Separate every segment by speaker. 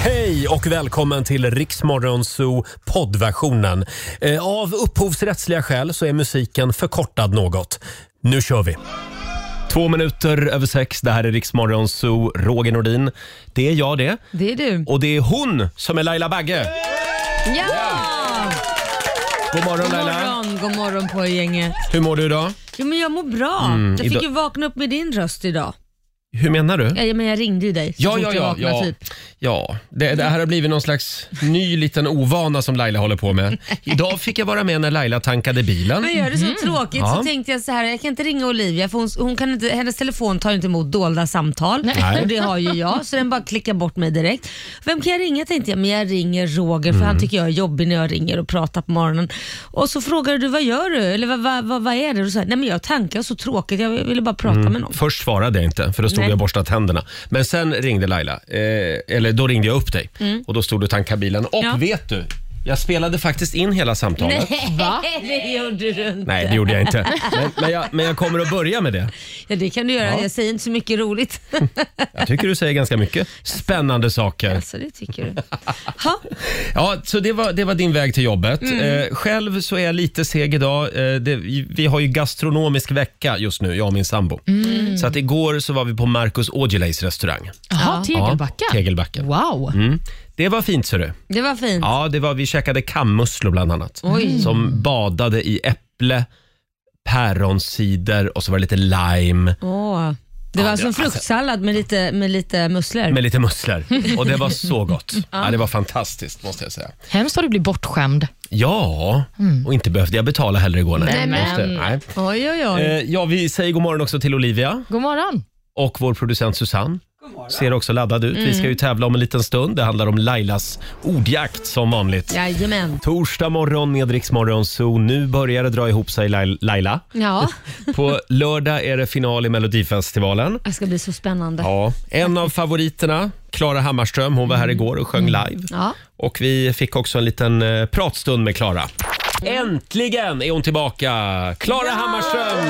Speaker 1: Hej och välkommen till Riksmorgonzoo poddversionen. Eh, Av upphovsrättsliga skäl så är musiken förkortad något. Nu kör vi! Två minuter över sex, det här är Riksmorgonzoo, Roger Nordin. Det är jag det.
Speaker 2: Det är du.
Speaker 1: Och det är hon som är Laila Bagge.
Speaker 2: Ja!
Speaker 1: God morgon
Speaker 2: God
Speaker 1: Laila!
Speaker 2: morgon, god morgon på er gänget.
Speaker 1: Hur mår du idag?
Speaker 2: Jo men jag mår bra.
Speaker 1: Mm,
Speaker 2: jag fick
Speaker 1: idag-
Speaker 2: ju vakna upp med din röst idag.
Speaker 1: Hur menar du?
Speaker 2: Ja, ja, men jag ringde ju dig så
Speaker 1: Ja,
Speaker 2: fort
Speaker 1: ja,
Speaker 2: jag
Speaker 1: ja.
Speaker 2: vaknade,
Speaker 1: ja.
Speaker 2: Typ.
Speaker 1: ja. Det, det här har blivit någon slags ny liten ovana som Laila håller på med. Idag fick jag vara med när Laila tankade bilen.
Speaker 2: Men gör det så tråkigt
Speaker 1: Mm. Ja.
Speaker 2: så tänkte jag så här, jag kan inte ringa Olivia för hon, hon kan inte, hennes telefon tar ju inte emot dolda samtal
Speaker 1: Nej.
Speaker 2: och det har ju jag så den bara klickar bort mig direkt. Vem kan jag ringa tänkte jag, men jag ringer Roger för
Speaker 1: Mm.
Speaker 2: han tycker jag är jobbig när jag ringer och pratar på morgonen. Och så frågade du vad gör du eller vad, vad, vad, vad är det? Och så här, nej men jag tankar så tråkigt, jag ville bara prata
Speaker 1: Mm.
Speaker 2: med någon.
Speaker 1: Först svarade jag inte, för då stod
Speaker 2: Nej.
Speaker 1: jag och borstade tänderna. Men sen ringde Laila, eh, eller då ringde jag upp dig och då stod du och tankade bilen. Och
Speaker 2: Mm. Ja.
Speaker 1: vet du, jag spelade faktiskt in hela samtalet. Nej,
Speaker 2: Va? Det gjorde du inte.
Speaker 1: det gjorde jag inte. Men, men, jag, men jag kommer att börja med det.
Speaker 2: Ja, det kan du göra.
Speaker 1: Ja.
Speaker 2: Jag säger inte så mycket roligt.
Speaker 1: Jag tycker du säger ganska mycket spännande saker.
Speaker 2: alltså, det tycker du. Ha?
Speaker 1: Ja, så det var, det var din väg till jobbet.
Speaker 2: Mm.
Speaker 1: Eh, själv så är jag lite seg idag. Eh, det, vi har ju gastronomisk vecka just nu, jag och min sambo.
Speaker 2: Mm.
Speaker 1: Så att igår så var vi på Marcus Aujalais restaurang.
Speaker 3: Jaha,
Speaker 2: Ja.
Speaker 3: Tegelbacka?
Speaker 1: Ja, Tegelbacka.
Speaker 3: Wow!
Speaker 1: Mm. Det var fint ser du.
Speaker 2: Det var fint.
Speaker 1: Ja, Mm. det var, vi käkade kammusslor bland annat.
Speaker 2: Oj.
Speaker 1: Som badade i äpple, päronsider och så var det lite lime
Speaker 2: Åh. Det var
Speaker 1: Ja,
Speaker 2: som
Speaker 1: det-
Speaker 2: fruktsallad med lite, med lite musslor.
Speaker 1: med lite musslor. Och det var så gott. Ja, det var fantastiskt måste jag säga.
Speaker 3: Hemskt har du blivit bortskämd.
Speaker 1: Ja, och inte behövde jag betala heller igår. Mm. Nej,
Speaker 3: Nej, men-
Speaker 1: Just det, nej.
Speaker 2: Oj, oj, oj.
Speaker 1: Eh, Ja, vi säger god morgon också till Olivia
Speaker 3: God morgon!
Speaker 1: och vår producent Susanne. Ser också laddad ut. Vi ska ju tävla om en liten stund. Det handlar om Lailas ordjakt som vanligt.
Speaker 2: Jajamän.
Speaker 1: Torsdag morgon med Rix Morgon Zoo. Nu börjar det dra ihop sig Lail- Laila.
Speaker 2: Ja,
Speaker 1: På lördag är det final i Melodifestivalen.
Speaker 2: det ska bli så spännande. Ja.
Speaker 1: Ja, en av favoriterna, Klara Hammarström, hon var här igår och sjöng live. Och vi fick också en liten eh, pratstund med Klara. Äntligen är hon tillbaka! Klara Hammarström!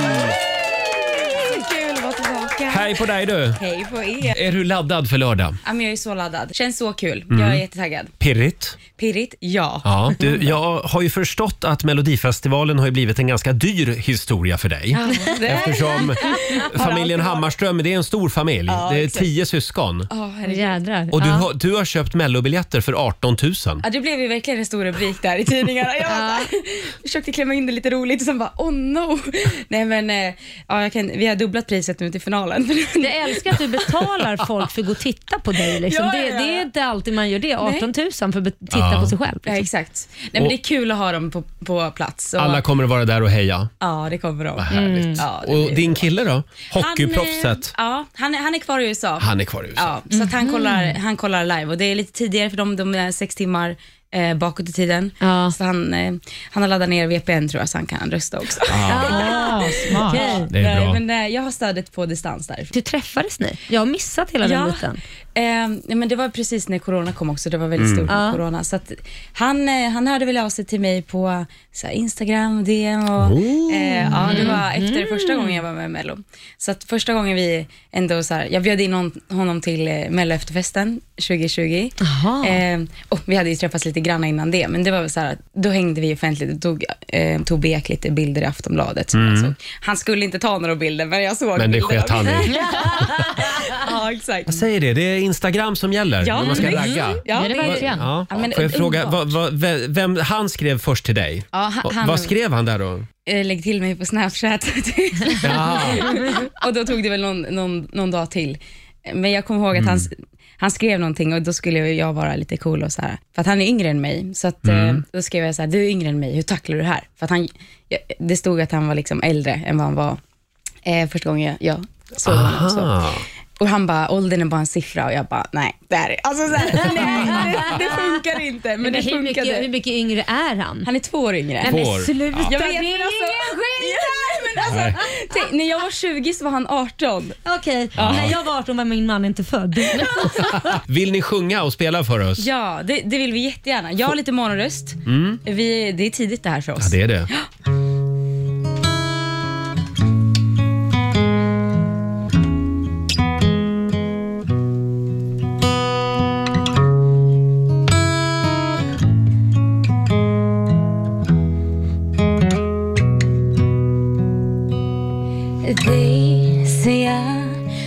Speaker 4: Kul att vara tillbaka.
Speaker 1: Hej på dig du!
Speaker 4: Hej på er.
Speaker 1: Är du laddad för lördag?
Speaker 4: Ja, men Jag är så laddad. Känns så kul. Jag är jättetaggad.
Speaker 1: Pirrigt.
Speaker 4: Pirrigt? Ja.
Speaker 1: Mm. Ja. Du, jag har ju förstått att Melodifestivalen har ju blivit en ganska dyr historia för dig.
Speaker 4: Det-
Speaker 1: Eftersom familjen Hammarström, det är en stor familj.
Speaker 4: Ja,
Speaker 1: det är
Speaker 4: exakt.
Speaker 1: tio syskon.
Speaker 4: Ja, herregud.
Speaker 2: Jädrar.
Speaker 1: Och du,
Speaker 2: ja.
Speaker 1: har, du har köpt mellobiljetter för 18 000.
Speaker 4: Ja, det blev ju verkligen en stor rubrik där i tidningarna. Jag bara, försökte klämma in det lite roligt och sen bara oh no. Nej men eh, ja, jag kan, vi har dubblat priset nu till finalen.
Speaker 2: Jag älskar att du betalar folk för att gå och titta på dig. Liksom.
Speaker 4: Ja,
Speaker 2: det,
Speaker 4: ja, ja.
Speaker 2: det är inte alltid man gör det. 18 000 för att be- titta
Speaker 1: Ja.
Speaker 2: på sig själv.
Speaker 4: Ja,
Speaker 2: Liksom.
Speaker 4: exakt. Nej, men det är kul att ha dem på, på plats. Och,
Speaker 1: Alla kommer att vara där och heja.
Speaker 4: ja, det kommer de.
Speaker 1: Härligt.
Speaker 4: Mm. Ja, det
Speaker 1: Och
Speaker 4: blir-
Speaker 1: din kille då?
Speaker 4: Han, eh,
Speaker 1: Hockeyproffset.
Speaker 4: ja, han, är- han är kvar i USA.
Speaker 1: Han är kvar i USA.
Speaker 4: Ja, så att han, kollar, han kollar live och det är lite tidigare för dem, de är sex timmar eh, bakåt i tiden.
Speaker 2: Ja.
Speaker 4: Så han, eh, han har laddat ner VPN tror jag, så han kan rösta också.
Speaker 3: Ah, smart.
Speaker 2: Okej.
Speaker 1: Det är
Speaker 4: Nej,
Speaker 1: bra.
Speaker 4: men, eh, jag har stödet på distans därifrån.
Speaker 2: Du träffades ni? Jag har missat hela den biten.
Speaker 4: eh, nej, men det var precis när corona kom också, det var väldigt stort med
Speaker 2: Ja.
Speaker 4: corona. Så att han, eh, han hörde väl av sig till mig på så här, Instagram, DM
Speaker 1: Oh.
Speaker 4: och eh, ja,
Speaker 1: Mm.
Speaker 4: det var efter första gången jag var med i Mello. Så att första gången vi ändå så här, jag bjöd in hon, honom till eh, Mello efterfesten 2020.
Speaker 2: Jaha.
Speaker 4: Eh, och vi hade ju träffats lite grann innan det, men det var väl så här, att då hängde vi offentligt och tog eh, Tobbe Ek lite bilder i Aftonbladet. Som jag såg. Han skulle inte ta några bilder, men jag såg
Speaker 1: Mm. Men det
Speaker 4: bilder av
Speaker 1: sket han
Speaker 4: det.
Speaker 1: i.
Speaker 4: Ja, exakt.
Speaker 1: Säger det, det är Instagram som gäller
Speaker 4: Ja,
Speaker 1: när man ska
Speaker 4: visst.
Speaker 1: ragga.
Speaker 4: Ja,
Speaker 3: det är
Speaker 4: det-
Speaker 3: verkligen.
Speaker 1: Ja.
Speaker 4: Ja, men
Speaker 1: Får jag fråga,
Speaker 4: underbart.
Speaker 1: vad, vad, vem, vem- han skrev först till dig.
Speaker 4: Ja, han-
Speaker 1: Och
Speaker 4: han-
Speaker 1: vad skrev han där då?
Speaker 4: Eh, Lägg till mig på Snapchat.
Speaker 1: Ja.
Speaker 4: och då tog det väl någon, någon, någon dag till. Men jag kommer ihåg att han, han skrev någonting och då skulle ju jag vara lite cool och så här. För att han är yngre än mig. Så att, eh, då skrev jag så här, du är yngre än mig, hur tacklar du det här? För att han, jag, det stod att han var liksom äldre än vad han var eh, första gången jag, jag såg honom. Så.
Speaker 1: Ah.
Speaker 4: Och han bara, åldern är bara en siffra och jag bara, nej, det här är, alltså så här, nej, det, det funkar inte. Men det
Speaker 2: Men hur, mycket, hur
Speaker 4: funkade.
Speaker 2: mycket yngre är han?
Speaker 4: Han är två år yngre.
Speaker 2: Nej, men
Speaker 1: Får.
Speaker 2: sluta,
Speaker 1: Ja.
Speaker 4: Jag vet,
Speaker 2: det är
Speaker 4: men alltså-
Speaker 2: ingen
Speaker 4: Ja, men alltså, tänk, när jag var 20 så var han 18.
Speaker 2: Okej, när jag var 18 var min man inte född.
Speaker 1: Vill ni sjunga och spela för oss?
Speaker 4: Ja, det, det vill vi jättegärna. Jag har lite morgonröst. Vi, det är tidigt det här för oss.
Speaker 1: Ja, det är det.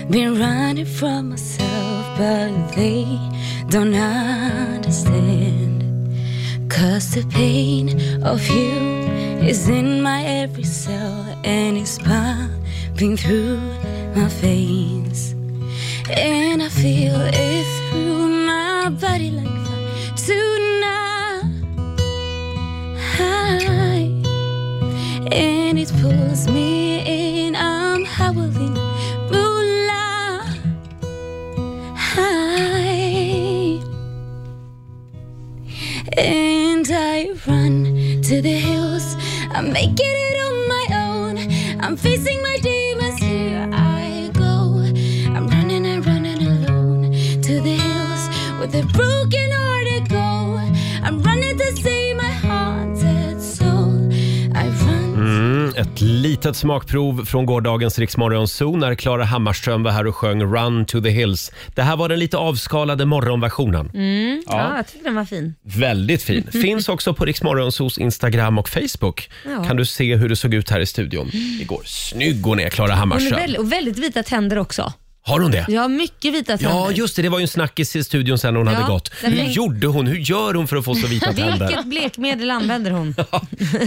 Speaker 5: been running from myself, but they don't understand. Cause the pain of you is in my every cell, and it's pumping through my veins. And I feel it through my body like fire tonight and it pulls me in. I'm howling moonlight. And I run to the hills. I'm making it on my own. I'm facing my demons. Here I go. I'm running and running alone to the hills with a broken hearted go. I'm running to save my haunted soul. I run.
Speaker 1: Mm, ett litet smakprov från gårdagens Riksmorgonzoo när Klara Hammarström var här och sjöng Run to the Hills. Det här var den lite avskalade morgonversionen.
Speaker 2: Mm. Ja. jag tyckte den var fin.
Speaker 1: Väldigt fin. Finns också på Riksmorgonsos Instagram och Facebook.
Speaker 2: Ja. Mm.
Speaker 1: Kan du se hur det såg ut här i studion igår. Snygg hon är, Klara
Speaker 2: Hon är
Speaker 1: Hammarström.
Speaker 2: väldigt, och väldigt vita tänder också.
Speaker 1: Har hon det?
Speaker 2: Ja, mycket vita tänder.
Speaker 1: Ja, just det. Det var ju en snackis i studion sen när hon
Speaker 2: Ja,
Speaker 1: hade gått.
Speaker 2: den
Speaker 1: Hur
Speaker 2: blev-
Speaker 1: gjorde hon? Hur gör hon för att få så vita tänder?
Speaker 2: Vilket blekmedel använder hon?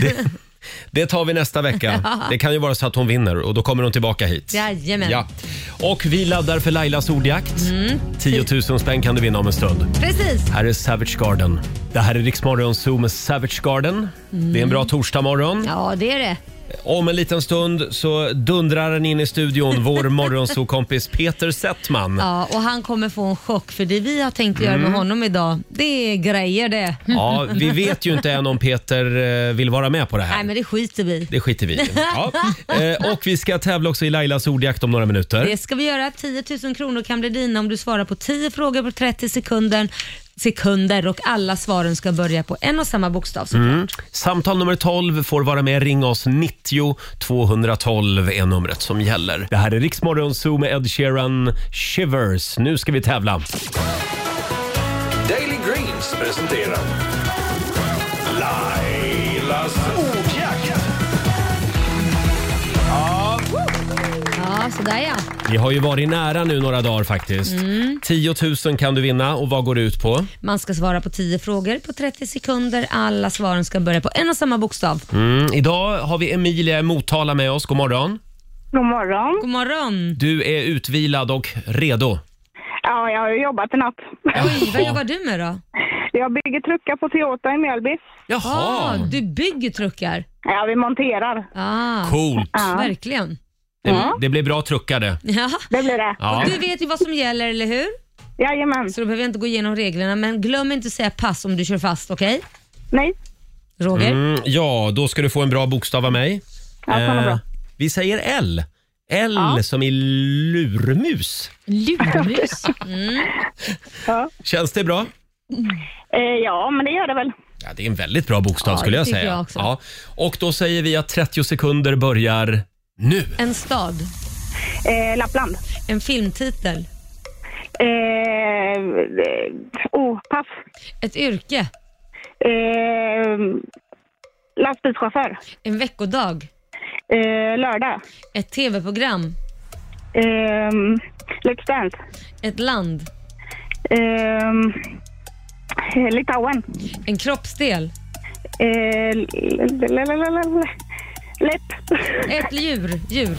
Speaker 1: Det, det tar vi nästa vecka. Det kan ju vara så att hon vinner och då kommer hon tillbaka hit.
Speaker 2: Jajamän.
Speaker 1: Ja. Och vi laddar för Lailas ordjakt.
Speaker 2: Mm.
Speaker 1: 10 000 spänn kan du vinna om en stund.
Speaker 2: Precis.
Speaker 1: Här är Savage Garden. Det här är Riksmorgon Zoo med Savage Garden. Det är en bra torsdagmorgon.
Speaker 2: Mm. Ja, det är det.
Speaker 1: Om en liten stund så dundrar den in i studion, vår morgonzoo-kompis Peter Settman.
Speaker 2: Ja, och han kommer få en chock för det vi har tänkt göra
Speaker 1: Mm.
Speaker 2: med honom idag, det är grejer det.
Speaker 1: Ja, vi vet ju inte än om Peter eh, vill vara med på det
Speaker 2: Nej,
Speaker 1: här.
Speaker 2: men det skiter vi i.
Speaker 1: Det skiter vi i. ja. Eh, Och vi ska tävla också i Lailas ordjakt om några minuter.
Speaker 2: Det ska vi göra. 10 000 kronor kan bli dina om du svarar på 10 frågor på 30 sekunder, sekunder och alla svaren ska börja på en och samma bokstav. såklart.
Speaker 1: Mm. Samtal nummer 12 får vara med. Ring oss. 90 212 är numret som gäller. Det här är Riksmorgon Zoo med Ed Sheeran, Shivers. Nu ska vi tävla.
Speaker 6: Daily Greens presenterar Lailas ordjakt.
Speaker 2: Ja, sådär ja.
Speaker 1: Vi har ju varit nära nu några dagar faktiskt.
Speaker 2: Mm.
Speaker 1: 10 000 kan du vinna och vad går det ut på?
Speaker 2: Man ska svara på 10 frågor på 30 sekunder. Alla svaren ska börja på en och samma bokstav.
Speaker 1: Mm. Idag har vi Emilia i Motala med oss. God morgon.
Speaker 7: God morgon.
Speaker 2: God morgon.
Speaker 1: Du är utvilad och redo.
Speaker 7: Ja, jag har ju jobbat i natt.
Speaker 2: Oj, vad jobbar du med då?
Speaker 7: Jag bygger truckar på Toyota i Mjölby.
Speaker 2: Ah,
Speaker 1: Jaha,
Speaker 2: du bygger truckar.
Speaker 7: Ja, vi monterar.
Speaker 2: Ah,
Speaker 1: coolt.
Speaker 2: Verkligen.
Speaker 1: Det, det blir bra truckade.
Speaker 2: Ja.
Speaker 7: Det blir det.
Speaker 1: Ja.
Speaker 2: Du vet ju vad som gäller, eller hur?
Speaker 7: Jajamän.
Speaker 2: Så då behöver jag inte gå igenom reglerna. Men glöm inte att säga pass om du kör fast, okej?
Speaker 7: Nej.
Speaker 2: Roger?
Speaker 1: Mm, ja, då ska du få en bra bokstav av mig. Eh,
Speaker 7: Ja, fan vad bra.
Speaker 1: vi säger L. L som i lurmus.
Speaker 3: Lurmus.
Speaker 1: Känns det bra?
Speaker 7: Eh, ja, men det gör det väl.
Speaker 1: Ja, det är en väldigt bra bokstav
Speaker 2: Ja,
Speaker 1: skulle
Speaker 2: det
Speaker 1: jag
Speaker 2: tycker
Speaker 1: säga.
Speaker 2: jag också.
Speaker 1: Ja. Och då säger vi att 30 sekunder börjar nu.
Speaker 2: En stad.
Speaker 7: Eh, Lappland.
Speaker 2: En filmtitel.
Speaker 7: Eh, eh, oh, pass.
Speaker 2: Ett yrke.
Speaker 7: Eh, lastbilschaufför.
Speaker 2: En veckodag.
Speaker 7: Eh, lördag.
Speaker 2: Ett tv-program.
Speaker 7: Eh, Let's Dance.
Speaker 2: Ett land.
Speaker 7: Eh, Litauen.
Speaker 2: En kroppsdel.
Speaker 7: Eh, l- l- l- l- l- l- Lätt.
Speaker 2: Ett djur. Djur.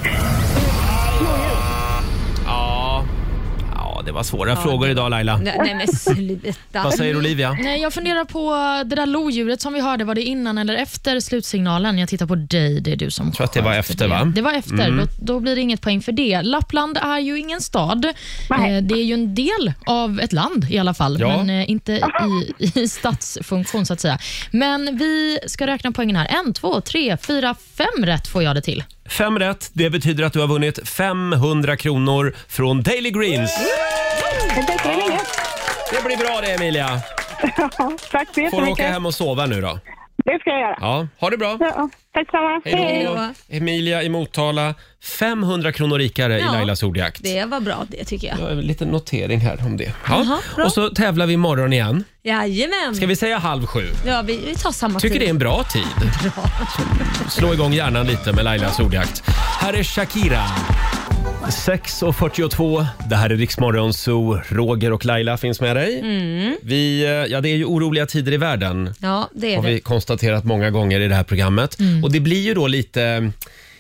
Speaker 1: Ja, ja det var svåra frågor idag Laila.
Speaker 2: Nej, nej men sluta.
Speaker 1: Vad säger Olivia?
Speaker 3: Nej, jag funderar på det där lodjuret som vi hörde. Var det innan eller efter slutsignalen? Jag tittar på dig, det är du som Jag
Speaker 1: tror att det var efter, va? Mm.
Speaker 3: Det var efter. Då, då blir det inget poäng för det. Lappland är ju ingen stad.
Speaker 7: Nej.
Speaker 3: Eh, Det är ju en del av ett land i alla fall,
Speaker 1: Ja.
Speaker 3: men eh, inte i, i statsfunktion så att säga. Men vi ska räkna poängen här. En, två, tre, fyra, fem rätt får jag det till.
Speaker 1: Fem rätt, det betyder att du har vunnit 500 kronor från Daily Greens.
Speaker 7: Det täcker väl inget.
Speaker 1: Det blir bra det Emilia.
Speaker 7: Ja, Tack så
Speaker 1: Får du åka
Speaker 7: jättemycket.
Speaker 1: hem och sova nu då.
Speaker 7: Det ska jag göra.
Speaker 1: Ja, ha det bra.
Speaker 7: Ja, tack samma.
Speaker 1: Hej då.
Speaker 2: Hej
Speaker 1: Emilia i Motala, 500 kronor rikare
Speaker 2: Ja.
Speaker 1: i Lailas ordjakt.
Speaker 2: Det var bra det tycker jag.
Speaker 1: Jag har en liten notering här om det.
Speaker 2: Jaha,
Speaker 1: Ja.
Speaker 2: bra.
Speaker 1: Och så tävlar vi imorgon igen.
Speaker 2: Jajamän.
Speaker 1: Ska vi säga halv sju?
Speaker 2: Ja, vi, vi tar samma
Speaker 1: Tycker det är
Speaker 2: tid.
Speaker 1: en bra tid. Slå igång hjärnan lite med Lailas ordjakt. Här är Shakira. 6.42, det här är Riksmorgon Zoo. Roger och Laila finns med dig.
Speaker 2: Mm.
Speaker 1: Vi, eh, ja, det är ju oroliga tider i världen,
Speaker 2: Ja, det är
Speaker 1: har vi
Speaker 2: det.
Speaker 1: konstaterat många gånger i det här programmet. Och det blir ju då lite...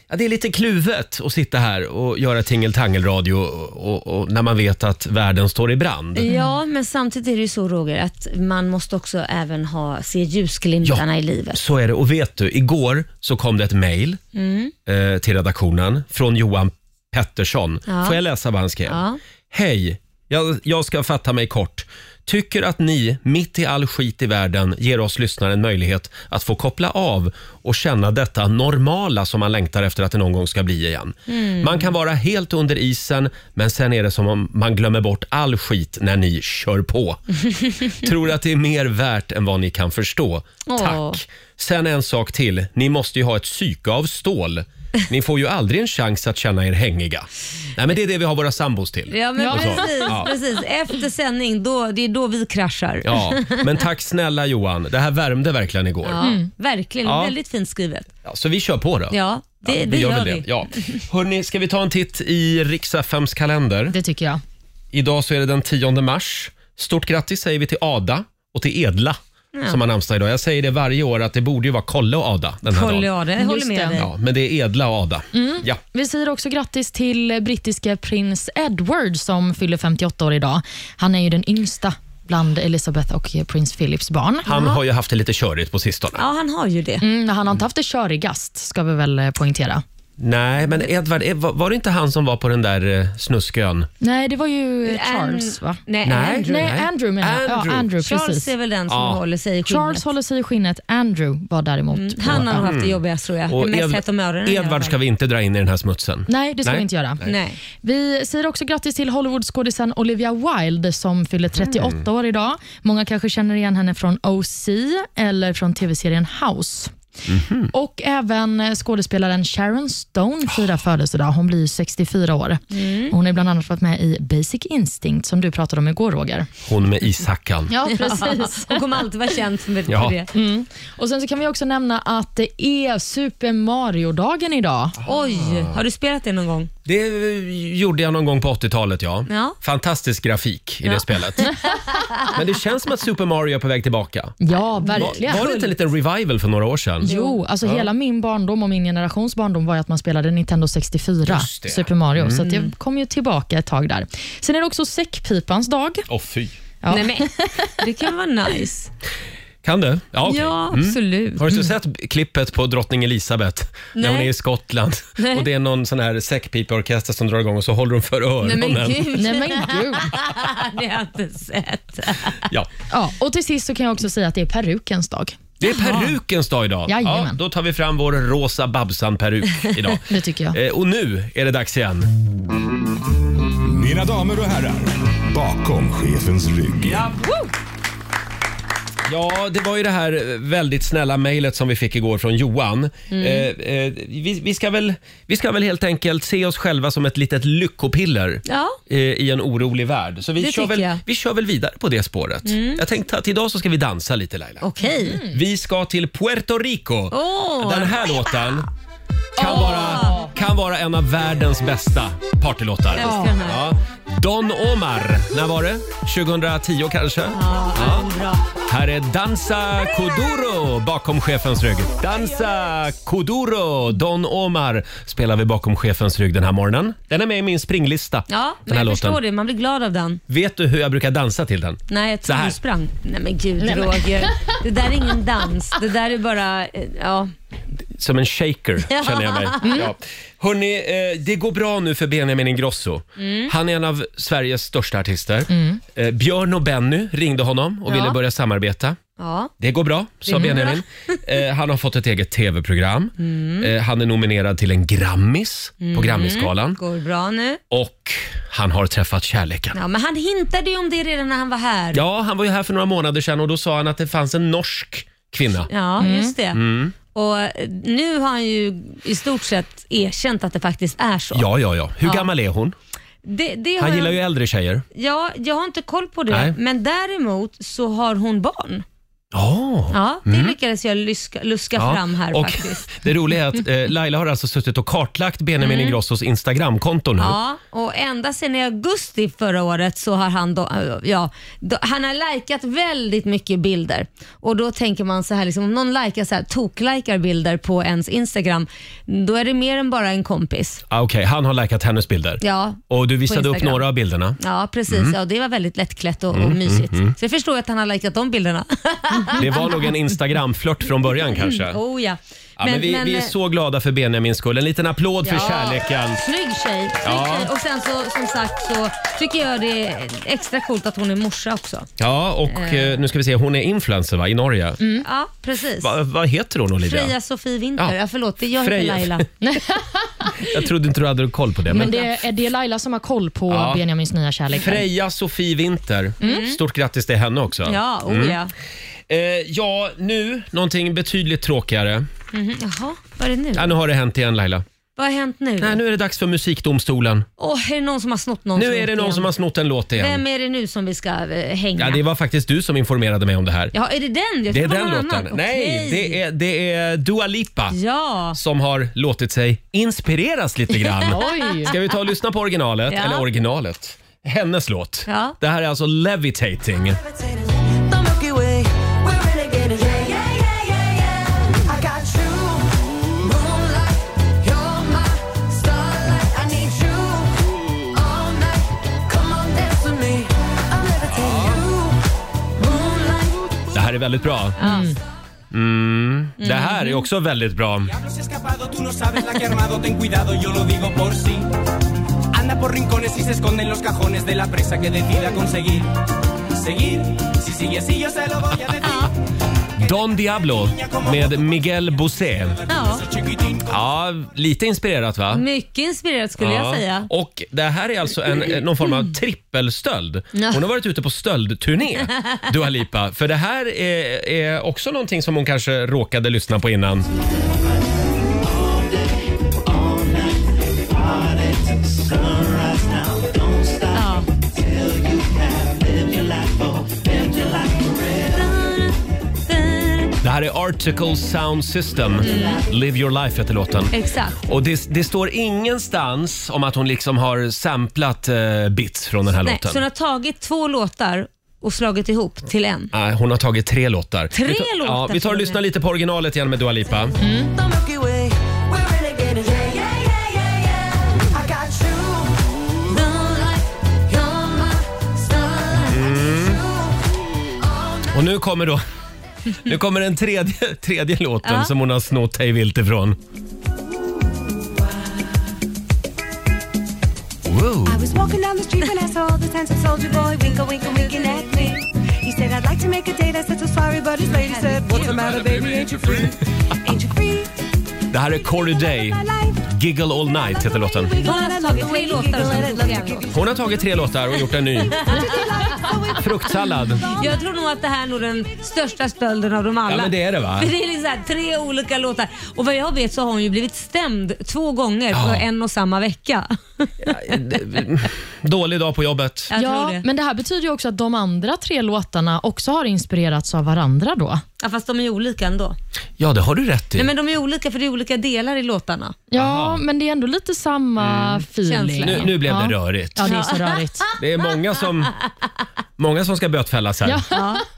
Speaker 1: Ja, det är lite kluvet att sitta här och göra tingeltangelradio och, och, och, när man vet att världen står i brand.
Speaker 2: Ja, men samtidigt är det ju så Roger att man måste också även ha, se ljusglimtarna i livet.
Speaker 1: Så är det. Och vet du, igår så kom det ett mejl
Speaker 2: Mm.
Speaker 1: eh, till redaktionen från Johan Pettersson.
Speaker 2: Ja.
Speaker 1: Får jag läsa vad han skrev?
Speaker 2: Ja.
Speaker 1: Hej, jag, jag ska fatta mig kort. Tycker att ni, mitt i all skit i världen, ger oss lyssnare en möjlighet att få koppla av och känna detta normala som man längtar efter att det någon gång ska bli igen.
Speaker 2: Mm.
Speaker 1: Man kan vara helt under isen, men sen är det som om man glömmer bort all skit när ni kör på. Tror att det är mer värt än vad ni kan förstå.
Speaker 2: Åh.
Speaker 1: Tack! Sen en sak till. Ni måste ju ha ett psyke av stål. Ni får ju aldrig en chans att känna er hängiga. Nej, men det är det vi har våra sambos till.
Speaker 2: Ja, men
Speaker 3: Ja.
Speaker 2: Precis,
Speaker 1: Ja.
Speaker 2: precis. Efter sändning, då, det är då vi kraschar.
Speaker 1: Ja, men tack snälla Johan. Det här värmde verkligen igår.
Speaker 2: Ja, Verkligen,
Speaker 1: Mm. Ja.
Speaker 2: väldigt fint skrivet.
Speaker 1: Ja, så vi kör på då.
Speaker 2: Ja, det,
Speaker 1: vi
Speaker 2: det gör,
Speaker 1: väl
Speaker 2: vi.
Speaker 1: det. Ja. Hörrni, ska vi ta en titt i Riks-FMs kalender?
Speaker 3: Det tycker jag.
Speaker 1: Idag så är det den 10 mars. Stort grattis säger vi till Ada och till Edla som har namnsdag idag. Jag säger det varje år att det borde ju vara Kolle och Ada den här
Speaker 2: Kolla,
Speaker 1: dagen.
Speaker 2: ja, det håller
Speaker 3: Just
Speaker 2: med
Speaker 3: det.
Speaker 2: dig.
Speaker 1: Ja, men det är Edla och Ada.
Speaker 2: Mm.
Speaker 1: Ja.
Speaker 3: Vi säger också grattis till brittiske prins Edward som fyller 58 år idag. Han är ju den yngsta bland Elizabeth och prins Philips barn.
Speaker 1: Han har ju haft det lite körigt på sistone.
Speaker 2: Ja, han har ju det.
Speaker 3: Mm, han har inte haft det körigast, ska vi väl eh, poängtera.
Speaker 1: Nej, men
Speaker 2: Mm.
Speaker 1: Edvard, eh, var var det inte han som var på den där eh, snuskön?
Speaker 3: Nej, det var ju eh,
Speaker 2: An-
Speaker 3: Charles, va?
Speaker 2: Nej,
Speaker 1: Nej.
Speaker 2: Andrew.
Speaker 3: Nej, Andrew menar jag. Ja,
Speaker 1: Andrew.
Speaker 3: Andrew
Speaker 2: Charles
Speaker 3: precis.
Speaker 2: är väl den som
Speaker 1: Ja.
Speaker 2: håller sig i skinnet.
Speaker 3: Charles håller sig i skinnet, Andrew var däremot
Speaker 1: Mm.
Speaker 3: på-
Speaker 2: Han har
Speaker 3: ja.
Speaker 2: nog haft det jobbigast tror jag.
Speaker 1: Och
Speaker 2: Mest
Speaker 1: Ed-
Speaker 2: hett om öronen. i alla
Speaker 1: Edvard
Speaker 2: fall.
Speaker 1: ska vi inte dra in i den här smutsen.
Speaker 3: Nej, det ska
Speaker 1: Nej.
Speaker 3: vi inte göra.
Speaker 2: Nej.
Speaker 3: Vi säger också grattis till Hollywoodskådisen Olivia Wilde som fyller
Speaker 1: Mm.
Speaker 3: 38 år idag. Många kanske känner igen henne från OC eller från tv-serien House.
Speaker 1: Mhm.
Speaker 3: Och även eh, skådespelaren Sharon Stone
Speaker 1: Ah.
Speaker 3: firar födelsedag. Hon blir 64 år.
Speaker 1: Mm.
Speaker 3: Hon har bland annat varit med i Basic Instinct som du pratade om igår, Roger.
Speaker 1: Hon med ishackan.
Speaker 3: Ja, precis.
Speaker 2: Hon kommer alltid vara känd för för
Speaker 1: Ja.
Speaker 2: det.
Speaker 3: Och Sen så kan vi också nämna att det är Super Mario-dagen idag.
Speaker 2: Oj, har du spelat det någon gång?
Speaker 1: Det eh, gjorde jag någon gång på 80-talet, ja.
Speaker 2: Ja.
Speaker 1: Fantastisk grafik i det
Speaker 2: Ja.
Speaker 1: spelet. Men det känns som att Super Mario är på väg tillbaka.
Speaker 3: Ja, verkligen.
Speaker 1: Var, var det inte en liten revival för några år sedan?
Speaker 3: Jo, alltså hela min barndom och min generations barndom var ju att man spelade Nintendo 64,
Speaker 1: det. Mm.
Speaker 3: Super Mario. Så att jag kom ju tillbaka ett tag där. Sen är det också säckpipans dag.
Speaker 1: Åh fy.
Speaker 3: Ja.
Speaker 2: Nej, men. Det kan vara nice.
Speaker 1: Kan du? Ja, okej.
Speaker 2: Ja, absolut.
Speaker 1: Mm. Har du sett klippet på drottning Elisabeth när
Speaker 2: Nej.
Speaker 1: hon är i Skottland
Speaker 2: Nej.
Speaker 1: och det är någon sån här säckpipeorkester som drar igång och så håller hon för
Speaker 2: Nej
Speaker 1: öronen.
Speaker 2: men gud,
Speaker 3: Nej men gud.
Speaker 2: det har jag inte sett.
Speaker 1: Ja.
Speaker 3: Ja, och till sist så kan jag också säga att det är perukens dag.
Speaker 1: Det är perukens dag idag.
Speaker 3: Jajamän.
Speaker 1: då tar vi fram vår rosa Babsan-peruk idag.
Speaker 3: Det tycker jag.
Speaker 1: Eh, Och nu är det dags igen.
Speaker 6: Mina damer och herrar, bakom chefens rygg.
Speaker 1: Ja, det var ju det här eh, väldigt snälla mejlet som vi fick igår från Johan. Eh, eh, vi, vi, ska väl, vi ska väl helt enkelt se oss själva som ett litet lyckopiller
Speaker 2: Ja.
Speaker 1: eh, i en orolig värld. Så vi
Speaker 2: Det
Speaker 1: kör,
Speaker 2: tycker
Speaker 1: väl,
Speaker 2: jag.
Speaker 1: vi kör väl vidare på det spåret. Jag tänkte att idag så ska vi dansa lite Laila.
Speaker 2: Okej.
Speaker 1: Vi ska till Puerto Rico.
Speaker 2: Åh.
Speaker 1: Den här låten kan, vara, kan vara en av världens bästa partylåtar.
Speaker 2: Jag älskar den här.
Speaker 1: Ja. Don Omar, när var det? 2010 kanske? Ja. Här är Danza Kuduro bakom chefens rygg. Danza Kuduro, Don Omar spelar vi bakom chefens rygg den här morgonen. Den är med i min springlista.
Speaker 2: Ja,
Speaker 1: den
Speaker 2: men
Speaker 1: här
Speaker 2: jag
Speaker 1: låten.
Speaker 2: förstår det. Man blir glad av den.
Speaker 1: Vet du hur jag brukar dansa till den?
Speaker 2: Nej, jag
Speaker 1: Så
Speaker 2: tror
Speaker 1: här.
Speaker 2: du sprang. Nej men gud Roger. Det där är ingen dans. Det där är bara, eh, ja.
Speaker 1: Som en shaker
Speaker 2: Ja.
Speaker 1: känner jag mig. Ja. Mm. Hörrni, eh, det går bra nu för Benjamin Ingrosso. Han är en av Sveriges största artister. Eh, Björn och Benny ringde honom och
Speaker 2: Ja.
Speaker 1: ville börja samarbeta.
Speaker 2: ja.
Speaker 1: Det går bra, sa Benjamin. Eh, han har fått ett eget tv-program. Eh, han är nominerad till en Grammis på Grammisgalan.
Speaker 2: Går bra nu.
Speaker 1: Och han har träffat kärleken.
Speaker 2: Ja, men han hintade ju om det redan när han var här.
Speaker 1: Ja, han var ju här för några månader sedan och då sa han att det fanns en norsk kvinna.
Speaker 2: Ja, just det.
Speaker 1: Mm.
Speaker 2: Och eh, nu har han ju i stort sett erkänt att det faktiskt är så.
Speaker 1: Ja, ja, ja. Hur gammal är hon?
Speaker 2: Det, det har
Speaker 1: Han gillar
Speaker 2: jag-
Speaker 1: ju äldre tjejer.
Speaker 2: Ja, jag har inte koll på det,
Speaker 1: Nej.
Speaker 2: men däremot så har hon barn.
Speaker 1: Ja.
Speaker 2: Ja, det lyckades jag luska, luska fram här
Speaker 1: Mm. och
Speaker 2: faktiskt. Mm.
Speaker 1: Det roliga är att eh, Laila har alltså suttit och kartlagt Benjamin Ingrossos Instagramkonto nu.
Speaker 2: Ja, och ända sedan i augusti förra året så har han då, ja, då, han har likat väldigt mycket bilder. Och då tänker man så här, liksom, om någon likar så här, toklikar bilder på ens Instagram, då är det mer än bara en kompis.
Speaker 1: Ah, Okej, han har likat hennes bilder.
Speaker 2: Ja,
Speaker 1: Och du
Speaker 2: på
Speaker 1: visade upp
Speaker 2: Instagram.
Speaker 1: några av bilderna.
Speaker 2: Ja, precis.
Speaker 1: Mm.
Speaker 2: Ja, det var väldigt lättklätt och, och mysigt. Så jag förstår ju att han har likat de bilderna.
Speaker 1: Det var nog en Instagram-flört från början kanske.
Speaker 2: oh ja. eh,
Speaker 1: Ja, men vi, vi är så glada för Benjamins skull. En liten applåd för
Speaker 2: Ja.
Speaker 1: kärleken.
Speaker 2: Snygg tjej. Snygg
Speaker 1: Ja.
Speaker 2: tjej. Och sen så, som sagt så tycker jag det är extra coolt att hon är morsa också.
Speaker 1: Ja, och eh, nu ska vi se. Hon är influencer va, i Norge.
Speaker 2: Ja, precis.
Speaker 1: Va, vad heter hon Olivia?
Speaker 2: Mm. Freja Sofie Winter.
Speaker 1: Ja.
Speaker 2: Ja. förlåt, det- jag heter
Speaker 1: Freja.
Speaker 2: Laila.
Speaker 1: Jag trodde inte du hade koll på det. Men
Speaker 2: Mm.
Speaker 3: Men det är det Laila som har koll på
Speaker 1: Ja.
Speaker 3: Benjamins nya kärlek.
Speaker 1: Freja Sofie Winter. Stort grattis till henne också.
Speaker 2: Mm. Ja, oh ja.
Speaker 1: Eh, ja, nu någonting betydligt tråkigare.
Speaker 2: Mhm. Jaha, vad är det nu?
Speaker 1: Ja, nu har det hänt igen Laila.
Speaker 2: Vad har hänt nu?
Speaker 1: Nej, nu är det dags för musikdomstolen.
Speaker 2: Åh, är det någon som har snott någon
Speaker 1: Nu är det någon som har snott en låt igen.
Speaker 2: Vem är det nu som vi ska eh,
Speaker 1: Ja,
Speaker 2: hänga?
Speaker 1: det var faktiskt du som informerade mig om det här.
Speaker 2: Jaha, är det den? Jag
Speaker 1: Det är
Speaker 2: tror
Speaker 1: den
Speaker 2: var någon
Speaker 1: låten.
Speaker 2: annan.
Speaker 1: Nej,
Speaker 2: Okej.
Speaker 1: det är, det är Dua Lipa
Speaker 2: Ja.
Speaker 1: som har låtit sig inspireras lite grann.
Speaker 3: Oj!
Speaker 1: Ska vi ta och lyssna på originalet?
Speaker 2: Ja.
Speaker 1: Eller originalet? Hennes låt.
Speaker 2: Ja.
Speaker 1: Det här är alltså Levitating. Det här är väldigt bra. Mm.
Speaker 2: Mm.
Speaker 1: Det här är också väldigt bra.
Speaker 8: Diablos escapado, tú no sabes la que he armado, ten cuidado, yo lo digo por sí. Anda por rincones y se esconde en los cajones de la presa que decida conseguir. Seguir, si sigue así yo se lo voy a
Speaker 9: Ah.
Speaker 8: decir.
Speaker 1: Don Diablo med Miguel Bosé.
Speaker 2: Ja.
Speaker 8: Chiquitín,
Speaker 1: Ja, lite inspirerat va?
Speaker 2: Mycket inspirerat skulle
Speaker 1: Ja.
Speaker 2: jag säga. Mm.
Speaker 1: Och det här är alltså en, eh, någon form av trippelstöld. Hon har varit ute på stöldturné, Dua Lipa. För det här är, är också någonting som hon kanske råkade lyssna på innan.
Speaker 2: Ja.
Speaker 1: Det här är Article Sound System.
Speaker 2: Mm.
Speaker 1: Live your life heter låten.
Speaker 2: Exakt.
Speaker 1: Och det, det står ingenstans om att hon liksom har samplat eh, bits från den här
Speaker 2: Nej,
Speaker 1: låten.
Speaker 2: så hon har tagit två låtar och slagit ihop till en.
Speaker 1: Nej, hon har tagit tre låtar.
Speaker 2: Tre
Speaker 1: vi tar, Ja,
Speaker 2: låtar
Speaker 1: vi tar och
Speaker 2: till och
Speaker 1: lyssnar
Speaker 2: med.
Speaker 1: lite på originalet igen med Dua Lipa. Och nu kommer då... Nu kommer den tredje, tredje låten
Speaker 2: Ja.
Speaker 1: som hon har snott hej vilt ifrån. Wow.
Speaker 10: I was walking down the street when I saw the tents of soldier boy winkle, winkle, winking at me. He said, I'd like to make a date. I said, so sorry, but his lady said, What's the matter, baby? Ain't you free? Ain't you free?
Speaker 1: Det här är Corey Day.
Speaker 10: My life.
Speaker 1: Giggle All Night heter låten.
Speaker 2: Hon har alltså tagit tre låtar och slagit ihop till en låt.
Speaker 1: Hon har tagit tre låtar och gjort en ny. Fruktsallad.
Speaker 2: Jag tror nog att det här är nog den största stölden av dem alla.
Speaker 1: Ja, men det är det, va?
Speaker 2: För det är liksom så här, tre olika låtar. Och vad jag vet så har hon ju blivit stämd två gånger
Speaker 1: Ja.
Speaker 2: på en och samma vecka.
Speaker 1: Dålig dag på jobbet.
Speaker 2: Jag tror
Speaker 3: Ja,
Speaker 2: det.
Speaker 3: men det här betyder ju också att de andra tre låtarna också har inspirerats av varandra då.
Speaker 2: Ja, fast de är olika ändå.
Speaker 1: Ja, det har du rätt
Speaker 2: Nej,
Speaker 1: i.
Speaker 2: men de är olika för det är olika delar i låtarna.
Speaker 3: Ja, men det är ändå lite samma feeling.
Speaker 2: Känsla.
Speaker 1: Mm. Nu, nu blev
Speaker 3: ja.
Speaker 1: det rörigt.
Speaker 3: Ja, det är så rörigt.
Speaker 1: Det är många som, många som ska bötfällas här.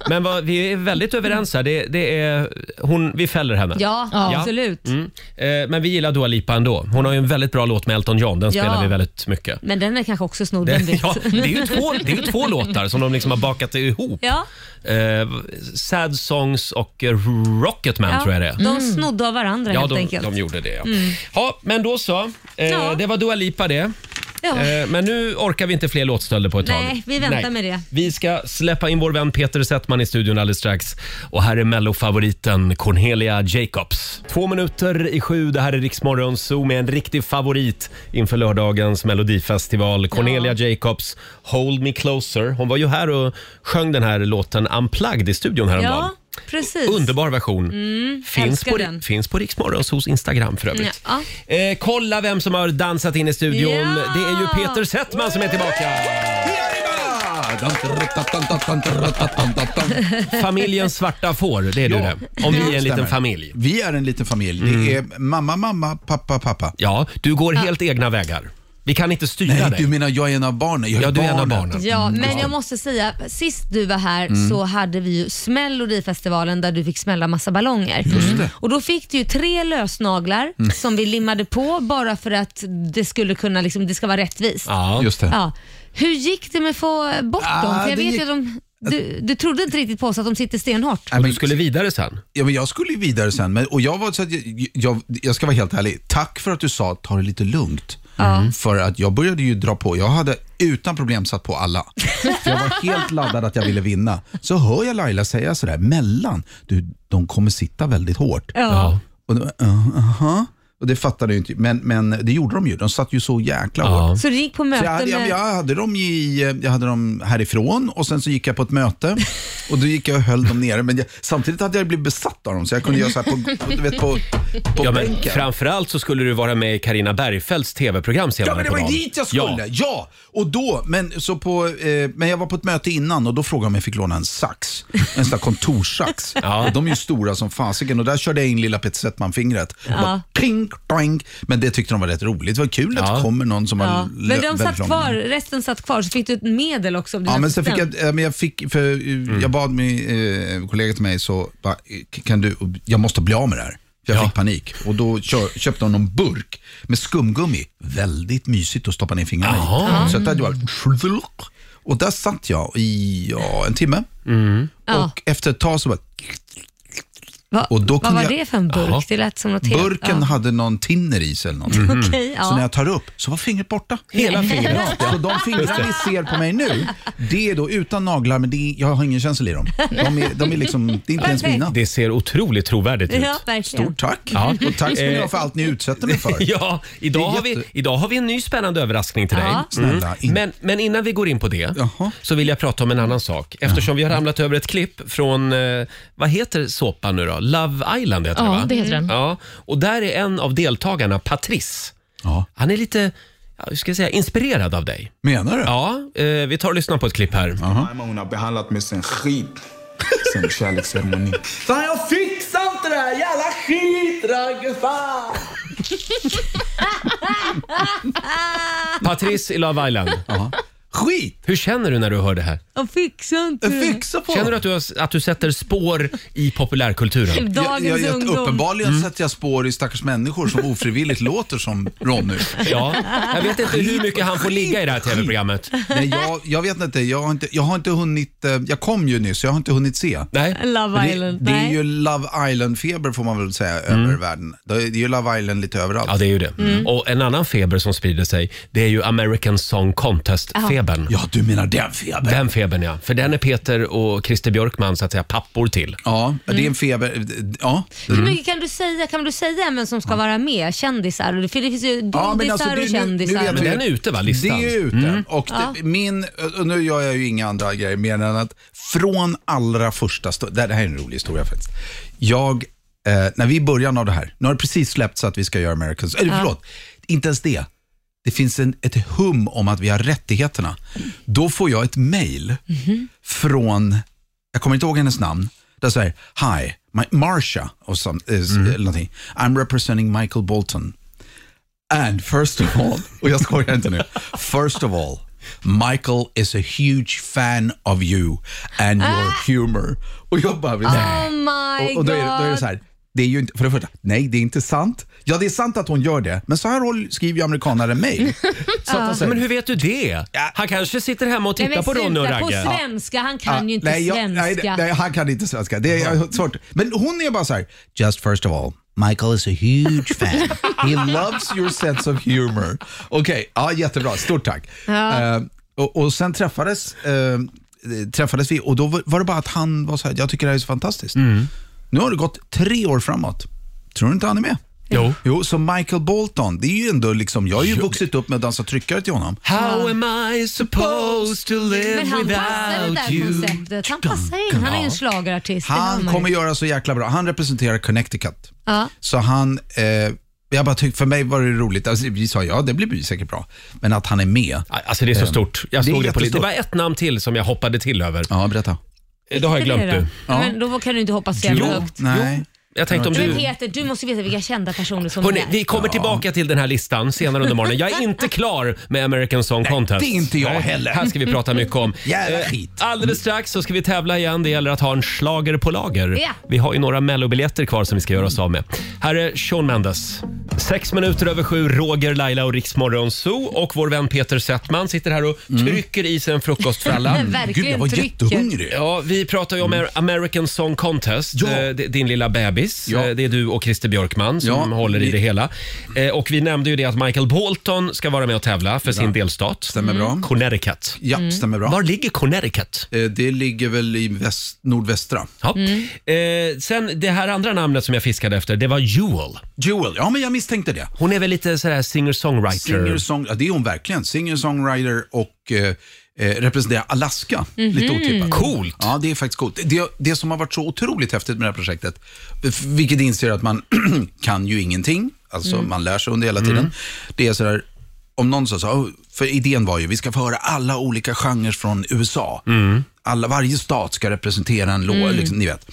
Speaker 1: Men vad, vi är väldigt överens här. Det, det är, hon, vi fäller henne.
Speaker 2: Ja,
Speaker 3: Ja.
Speaker 2: absolut.
Speaker 1: Mm. Eh, men vi gillar Dua Lipa ändå. Hon har ju en väldigt bra låt med Elton John. Den
Speaker 2: Ja.
Speaker 1: spelar vi väldigt mycket.
Speaker 2: Men den är kanske också snodd, vem
Speaker 1: Det,
Speaker 2: vet?
Speaker 1: ja, det, är ju två, det är ju två låtar som de liksom har bakat ihop.
Speaker 2: Ja,
Speaker 1: Eh, Sad Songs och eh, Rocketman
Speaker 2: ja.
Speaker 1: tror jag det är.
Speaker 2: De snodde av varandra
Speaker 1: Ja,
Speaker 2: helt
Speaker 1: de,
Speaker 2: enkelt. Mm.
Speaker 1: de gjorde det. Ja. Ja, men då så. Eh,
Speaker 2: Ja.
Speaker 1: Det var Dua Lipa det.
Speaker 2: ja.
Speaker 1: Eh, men nu orkar vi inte fler låtstölder på ett tag.
Speaker 2: Nej, vi väntar med det.
Speaker 1: Vi ska släppa in vår vän Peter Settman i studion alldeles strax. Och här är mellofavoriten Cornelia Jacobs. Två minuter i sju, det här är Riksmorgon Zoo med en riktig favorit inför lördagens melodifestival. Cornelia Jacobs, Hold Me Closer. Hon var ju här och sjöng den här låten Unplugged i studion häromdagen.
Speaker 2: Ja, precis. Mm,
Speaker 1: Underbar version. finns,
Speaker 2: älskar
Speaker 1: på,
Speaker 2: den.
Speaker 1: finns på Riksmorgons hos Instagram för övrigt.
Speaker 2: Ja.
Speaker 1: Eh, kolla vem som har dansat in i studion.
Speaker 2: Ja!
Speaker 1: Det är ju Peter Settman som är tillbaka.
Speaker 9: Ah,
Speaker 8: arriba!
Speaker 1: Familjen svarta får, det är du
Speaker 9: Ja,
Speaker 1: det. Om vi är en liten
Speaker 9: stämmer.
Speaker 1: familj.
Speaker 9: Vi är en liten familj. Det är mamma, mamma, pappa, pappa.
Speaker 1: Ja, du går helt egna vägar. Vi kan inte styra
Speaker 9: Nej,
Speaker 1: dig.
Speaker 9: du menar jag är en av barnen? Jag är
Speaker 1: Ja, du är en av
Speaker 9: barnet.
Speaker 1: barnen.
Speaker 2: Ja, men jag måste säga, sist du var här
Speaker 1: Mm.
Speaker 2: så hade vi ju Smällodifestivalen där du fick smälla massa ballonger. Mm. Och då fick du ju tre lösnaglar
Speaker 1: Mm.
Speaker 2: som vi limmade på bara för att det skulle kunna, liksom, det ska vara rättvist. Ja.
Speaker 1: Ja.
Speaker 9: Just det.
Speaker 2: Hur gick det med att få bort dem?
Speaker 9: Ah,
Speaker 2: För jag
Speaker 9: det
Speaker 2: vet
Speaker 9: gick-
Speaker 2: ju att de, du, du trodde inte riktigt på oss att de sitter stenhårt.
Speaker 9: Nej,
Speaker 1: Och
Speaker 9: men-
Speaker 1: du skulle vidare sen.
Speaker 9: Ja, men jag skulle ju vidare sen. Men, och jag, var så att jag, jag, jag ska vara helt ärlig. Tack för att du sa ta det lite lugnt. Mm. För att jag började ju dra på. Jag hade utan problem satt på alla. För jag var helt laddad att jag ville vinna. Så hör jag Laila säga sådär mellan. Du, de kommer sitta väldigt hårt.
Speaker 1: Ja.
Speaker 9: Och, då, "Eh, aha." och det fattade jag ju inte. Men, men det gjorde de ju. De satt ju så jäkla hårt.
Speaker 1: Ja.
Speaker 2: Så du gick på
Speaker 9: Så
Speaker 2: möte
Speaker 9: jag, hade, jag,
Speaker 2: med...
Speaker 9: jag, hade dem i, jag hade dem härifrån och sen så gick jag på ett möte och då gick jag och höll dem nere. Men jag, samtidigt hade jag blivit besatt av dem så jag kunde göra så här på, du vet, på, på
Speaker 1: Ja, men
Speaker 9: bänken.
Speaker 1: framförallt så skulle du vara med i Carina Bergfeldts tv-program senare
Speaker 9: Ja, men det
Speaker 1: på
Speaker 9: var ju
Speaker 1: dagen.
Speaker 9: dit jag skulle. Ja,
Speaker 1: Ja.
Speaker 9: och då, men, så på, eh, men jag var på ett möte innan och då frågade de om jag fick låna en sax. En sån där kontorssax.
Speaker 1: Ja.
Speaker 9: Och De är ju stora som fasiken och där körde jag in lilla Peter Settman-fingret. Och bara Pink, doink. Men det tyckte de var rätt roligt. Det var kul att
Speaker 1: Ja.
Speaker 9: det kommer någon som
Speaker 2: Ja.
Speaker 9: har
Speaker 2: Men de
Speaker 9: väldigt
Speaker 2: satt
Speaker 9: lång-
Speaker 2: kvar, resten satt kvar, så fick du ett medel också av din
Speaker 9: Ja, men sen
Speaker 2: assistent.
Speaker 9: fick jag, eh, men jag fick, för eh, jag bad min eh, kollega till mig, så bara, eh, kan du, jag måste bli av med det här. För Jag
Speaker 1: Ja.
Speaker 9: fick panik och då kö- köpte hon en burk med skumgummi. Väldigt mysigt att stoppa ner fingrarna
Speaker 1: Jaha.
Speaker 9: i. Så att det hade varit och där satt jag i ja, en timme
Speaker 2: Ja.
Speaker 9: och efter ett tag så bara,
Speaker 2: Va,
Speaker 9: och då
Speaker 2: vad
Speaker 9: kunde
Speaker 2: var
Speaker 9: jag-
Speaker 2: det för en burk?
Speaker 1: Jaha.
Speaker 2: Det lät som något helt...
Speaker 9: burken
Speaker 2: ja. Mm.
Speaker 9: hade någon tinner i sig eller någonting.
Speaker 2: Okej, ja.
Speaker 9: Så när jag tar upp så var fingret borta.
Speaker 1: Hela fingret.
Speaker 9: Ja, så de fingrar ni ser på mig nu, det är då utan naglar, men det är, jag har ingen känsla i dem. De är, de är liksom, det är inte ens mina.
Speaker 1: Det ser otroligt trovärdigt ut.
Speaker 2: Ja, verkligen.
Speaker 9: Stort tack.
Speaker 1: Ja.
Speaker 9: Och tack ska ni
Speaker 1: Eh.
Speaker 9: ha för allt ni utsätter mig för.
Speaker 1: Ja, idag har,
Speaker 9: Det är
Speaker 1: vi,
Speaker 9: jätte-
Speaker 1: idag har vi en ny spännande överraskning till
Speaker 2: Ja.
Speaker 1: dig. Mm.
Speaker 9: Snälla, in-
Speaker 1: Men, men innan vi går in på det
Speaker 9: Jaha.
Speaker 1: så vill jag prata om en annan sak. Eftersom vi har ramlat över ett klipp från, eh, vad heter såpan nu då? Love Island heter det
Speaker 3: Ja,
Speaker 1: va?
Speaker 3: det heter den.
Speaker 1: Ja, Mm. och där är en av deltagarna, Patrice.
Speaker 9: Ja.
Speaker 1: Han är lite, ja, hur ska jag säga, inspirerad av dig.
Speaker 9: Menar du?
Speaker 1: Ja, eh, vi tar och lyssnar på ett klipp här.
Speaker 11: Emma hon har behandlat mig sen skit. Sen kärleksceremonin.
Speaker 8: Fan jag fixar inte det här jävla skit Ragge, fan!
Speaker 1: Patrice i Love Island.
Speaker 9: Skit!
Speaker 1: Hur känner du när du hör det här?
Speaker 2: Jag fixar inte det.
Speaker 9: Fixa på
Speaker 1: Mm. Känner du att du, har, att du sätter spår i populärkulturen?
Speaker 9: jag,
Speaker 2: Typ
Speaker 9: jag,
Speaker 2: Dagens
Speaker 9: jag,
Speaker 2: ungdom.
Speaker 9: uppenbarligen
Speaker 1: Mm.
Speaker 9: sätter jag spår i stackars människor som ofrivilligt låter som Ronny.
Speaker 1: Ja, jag vet inte hur mycket han får ligga i det här tv-programmet.
Speaker 9: Nej, jag, jag vet inte jag, har inte, jag har inte hunnit, eh, jag kom ju nyss, jag har inte hunnit se.
Speaker 1: Nej.
Speaker 2: Love
Speaker 9: Men
Speaker 2: Island.
Speaker 9: Det, det är
Speaker 2: Nej.
Speaker 9: ju Love Island-feber får man väl säga över världen. Det är det är ju Love Island lite överallt.
Speaker 1: Mm. Ja, det är ju det. Och en annan feber som sprider sig, det är ju American Song Contest-febern.
Speaker 9: Ja, du menar den febern?
Speaker 1: Den febern ja, för den är Peter och Christer Björkman så att säga pappor till.
Speaker 9: Ja, det
Speaker 2: Mm.
Speaker 9: är en feber. Ja,
Speaker 2: Hur mycket kan du säga, kan du säga vem som ska vara med? Kändisar? För det finns ju
Speaker 9: Ja, men
Speaker 2: godisar
Speaker 9: alltså, det-
Speaker 2: och
Speaker 9: nu-
Speaker 2: kändisar.
Speaker 9: nu vet
Speaker 1: Men
Speaker 9: vi-
Speaker 1: den är ute va, listan? Mm.
Speaker 9: Det är ute. Och det, min, och nu gör jag ju inga andra grejer mer än att från allra första stund, det här är en rolig historia faktiskt. Jag, eh, när vi i början av det här, nu har det precis släppts att vi ska göra Americans, eller förlåt, inte ens det. Det finns en, ett hum om att vi har rättigheterna. Då får jag ett mail från, jag kommer inte ihåg hennes namn, där säger Hi, my, Marsha, or some, eh, s- eller någonting. I'm representing Michael Bolton. And first of all, och jag skojar inte nu. First of all, Michael is a huge fan of you and your humor. Och jag bara, nej.
Speaker 2: Ah. Oh my
Speaker 9: Och, och då, är det, då är det
Speaker 2: god.
Speaker 9: så här, det är ju inte, för det första, nej det är inte sant. Ja det är sant att hon gör det, men så här håll- skriver ju amerikanare mejl. Så att de
Speaker 1: Nej,
Speaker 9: säger,
Speaker 1: Men hur vet du det? Han kanske sitter hemma och
Speaker 2: Nej,
Speaker 1: tittar
Speaker 2: men
Speaker 1: på Ronny och
Speaker 2: sluta, på
Speaker 1: Ragge.
Speaker 2: svenska. Han kan ju inte
Speaker 9: Ah, nej, jag-
Speaker 2: svenska.
Speaker 9: nej, det- nej, han kan inte svenska. Det är jag har svårt. Men hon är bara så här, just first of all, Michael is a huge fan. He loves your sense of humor. Okej, ja, jättebra. Stort tack. Eh, och, och sen träffades, eh, träffades vi och då var, var det bara att han var så här, jag tycker det här är så fantastiskt.
Speaker 2: Mm.
Speaker 9: Nu har det gått tre år framåt. Tror du inte han är med?
Speaker 1: Jo.
Speaker 9: Jo, så Michael Bolton, det är ju ändå liksom, jag har ju vuxit upp med att dansa tryckare till honom.
Speaker 1: How am I supposed to live
Speaker 2: men han passar det
Speaker 1: without
Speaker 2: där
Speaker 1: you?
Speaker 2: konceptet. Han passar in. Han är ju en schlagerartist. det hör
Speaker 9: Han
Speaker 2: man ju.
Speaker 9: kommer göra så jäkla bra. Han representerar Connecticut.
Speaker 2: Ja.
Speaker 9: Så han, eh, jag bara tyckte, för mig var det roligt. Alltså, vi sa ja, det blir säkert bra. Men att han är med.
Speaker 1: Alltså det är så stort. Jag såg det, på lite. Det var
Speaker 9: ett...
Speaker 1: ett namn till som jag hoppade till över.
Speaker 9: Ja, berätta.
Speaker 1: Det har jag glömt
Speaker 2: Det då?
Speaker 1: nu.
Speaker 2: Men då kan du inte hoppas så jävla högt.
Speaker 1: Jag tänkte om
Speaker 2: Men
Speaker 1: du...
Speaker 2: Peter, du måste veta vilka kända personer som
Speaker 1: Hörrni,
Speaker 2: är.
Speaker 1: vi kommer tillbaka till den här listan senare under morgonen. Jag är inte klar med American Song Contest.
Speaker 9: det är inte jag
Speaker 1: Nej,
Speaker 9: heller.
Speaker 1: Här ska vi prata mycket om.
Speaker 9: Jävla
Speaker 1: Eh,
Speaker 9: skit.
Speaker 1: Alldeles strax så ska vi tävla igen. Det gäller att ha en slager på lager.
Speaker 2: Ja.
Speaker 1: Vi har ju några mellobiljetter kvar som vi ska göra oss av med. Här är Shawn Mendes. Sex minuter över sju, Roger, Laila och Riksmorgon Zoo och vår vän Peter Settman sitter här och
Speaker 9: Mm.
Speaker 1: trycker i sig en frukostfralla.
Speaker 2: Men verkligen Gud, jag var trycker. jättehungrig.
Speaker 1: Ja, vi pratar ju om
Speaker 9: Mm.
Speaker 1: American Song Contest, eh, d- din lilla bebis.
Speaker 9: Ja.
Speaker 1: Eh, Det är du och Christer Björkman som
Speaker 9: Ja,
Speaker 1: håller i
Speaker 9: vi-
Speaker 1: det hela. Eh, Och vi nämnde ju det att Michael Bolton ska vara med och tävla för sin delstat.
Speaker 9: Stämmer bra.
Speaker 2: Mm.
Speaker 1: Connecticut.
Speaker 9: Ja, stämmer bra.
Speaker 1: Var ligger Connecticut?
Speaker 9: Eh, Det ligger väl i väst, nordvästra.
Speaker 1: Ja. Eh, sen det här andra namnet som jag fiskade efter, det var Jewel.
Speaker 9: Jewel, ja men jag misstänkte det.
Speaker 1: Hon är väl lite sådär singer-songwriter?
Speaker 9: Singer, song, ja, det är hon verkligen. Singer-songwriter och eh, eh, representerar Alaska.
Speaker 2: Mhm.
Speaker 9: Lite otippat.
Speaker 1: Coolt.
Speaker 9: Ja, det är faktiskt coolt. Det, det som har varit så otroligt häftigt med det här projektet, f- vilket inser att man kan ju ingenting, alltså man lär sig under hela tiden. Det är sådär, om någon sa så, "Oh," för idén var ju, vi ska få höra alla olika genrer från USA. Alla, varje stat ska representera en låt, liksom, ni vet.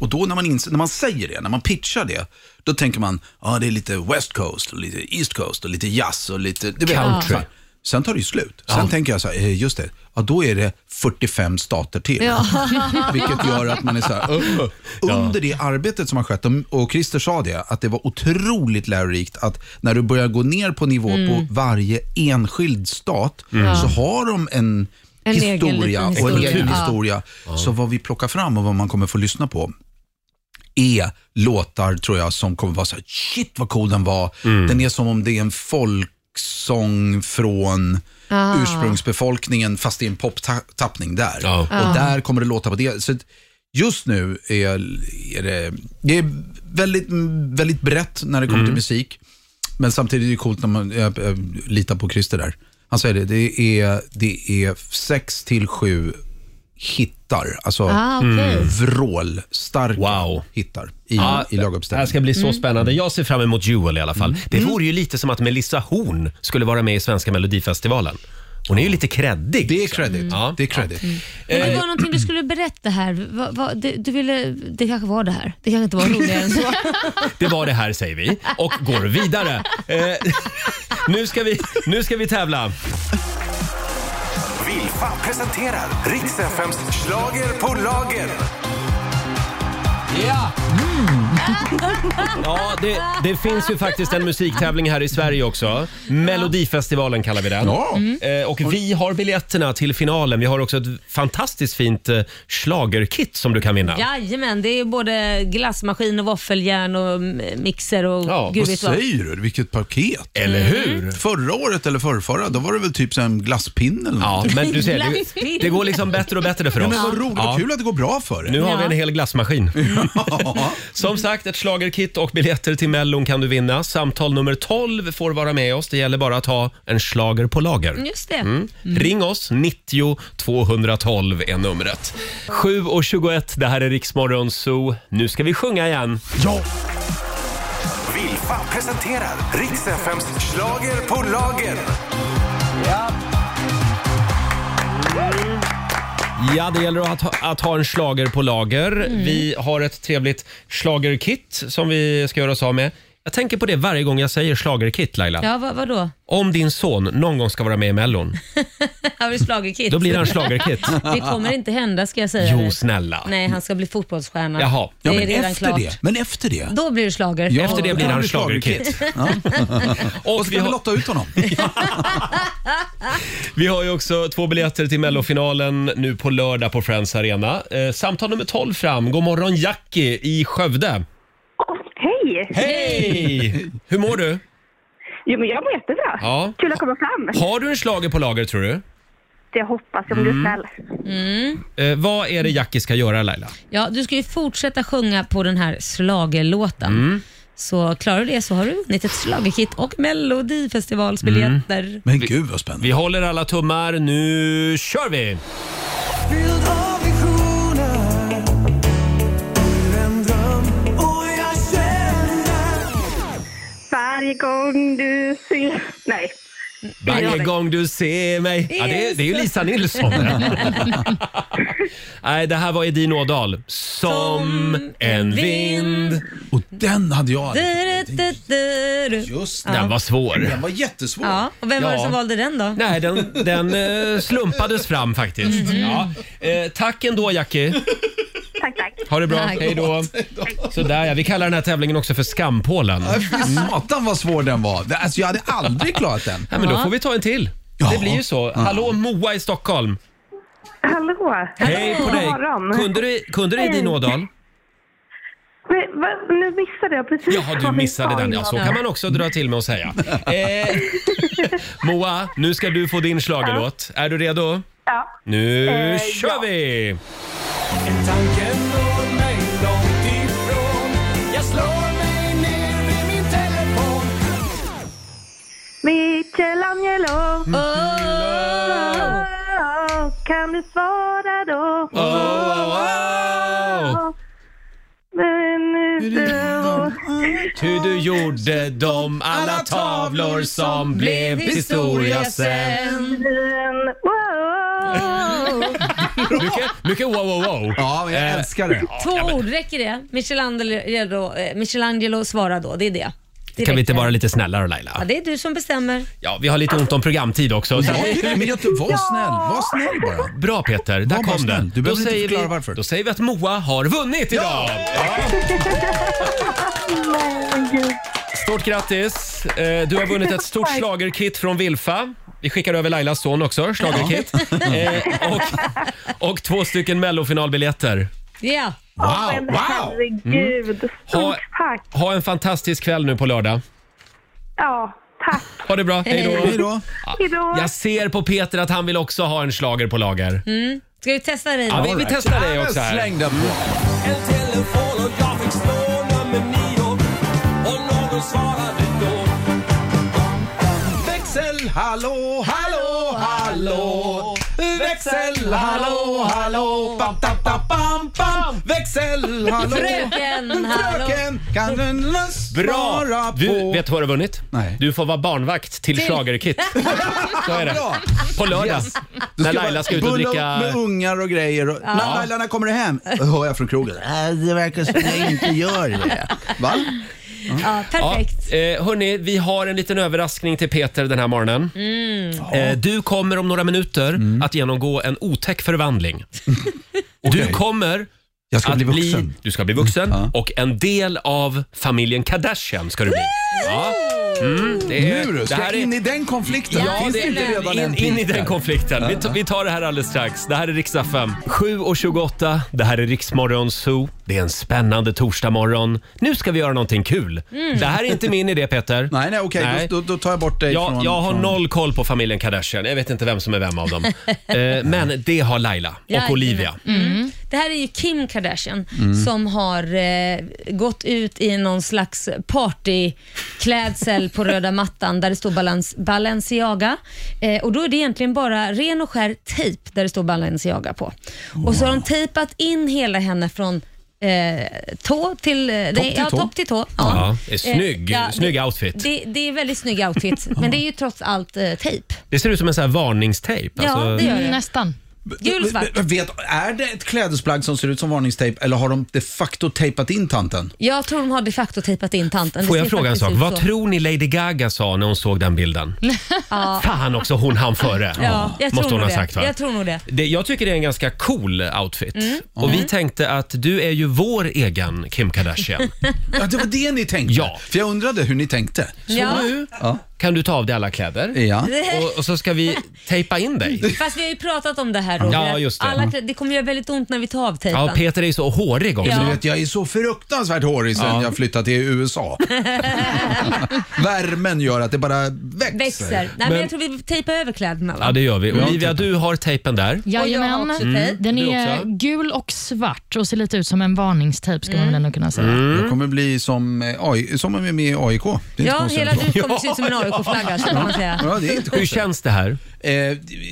Speaker 9: Och då när man, ins- när man säger det, när man pitchar det, då tänker man, ja ah, det är lite West Coast, och lite East Coast och lite jazz och lite... du vet,
Speaker 1: Country.
Speaker 9: så här. Sen tar det ju slut. Sen tänker jag så här, eh, just det, ja, då är det 45 stater till. Vilket gör att man är så här, "Åh, åh." under det arbetet som har skett, och- och Christer sa det, att det var otroligt lärorikt att när du börjar gå ner på nivå på varje enskild stat så har de en
Speaker 2: En egen
Speaker 9: historia
Speaker 2: liten
Speaker 9: och en
Speaker 2: historia.
Speaker 9: egen
Speaker 2: Ja.
Speaker 9: historia. Så vad vi plockar fram och vad man kommer få lyssna på är låtar tror jag som kommer vara så här, shit vad cool den var. Den är som om det är en folksång från Ah.
Speaker 3: Ah.
Speaker 9: ursprungsbefolkningen fast i en poptappning där.
Speaker 1: Ja.
Speaker 3: Ah.
Speaker 9: Och där kommer det låta på det. Så att just nu är, är det, det är väldigt, väldigt brett när det kommer
Speaker 1: Mm.
Speaker 9: till musik. Men samtidigt är det coolt när man äh, äh, litar på Christer där. Han säger det, det är, det är sex till sju hittar, alltså
Speaker 3: Ah, okej.
Speaker 9: vrålstarka
Speaker 1: Mm. Wow.
Speaker 9: hittar i,
Speaker 1: Ja,
Speaker 9: i
Speaker 1: det här
Speaker 9: laguppställning. Mm.
Speaker 1: ska bli så spännande. Jag ser fram emot Jewel i alla fall. Det vore ju lite som att Melissa Horn skulle vara med i Svenska Melodifestivalen. Hon är ju lite kreddig.
Speaker 9: Det är
Speaker 1: också.
Speaker 3: Mm.
Speaker 9: credit.
Speaker 1: Ja.
Speaker 9: Det är credit.
Speaker 2: Men
Speaker 1: Eh.
Speaker 2: det var någonting du skulle berätta här. Va, va, du, du ville, det kanske var det här. Det kanske inte var roligare än så.
Speaker 1: Det var det här säger vi och går vidare. Eh, nu, ska vi, nu ska vi tävla.
Speaker 6: Vilfa presenterar riks fms slager på lager.
Speaker 1: Ja! Ja, det, det finns ju faktiskt en musiktävling här i Sverige också. Melodifestivalen kallar vi den.
Speaker 9: Ja.
Speaker 1: Eh, och vi har biljetterna till finalen. Vi har också ett fantastiskt fint eh, schlagerkit som du kan vinna.
Speaker 2: Jajamän, det är ju både glassmaskin och våffeljärn och mm, mixer och
Speaker 1: Ja,
Speaker 2: gud
Speaker 9: Vad
Speaker 2: vet vad.
Speaker 9: säger du? Vilket paket.
Speaker 1: Eller hur?
Speaker 6: Mm.
Speaker 9: Förra året eller förrförra, då var det väl typ så här en glasspinne eller
Speaker 1: Ja,
Speaker 9: någonting.
Speaker 1: men du ser, det,
Speaker 2: Glassbild.
Speaker 1: det går liksom bättre och bättre för
Speaker 9: Ja,
Speaker 1: oss.
Speaker 9: men vad roligt, vad kul att det går bra för
Speaker 1: Nu
Speaker 9: er.
Speaker 1: har vi en hel glassmaskin.
Speaker 9: Ja.
Speaker 1: Som sagt, ett schlagerkit och biljetter till Mellon kan du vinna. Samtal nummer 12 får vara med oss. Det gäller bara att ha en schlager på lager.
Speaker 2: Just det.
Speaker 1: Mm. Ring oss, 90 212 är numret. 7.21, det här är Riksmorgon Zoo. Nu ska vi sjunga igen.
Speaker 6: Vilfa presenterar riks fms slager på lager.
Speaker 1: Ja, det gäller att ha, att ha en slager på lager. Vi har ett trevligt schlagerkit som vi ska göra oss av med. Jag tänker på det varje gång jag säger schlagerkit, Laila.
Speaker 2: Ja, vad, vadå?
Speaker 1: Om din son någon gång ska vara med i Mellon,
Speaker 2: Har du slagit Kit?
Speaker 1: då blir han schlagerkit.
Speaker 2: Det kommer inte hända ska jag säga
Speaker 1: Jo,
Speaker 2: dig.
Speaker 1: snälla.
Speaker 2: Nej, han ska bli fotbollsstjärna.
Speaker 1: Jaha.
Speaker 9: Ja,
Speaker 2: det
Speaker 9: men
Speaker 2: är redan
Speaker 9: efter
Speaker 2: klart.
Speaker 9: det. Men efter det.
Speaker 2: Då blir det slager.
Speaker 9: Ja.
Speaker 1: Efter det
Speaker 9: då
Speaker 1: blir
Speaker 9: kan
Speaker 1: han
Speaker 9: det bli
Speaker 1: schlagerkit.
Speaker 9: Och
Speaker 1: Och
Speaker 9: så kan
Speaker 1: vi
Speaker 9: vi
Speaker 1: har,
Speaker 9: lotta ut honom.
Speaker 1: vi har ju också två biljetter till mellofinalen nu på lördag på Friends Arena. Eh, samtal nummer 12 fram. God morgon Jackie i Skövde.
Speaker 12: Hej!
Speaker 1: Hej! Hur mår du?
Speaker 12: Jo, men jag mår jättebra.
Speaker 1: Ja.
Speaker 12: Kul att komma fram.
Speaker 1: Har du en slager på lager tror du?
Speaker 12: Det hoppas jag om
Speaker 1: Mm.
Speaker 12: du är snäll.
Speaker 1: Eh, vad är det Jackie ska göra Laila?
Speaker 2: Ja, du ska ju fortsätta sjunga på den här slagelåten.
Speaker 1: Mm.
Speaker 2: Så klarar du det så har du vunnit ett slagerkit och melodifestivalsbiljetter.
Speaker 1: Mm.
Speaker 9: Men gud vad spännande.
Speaker 1: Vi håller alla tummar. Nu kör vi!
Speaker 8: Fylld av visioner Ur en dröm Och jag känner
Speaker 12: För Varje gång du ser... Nej.
Speaker 1: Varje gång du ser mig. Ja, det, är, det är ju Lisa Nilsson. Nej, det här var Edin Ådahl. Som en vind.
Speaker 9: Och den hade jag aldrig.
Speaker 2: Just
Speaker 1: Den var svår.
Speaker 9: Den var jättesvår.
Speaker 2: Ja, och vem var det
Speaker 1: Ja.
Speaker 2: som valde den då?
Speaker 1: Nej, den, den eh, slumpades fram faktiskt.
Speaker 2: Mhm.
Speaker 1: Ja. Eh, tack ändå, Jackie.
Speaker 12: Tack, tack.
Speaker 1: Ha det bra. Hej då. Sådär, ja. Vi kallar den här tävlingen också för skampålen.
Speaker 9: Ja, fy Satan vad svår den var. Det- Alltså, jag hade aldrig klarat den.
Speaker 1: Ja, men då får vi ta en till. Det blir ju så. Hallå, Moa i Stockholm.
Speaker 12: Hallå!
Speaker 1: Hej på
Speaker 12: God
Speaker 1: dig.
Speaker 12: morgon.
Speaker 1: Kunde du, kunde du
Speaker 12: Hej.
Speaker 1: Edin Ådahl?
Speaker 12: Nej, va? Nu missade jag precis
Speaker 1: Jaha, du
Speaker 12: vad vi
Speaker 1: missade
Speaker 12: sa
Speaker 1: den. Ja, så
Speaker 12: innan.
Speaker 1: kan man också dra till med att säga. Eh, Moa, nu ska du få din schlagerlåt. Är du redo?
Speaker 12: Ja.
Speaker 1: Nu
Speaker 8: Eh,
Speaker 1: kör
Speaker 8: ja.
Speaker 1: vi!
Speaker 8: Tanken når mig långt ifrån Jag slår mig ner vid min telefon
Speaker 12: Michelangelo.
Speaker 1: Mm.
Speaker 2: Oh.
Speaker 12: Kan du svara då?
Speaker 1: Oh, oh, oh.
Speaker 12: Men utom...
Speaker 1: Ty du gjorde dem alla tavlor som blev historia sen.
Speaker 12: Wow.
Speaker 1: Mycket, mycket wow, wow, wow.
Speaker 9: Ja,
Speaker 1: jag
Speaker 9: älskar det.
Speaker 2: Två ord, räcker det? Michelangelo, eh, Michelangelo svarar då, det är det. det
Speaker 1: Kan vi inte
Speaker 2: räcker.
Speaker 1: vara lite snällare Laila?
Speaker 2: Ja, det är du som bestämmer.
Speaker 1: Ja, vi har lite ont om programtid också. Så
Speaker 9: Nej, men jag, var snäll. Var snäll bara.
Speaker 1: Bra Peter, där
Speaker 9: Var bara
Speaker 1: kom
Speaker 9: snäll.
Speaker 1: den.
Speaker 9: Du behöver inte
Speaker 1: säger
Speaker 9: förklara
Speaker 1: vi, varför. Då säger vi att Moa har vunnit idag! Stort grattis! Eh, Du har vunnit ett stort schlagerkit från Wilfa. Vi skickar över Lailas son också, schlagerkit. Eh, och, och två stycken mellofinalbiljetter.
Speaker 2: Ja.
Speaker 1: Wow,
Speaker 12: men
Speaker 1: wow. Mm.
Speaker 12: herregud. Stort tack.
Speaker 1: Ha en fantastisk kväll nu på lördag.
Speaker 12: Ja, tack.
Speaker 1: Ha det bra, hej då!
Speaker 12: Hej då. Hej då.
Speaker 1: Jag ser på Peter att han vill också ha en schlager på lager.
Speaker 2: Mm. Ska vi testa dig
Speaker 1: Ja,
Speaker 2: då?
Speaker 1: vi, vi testar dig också här.
Speaker 8: En telefon och jag fick slå nummer nio Och någon svarade då
Speaker 9: Växel, hallå, hallå, hallå Växel, hallå, hallå Bam, tam, tam, bam, bam. Växel, hallå
Speaker 2: Fröken, hallå.
Speaker 9: Fröken, kan du
Speaker 1: Bra!
Speaker 9: svara på
Speaker 1: Du, vet du vad du har vunnit? Du får vara barnvakt till
Speaker 9: Till-
Speaker 1: schlagerkit. Så är det.
Speaker 9: Bra.
Speaker 1: På lördag.
Speaker 9: Yes. Du
Speaker 1: När
Speaker 9: ska
Speaker 1: Laila
Speaker 9: bara
Speaker 1: ska ut och
Speaker 9: bulla upp
Speaker 1: dricka...
Speaker 9: Med ungar och grejer. Och,
Speaker 1: Ja.
Speaker 9: När Laila när kommer du hem? Hör jag från krogen. Äh, det verkar som jag inte gör det. Va?
Speaker 2: Ja, perfekt.
Speaker 1: Ja, eh, hörni, vi har en liten överraskning till Peter den här morgonen.
Speaker 2: Mm.
Speaker 1: Eh, du kommer om några minuter
Speaker 9: Mm.
Speaker 1: att genomgå en otäck förvandling. Du kommer
Speaker 9: Jag ska
Speaker 1: att
Speaker 9: bli vuxen. Mm,
Speaker 1: du ska bli vuxen och en del av familjen Kardashian ska du bli. Ja. Mm,
Speaker 9: Nu ska jag in i den konflikten?
Speaker 1: Ja,
Speaker 9: Finns
Speaker 1: det-
Speaker 9: det inte redan en
Speaker 1: in, in i
Speaker 9: pit
Speaker 1: den
Speaker 9: där?
Speaker 1: konflikten. Vi, t- vi tar det här alldeles strax. Det här är riksdag 5. 7.28, det här är Riksmorgon Zoo. Det är en spännande torsdagmorgon. Nu ska vi göra någonting kul.
Speaker 9: Mm.
Speaker 1: Det här är inte min idé Peter.
Speaker 9: Nej, nej, okej. Då, då, då tar jag bort dig
Speaker 1: jag,
Speaker 9: från...
Speaker 1: jag har
Speaker 9: från...
Speaker 1: noll koll på familjen Kardashian. Jag vet inte vem som är vem av dem. Eh, men det har Laila och
Speaker 2: Jajamän.
Speaker 1: Olivia.
Speaker 2: Mm. Det här är ju Kim Kardashian
Speaker 1: Mm.
Speaker 2: som har eh, gått ut i någon slags partyklädsel på röda mattan där det står balans, Balenciaga. Eh, och då är det egentligen bara ren och skär tejp där det står Balenciaga på. Och så har de tejpat in hela henne från eh, tå till... eh, det,
Speaker 1: till
Speaker 2: ja,
Speaker 1: tå.
Speaker 2: topp till tå.
Speaker 1: Ja, det är snygg-
Speaker 2: Eh,
Speaker 1: snygg
Speaker 2: det,
Speaker 1: outfit.
Speaker 2: Det, det är väldigt snygg outfit, men det är ju trots allt eh, tejp.
Speaker 1: Det ser ut som en sån här varningstejp.
Speaker 2: Ja,
Speaker 1: alltså-
Speaker 2: det gör det.
Speaker 3: Nästan.
Speaker 2: Gul och svart.
Speaker 9: Jag Vet, är det ett klädesplagg som ser ut som varningstejp eller har de de facto tejpat in tanten?
Speaker 2: Jag tror de har de facto tejpat in tanten. Det
Speaker 1: Får jag
Speaker 2: ser
Speaker 1: fråga en
Speaker 2: faktiskt
Speaker 1: sak?
Speaker 2: ut
Speaker 1: Vad
Speaker 2: så.
Speaker 1: tror ni Lady Gaga sa när hon såg den bilden?
Speaker 2: Ja.
Speaker 1: Fan också, hon hann före.
Speaker 2: Ja, jag tror
Speaker 1: Måste hon
Speaker 2: nog
Speaker 1: ha
Speaker 2: det.
Speaker 1: sagt va?
Speaker 2: Jag tror nog det.
Speaker 1: Det, jag tycker det är en ganska cool outfit.
Speaker 2: Mm.
Speaker 1: Och vi
Speaker 2: Mm.
Speaker 1: tänkte att du är ju vår egen Kim Kardashian.
Speaker 9: Ja, det var det ni tänkte? Ja. För jag undrade hur ni tänkte.
Speaker 1: Så nu kan du ta av dig alla kläder
Speaker 9: Ja.
Speaker 1: och, och så ska vi tejpa in dig.
Speaker 2: Fast vi har ju pratat om det här Roger.
Speaker 1: Ja, just det.
Speaker 2: Alla, det kommer göra väldigt ont när vi tar av tejpen.
Speaker 1: Ja, Peter är ju så hårig också.
Speaker 2: Ja, men du
Speaker 9: vet, jag är så fruktansvärt hårig sen jag flyttade till USA. Värmen gör att det bara växer.
Speaker 2: Växer. Nej, men, jag tror vi tejpar över kläderna va?
Speaker 1: Ja, det gör vi.
Speaker 9: Ja,
Speaker 1: Olivia, du har tejpen där.
Speaker 3: Jajamän.
Speaker 1: Mm.
Speaker 3: Den
Speaker 1: Du
Speaker 3: är
Speaker 1: också?
Speaker 3: gul och svart och ser lite ut som en varningstejp ska man väl ändå kunna säga.
Speaker 1: Mm.
Speaker 9: Jag kommer bli som, eh, AI, som om jag är med i AIK. Det är inte
Speaker 3: Ja,
Speaker 9: konstigt
Speaker 3: hela
Speaker 9: än så.
Speaker 3: du kommer se ut som en AIK-flagga, så kan man säga.
Speaker 9: Ja, det är inte Eh,
Speaker 1: Hur känns det här?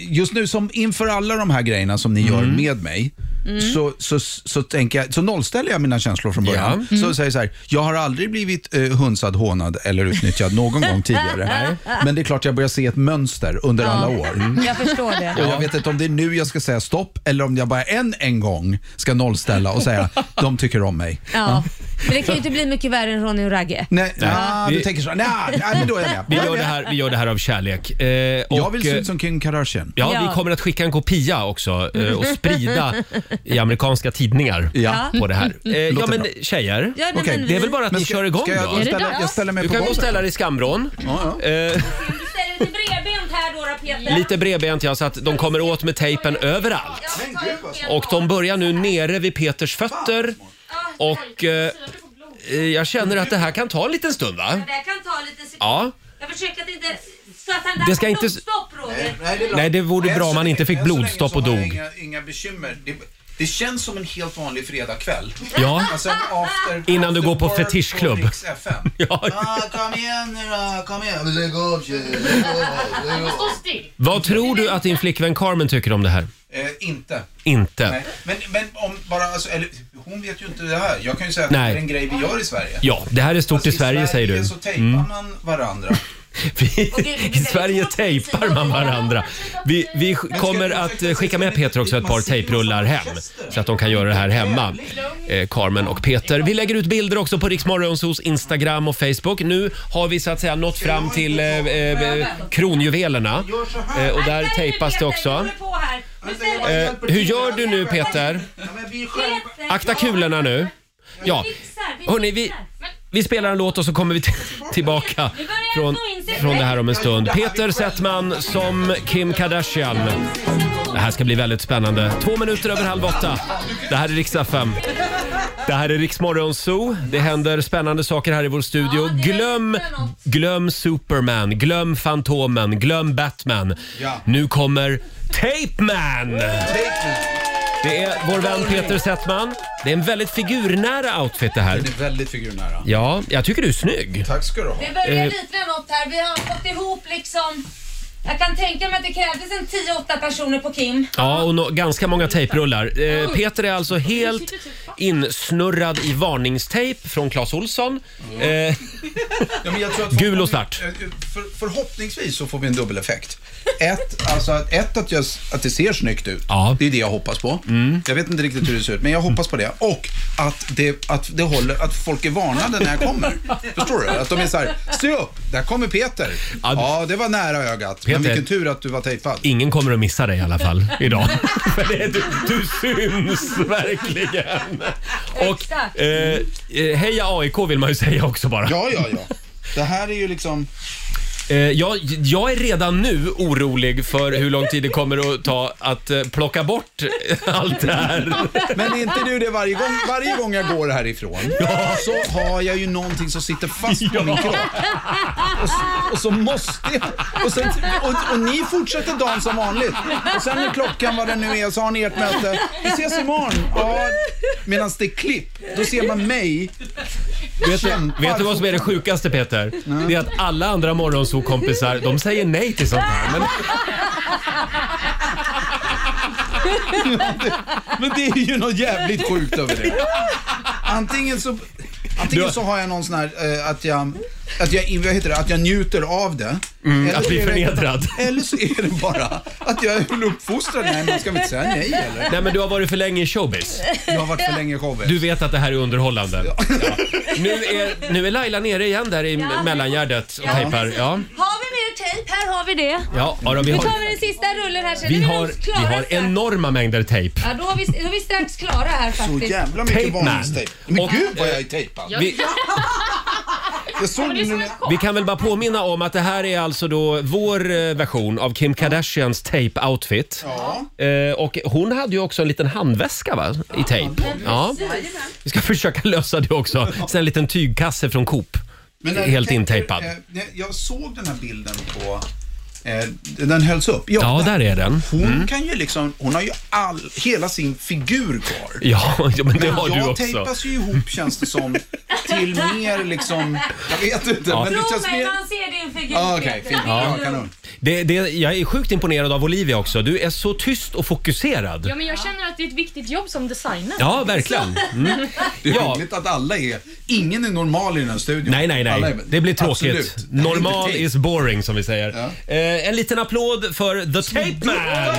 Speaker 9: Just nu, som inför alla de här grejerna som ni gör med mig, Mm. Så, så, så, tänker jag, så nollställer jag mina känslor från början.
Speaker 13: Ja.
Speaker 9: Så
Speaker 13: Mm.
Speaker 9: säger jag så här, jag har aldrig blivit eh, hunsad, hånad eller utnyttjad någon gång tidigare.
Speaker 13: Nej.
Speaker 9: Men det är klart jag börjar se ett mönster under
Speaker 13: Ja.
Speaker 9: alla år.
Speaker 13: Jag förstår det.
Speaker 9: Och jag vet inte om det är nu jag ska säga stopp eller om jag bara en, en gång ska nollställa och säga, de tycker om mig.
Speaker 2: Ja. Men det kan ju inte bli mycket värre än Ronny och Ragge.
Speaker 9: Nej,
Speaker 1: Nej.
Speaker 9: ah, du
Speaker 1: Vi-
Speaker 9: tänker så. Nej, nej, men då är jag med.
Speaker 1: Vi gör det här, vi gör det här av kärlek. Eh,
Speaker 9: Jag
Speaker 1: och,
Speaker 9: vill se
Speaker 1: eh,
Speaker 9: ut som Kim Kardashian.
Speaker 1: Ja, vi kommer att skicka en kopia också eh, och sprida i amerikanska tidningar
Speaker 9: Ja.
Speaker 1: på det här. Eh, Ja,
Speaker 9: Låter
Speaker 1: men
Speaker 9: bra.
Speaker 1: tjejer,
Speaker 2: Mm. Ja, nej, men
Speaker 1: det är
Speaker 2: vi-
Speaker 1: väl bara att
Speaker 2: Men
Speaker 1: ni
Speaker 2: ska-
Speaker 1: kör igång
Speaker 9: ska jag
Speaker 1: då?
Speaker 9: gå och Är det ställa- dags? jag ställer mig
Speaker 1: du
Speaker 9: på
Speaker 1: kan gå och
Speaker 9: golvet.
Speaker 1: ställa dig i skamvrån. Eh,
Speaker 2: Ställ dig lite bredbent här då, Peter.
Speaker 1: Lite bredbent ja, så att de kommer åt med tejpen överallt. Och de börjar nu nere vid Peters fötter. Och eh, eh, jag känner att det här kan ta en liten stund va?
Speaker 2: Det här kan ta lite sekund.
Speaker 1: Ja.
Speaker 2: Jag försöker att inte... Så att han där
Speaker 1: Det ska
Speaker 2: får
Speaker 1: inte-
Speaker 2: blodstopp, Roger.
Speaker 1: Nej, det vore bra om man inte fick blodstopp och
Speaker 9: Än så länge
Speaker 1: dog.
Speaker 9: så har jag Inga, inga bekymmer. Det, det känns som en helt vanlig fredagkväll.
Speaker 1: Ja.
Speaker 9: Och sen after,
Speaker 1: Innan du
Speaker 9: after
Speaker 1: går på
Speaker 9: work
Speaker 1: fetischklubb.
Speaker 9: på Rix FM.
Speaker 1: Ja.
Speaker 9: kom igen nu då, kom igen. Lägg av tjejer, lägg av, lägg av.
Speaker 1: Vad tror du att din flickvän Carmen tycker om det här?
Speaker 9: Eh, inte.
Speaker 1: Inte.
Speaker 9: Nej. Men, men om bara, alltså, eller, hon vet ju inte det här. Jag kan ju säga att
Speaker 1: Nej.
Speaker 9: det är en grej vi gör i Sverige.
Speaker 1: Ja, det här är stort
Speaker 9: Fast
Speaker 1: i Sverige säger du.
Speaker 9: så tejpar
Speaker 1: Mm.
Speaker 9: man varandra.
Speaker 1: I Sverige tejpar man varandra. Vi, vi sk- kommer att eh, skicka med Peter också ett par tejprullar hem så att de kan göra det här hemma. Eh, Carmen och Peter. Vi lägger ut bilder också på Riksmorgonsos Instagram och Facebook. Nu har vi så att säga nått fram till eh, eh, eh, kronjuvelerna eh, och där tejpas det också. Eh, hur gör du nu Peter? Akta kulorna nu. Ja, hörni vi, vi spelar en låt och så kommer vi till- tillbaka från, från det här om en stund. Peter Settman som Kim Kardashian. Det här ska bli väldigt spännande. Två minuter över halv åtta. Det här är riksdag 5. Det här är Riksmorgon Zoo. Det händer spännande saker här i vår studio. Glöm, glöm Superman, glöm Fantomen, glöm Batman.
Speaker 13: Ja.
Speaker 1: Nu kommer Tape Man! Det är vår vän Peter Settman. Det är en väldigt figurnära outfit det här.
Speaker 9: Den är väldigt figurnära.
Speaker 1: Ja, jag tycker du är snygg.
Speaker 9: Tack ska du ha.
Speaker 2: Det
Speaker 1: Eh.
Speaker 2: börjar likna något här. Vi har fått ihop liksom... Jag kan tänka mig att det krävdes en 10-8 personer på Kim.
Speaker 1: Ja, och nå- ganska många tejprullar. Eh, Peter är alltså helt insnurrad i varningstejp från Clas Ohlson. Eh,
Speaker 9: Ja, men jag tror att Eh,
Speaker 1: Gul och svart.
Speaker 9: För, förhoppningsvis så får vi en dubbeleffekt. Ett, alltså att, ett att, jag, att det ser snyggt ut. Det är det jag hoppas på.
Speaker 1: Mm.
Speaker 9: Jag vet inte riktigt hur det ser ut, men jag hoppas på det. Och att, det, att, det håller, att folk är varnade när jag kommer. Förstår du? Att de är så här, se upp, där kommer Peter. Ja, det var nära ögat. men
Speaker 1: Peter-
Speaker 9: vilken tur att du var tejpad.
Speaker 1: ingen kommer att missa dig i alla fall idag. För det, är- du, du syns verkligen. Och eh, eh, heja AIK vill man ju säga också bara.
Speaker 9: Ja, ja, ja. Det här är ju liksom...
Speaker 1: Eh, jag, jag är redan nu orolig för hur lång tid det kommer att ta att eh, plocka bort allt det här.
Speaker 9: Men är inte du det varje gång, varje gång jag går härifrån? Så har jag ju någonting som sitter fast på min kropp. Och, s- och så måste jag... Och, sen, och, och ni fortsätter dagen som vanligt. Och sen när klockan vad den nu är så har ni ert möte. Vi ses imorgon. Ja, Medan det är klipp, då ser man mig
Speaker 1: Vet du, vet du vad som är det sjukaste Peter? Det är att alla andra morgonsokompisar, de säger nej till sånt här. Men,
Speaker 9: Men det är ju något jävligt sjukt över det. Antingen så, antingen
Speaker 1: Du-
Speaker 9: så har jag någon sån här eh, att jag, att jag, vad heter det, att jag njuter av det.
Speaker 1: Mm,
Speaker 9: Eller
Speaker 1: att bli
Speaker 9: så är det-
Speaker 1: förnedrad.
Speaker 9: Eller så är det bara att jag är väl uppfostrad. Nej, man ska väl inte säga nej eller?
Speaker 1: nej men du har varit för länge i showbiz.
Speaker 9: Jag har varit för länge i showen.
Speaker 1: Du vet att det här är underhållande. Ja. Nu, är, nu är Laila nere igen där i
Speaker 2: Ja.
Speaker 1: mellangärdet och
Speaker 2: Ja.
Speaker 1: tejpar. Ja.
Speaker 2: Har vi mer tejp? Här har vi det.
Speaker 1: Ja, Adam, vi
Speaker 2: nu
Speaker 1: har-
Speaker 2: tar vi den sista rullen här sen.
Speaker 1: Vi
Speaker 2: Nu är
Speaker 1: har,
Speaker 2: nog klara
Speaker 1: vi har
Speaker 2: strax.
Speaker 1: enorma mängder tejp.
Speaker 2: Ja, då har vi, då är vi strax klara här faktiskt.
Speaker 1: Tape man.
Speaker 9: Men
Speaker 1: Och,
Speaker 9: gud vad
Speaker 1: eh,
Speaker 9: jag är tejpad.
Speaker 1: Vi,
Speaker 9: Jag såg det nu.
Speaker 1: vi kan väl bara påminna om att det här är alltså då vår eh, version av Kim Kardashians tape-outfit. Eh, och hon hade ju också en liten handväska va? i tejp. Ja. Vi ska försöka lösa det också. Sen en liten tygkasse från Coop.
Speaker 9: Men när jag
Speaker 1: Helt
Speaker 9: tänker,
Speaker 1: intejpad.
Speaker 9: eh, när Jag såg den här bilden på... eh, Den hölls upp.
Speaker 1: Ja, där är den.
Speaker 9: Hon
Speaker 1: Mm.
Speaker 9: kan ju liksom, hon har ju all, hela sin figur kvar.
Speaker 1: Ja, ja, men det har
Speaker 9: jag
Speaker 1: du också.
Speaker 9: tejpas ju ihop känns det som till mer liksom, jag vet inte.
Speaker 1: Ja.
Speaker 9: Men det
Speaker 2: Tro
Speaker 9: känns
Speaker 2: mig,
Speaker 9: mer...
Speaker 2: man ser din figur
Speaker 9: Ah, Okej,
Speaker 2: Peter.
Speaker 9: fint.
Speaker 2: Det är
Speaker 9: Ja,
Speaker 2: lugnt.
Speaker 9: kanon.
Speaker 1: Det, det, jag är sjukt imponerad av Olivia också. Du är så tyst och fokuserad.
Speaker 3: men jag känner att det är ett viktigt jobb som designer.
Speaker 1: Ja, verkligen. Mm.
Speaker 9: Det är rimligt att alla är... Ingen är normal i den här studion.
Speaker 1: Nej, nej,
Speaker 9: Alla
Speaker 1: nej.
Speaker 9: är-
Speaker 1: Det blir tråkigt.
Speaker 9: Absolut. Det blir
Speaker 1: Normal
Speaker 9: inte
Speaker 1: is boring, som vi säger. Eh, en liten applåd för The Tape Man!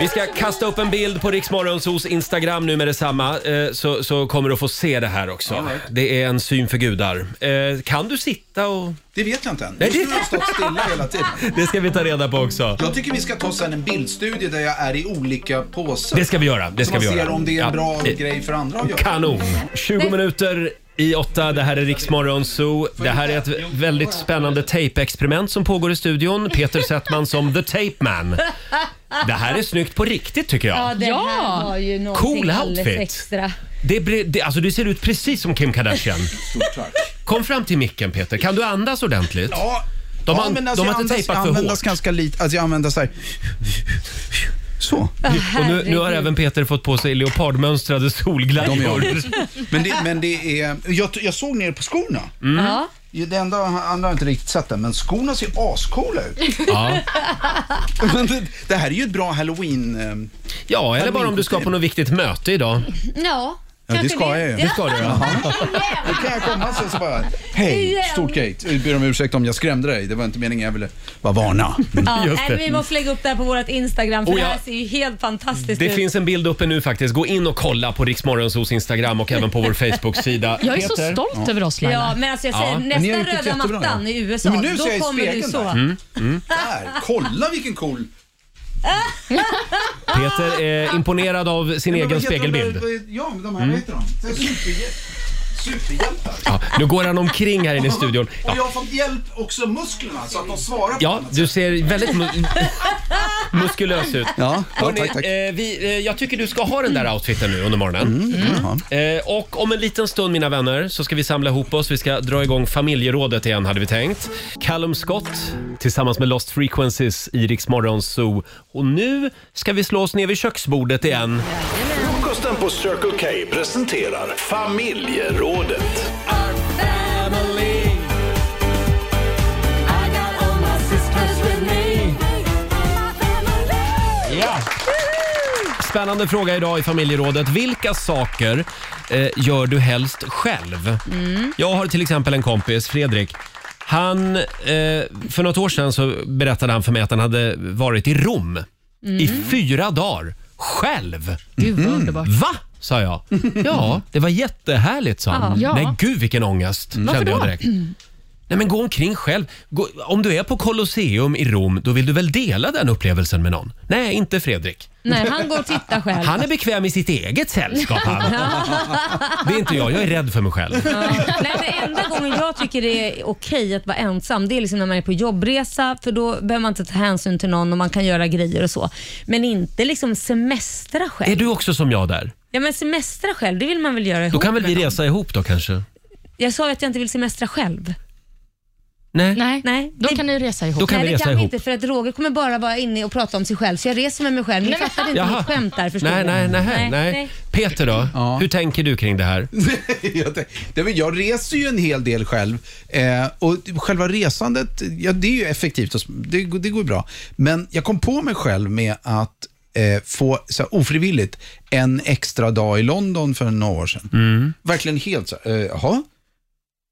Speaker 1: Vi ska kasta upp en bild på Riksmorgonsos Instagram nu med detsamma, eh, så, så kommer du att få se det här också. Det är en syn för gudar. Eh, Kan du sitta och...
Speaker 9: Det vet jag inte än.
Speaker 1: Nej,
Speaker 9: Just nu har jag stått stilla hela tiden.
Speaker 1: Det ska vi ta reda på också.
Speaker 9: Jag tycker vi ska ta sen en bildstudie där jag är i olika påsar.
Speaker 1: Det ska vi göra. Det
Speaker 9: Så
Speaker 1: ska vi
Speaker 9: man
Speaker 1: göra.
Speaker 9: ser om det är en
Speaker 1: Ja,
Speaker 9: bra
Speaker 1: det-
Speaker 9: grej för andra att göra.
Speaker 1: Kanon! 20 minuter i åtta, det här är Riksmorgon Zoo. Det här är ett väldigt spännande tejpexperiment som pågår i studion. Peter Settman som The Tape Man. Det här är snyggt på riktigt tycker
Speaker 13: Ja,
Speaker 1: jag.
Speaker 13: det här var ju någonting
Speaker 1: Cool
Speaker 13: alldeles
Speaker 1: outfit.
Speaker 13: extra.
Speaker 1: Det, är bre- det, alltså, du ser ut precis som Kim Kardashian. Kom fram till micken Peter, kan du andas ordentligt?
Speaker 9: Ja.
Speaker 1: De,
Speaker 9: Ja,
Speaker 1: an-
Speaker 9: men alltså,
Speaker 1: de
Speaker 9: jag
Speaker 1: har inte
Speaker 9: andas-
Speaker 1: tejpat
Speaker 9: jag
Speaker 1: för hårt.
Speaker 9: andas ganska lite. Alltså jag använder så här. Så.
Speaker 1: Och nu, nu har även Peter fått på sig leopardmönstrade
Speaker 9: De gör
Speaker 1: solglajjor.
Speaker 9: det. Men det, men det är... Jag, jag såg ner på skorna.
Speaker 1: Mm. Ja.
Speaker 9: Det enda andra har inte riktigt sett den, men skorna ser ascoola ut.
Speaker 1: Ja.
Speaker 9: Men det, det här är ju ett bra halloween... ehm,
Speaker 1: Ja, eller bara om du ska på något viktigt möte idag.
Speaker 13: Ja,
Speaker 9: Ja, det
Speaker 13: kanske
Speaker 9: ska jag ju.
Speaker 1: Det ska du ja.
Speaker 9: Då kan jag komma sen så bara, hej,
Speaker 13: Igen.
Speaker 9: stort gate. Jag ber om ursäkt om jag skrämde dig. Det var inte meningen, jag ville bara varna. Men-
Speaker 13: Ja, nej, vi måste lägga upp det här på vårt Instagram för
Speaker 1: Oh,
Speaker 13: det
Speaker 1: ja.
Speaker 13: här ser ju helt fantastiskt
Speaker 1: Det
Speaker 13: ut.
Speaker 1: finns en bild uppe nu faktiskt. Gå in och kolla på Riksmorgonsos Instagram och även på vår Facebook-sida.
Speaker 13: Jag är så
Speaker 1: Peter?
Speaker 13: stolt
Speaker 1: Ja.
Speaker 13: över oss, Laila. Ja, men alltså jag säger, nästa
Speaker 1: Men ni har
Speaker 13: röda
Speaker 1: gjort ett jättebra
Speaker 13: mattan
Speaker 1: jobb.
Speaker 13: i USA,
Speaker 9: Men nu
Speaker 13: då
Speaker 9: ser jag i
Speaker 13: kommer du
Speaker 9: spegeln
Speaker 13: så.
Speaker 9: där.
Speaker 1: Mm, mm.
Speaker 9: Där, kolla vilken cool...
Speaker 1: Peter är imponerad av sin
Speaker 9: Men vad
Speaker 1: egen
Speaker 9: heter de där-
Speaker 1: spegelbild. Mm.
Speaker 9: Ja, men de här, vad heter de? Det är superhjäl- Superhjältar.
Speaker 1: Ja, nu går han omkring här inne i studion.
Speaker 9: Och jag
Speaker 1: Ja,
Speaker 9: har fått hjälp också musklerna så att de svarar på
Speaker 1: ja du ser väldigt mu- muskulös ut.
Speaker 9: Ja, ja,
Speaker 1: Hörrni,
Speaker 9: tack, tack.
Speaker 1: Eh, vi, eh, jag tycker du ska ha den där outfiten nu under
Speaker 9: Mm,
Speaker 1: morgonen. Eh, och om en liten stund mina vänner så ska vi samla ihop oss. Vi ska dra igång familjerådet igen hade vi tänkt. Callum Scott tillsammans med Lost Frequencies i Rix Morgon Zoo. Och nu ska vi slå oss ner vid köksbordet igen.
Speaker 6: Frukosten på Circle K presenterar familjerådet.
Speaker 1: Ja. Spännande fråga idag i familjerådet. Vilka saker eh, gör du helst själv?
Speaker 2: Mm.
Speaker 1: Jag har till exempel en kompis, Fredrik. Han, eh, för något år sedan så berättade han för mig att han hade varit i Rom i
Speaker 3: Mm.
Speaker 1: fyra dagar själv.
Speaker 3: Gud vad
Speaker 1: Mm.
Speaker 3: underbart.
Speaker 1: Va? sa jag. Ja, det var jättehärligt sa han.
Speaker 3: Ja.
Speaker 1: Men gud vilken ångest kände jag direkt. Nej men gå omkring själv. Gå, om du är på Colosseum i Rom, då vill du väl dela den upplevelsen med någon? Nej, inte Fredrik.
Speaker 13: Nej, han går och tittar själv.
Speaker 1: Han är bekväm i sitt eget sällskap. Han. Det är inte jag, jag är rädd för mig själv.
Speaker 13: Nej, men enda gången jag tycker det är okej att vara ensam, det är liksom när man är på jobbresa, för då behöver man inte ta hänsyn till någon och man kan göra grejer och så. Men inte liksom semestra själv.
Speaker 1: Är du också som jag där?
Speaker 13: Ja, men semestra själv, det vill man väl göra
Speaker 1: Då
Speaker 13: ihop
Speaker 1: kan väl
Speaker 13: med
Speaker 1: vi
Speaker 13: någon.
Speaker 1: resa ihop då kanske?
Speaker 13: Jag sa ju att jag inte vill semestra själv.
Speaker 1: Nej.
Speaker 3: Nej.
Speaker 13: Nej.
Speaker 3: Då kan ni resa ihop.
Speaker 1: Då kan
Speaker 13: Nej,
Speaker 1: vi
Speaker 13: det
Speaker 1: resa
Speaker 13: kan vi
Speaker 1: ihop.
Speaker 13: inte för att Roger kommer bara vara inne och prata om sig själv, så jag reser med mig själv. Ni fattade inte
Speaker 1: Jaha.
Speaker 13: mitt skämt där, förstår
Speaker 1: Nej,
Speaker 13: du?
Speaker 1: nej, nej, nej, Peter då? Hur tänker du kring det här?
Speaker 9: Mm. jag, tänk- Nej, men jag reser ju en hel del själv eh, och själva resandet, ja, det är ju effektivt och s- det, går- det går ju bra. Men jag kom på mig själv med att eh, få så här, ofrivilligt en extra dag i London för några år sedan. Verkligen helt så här, eh, jaha?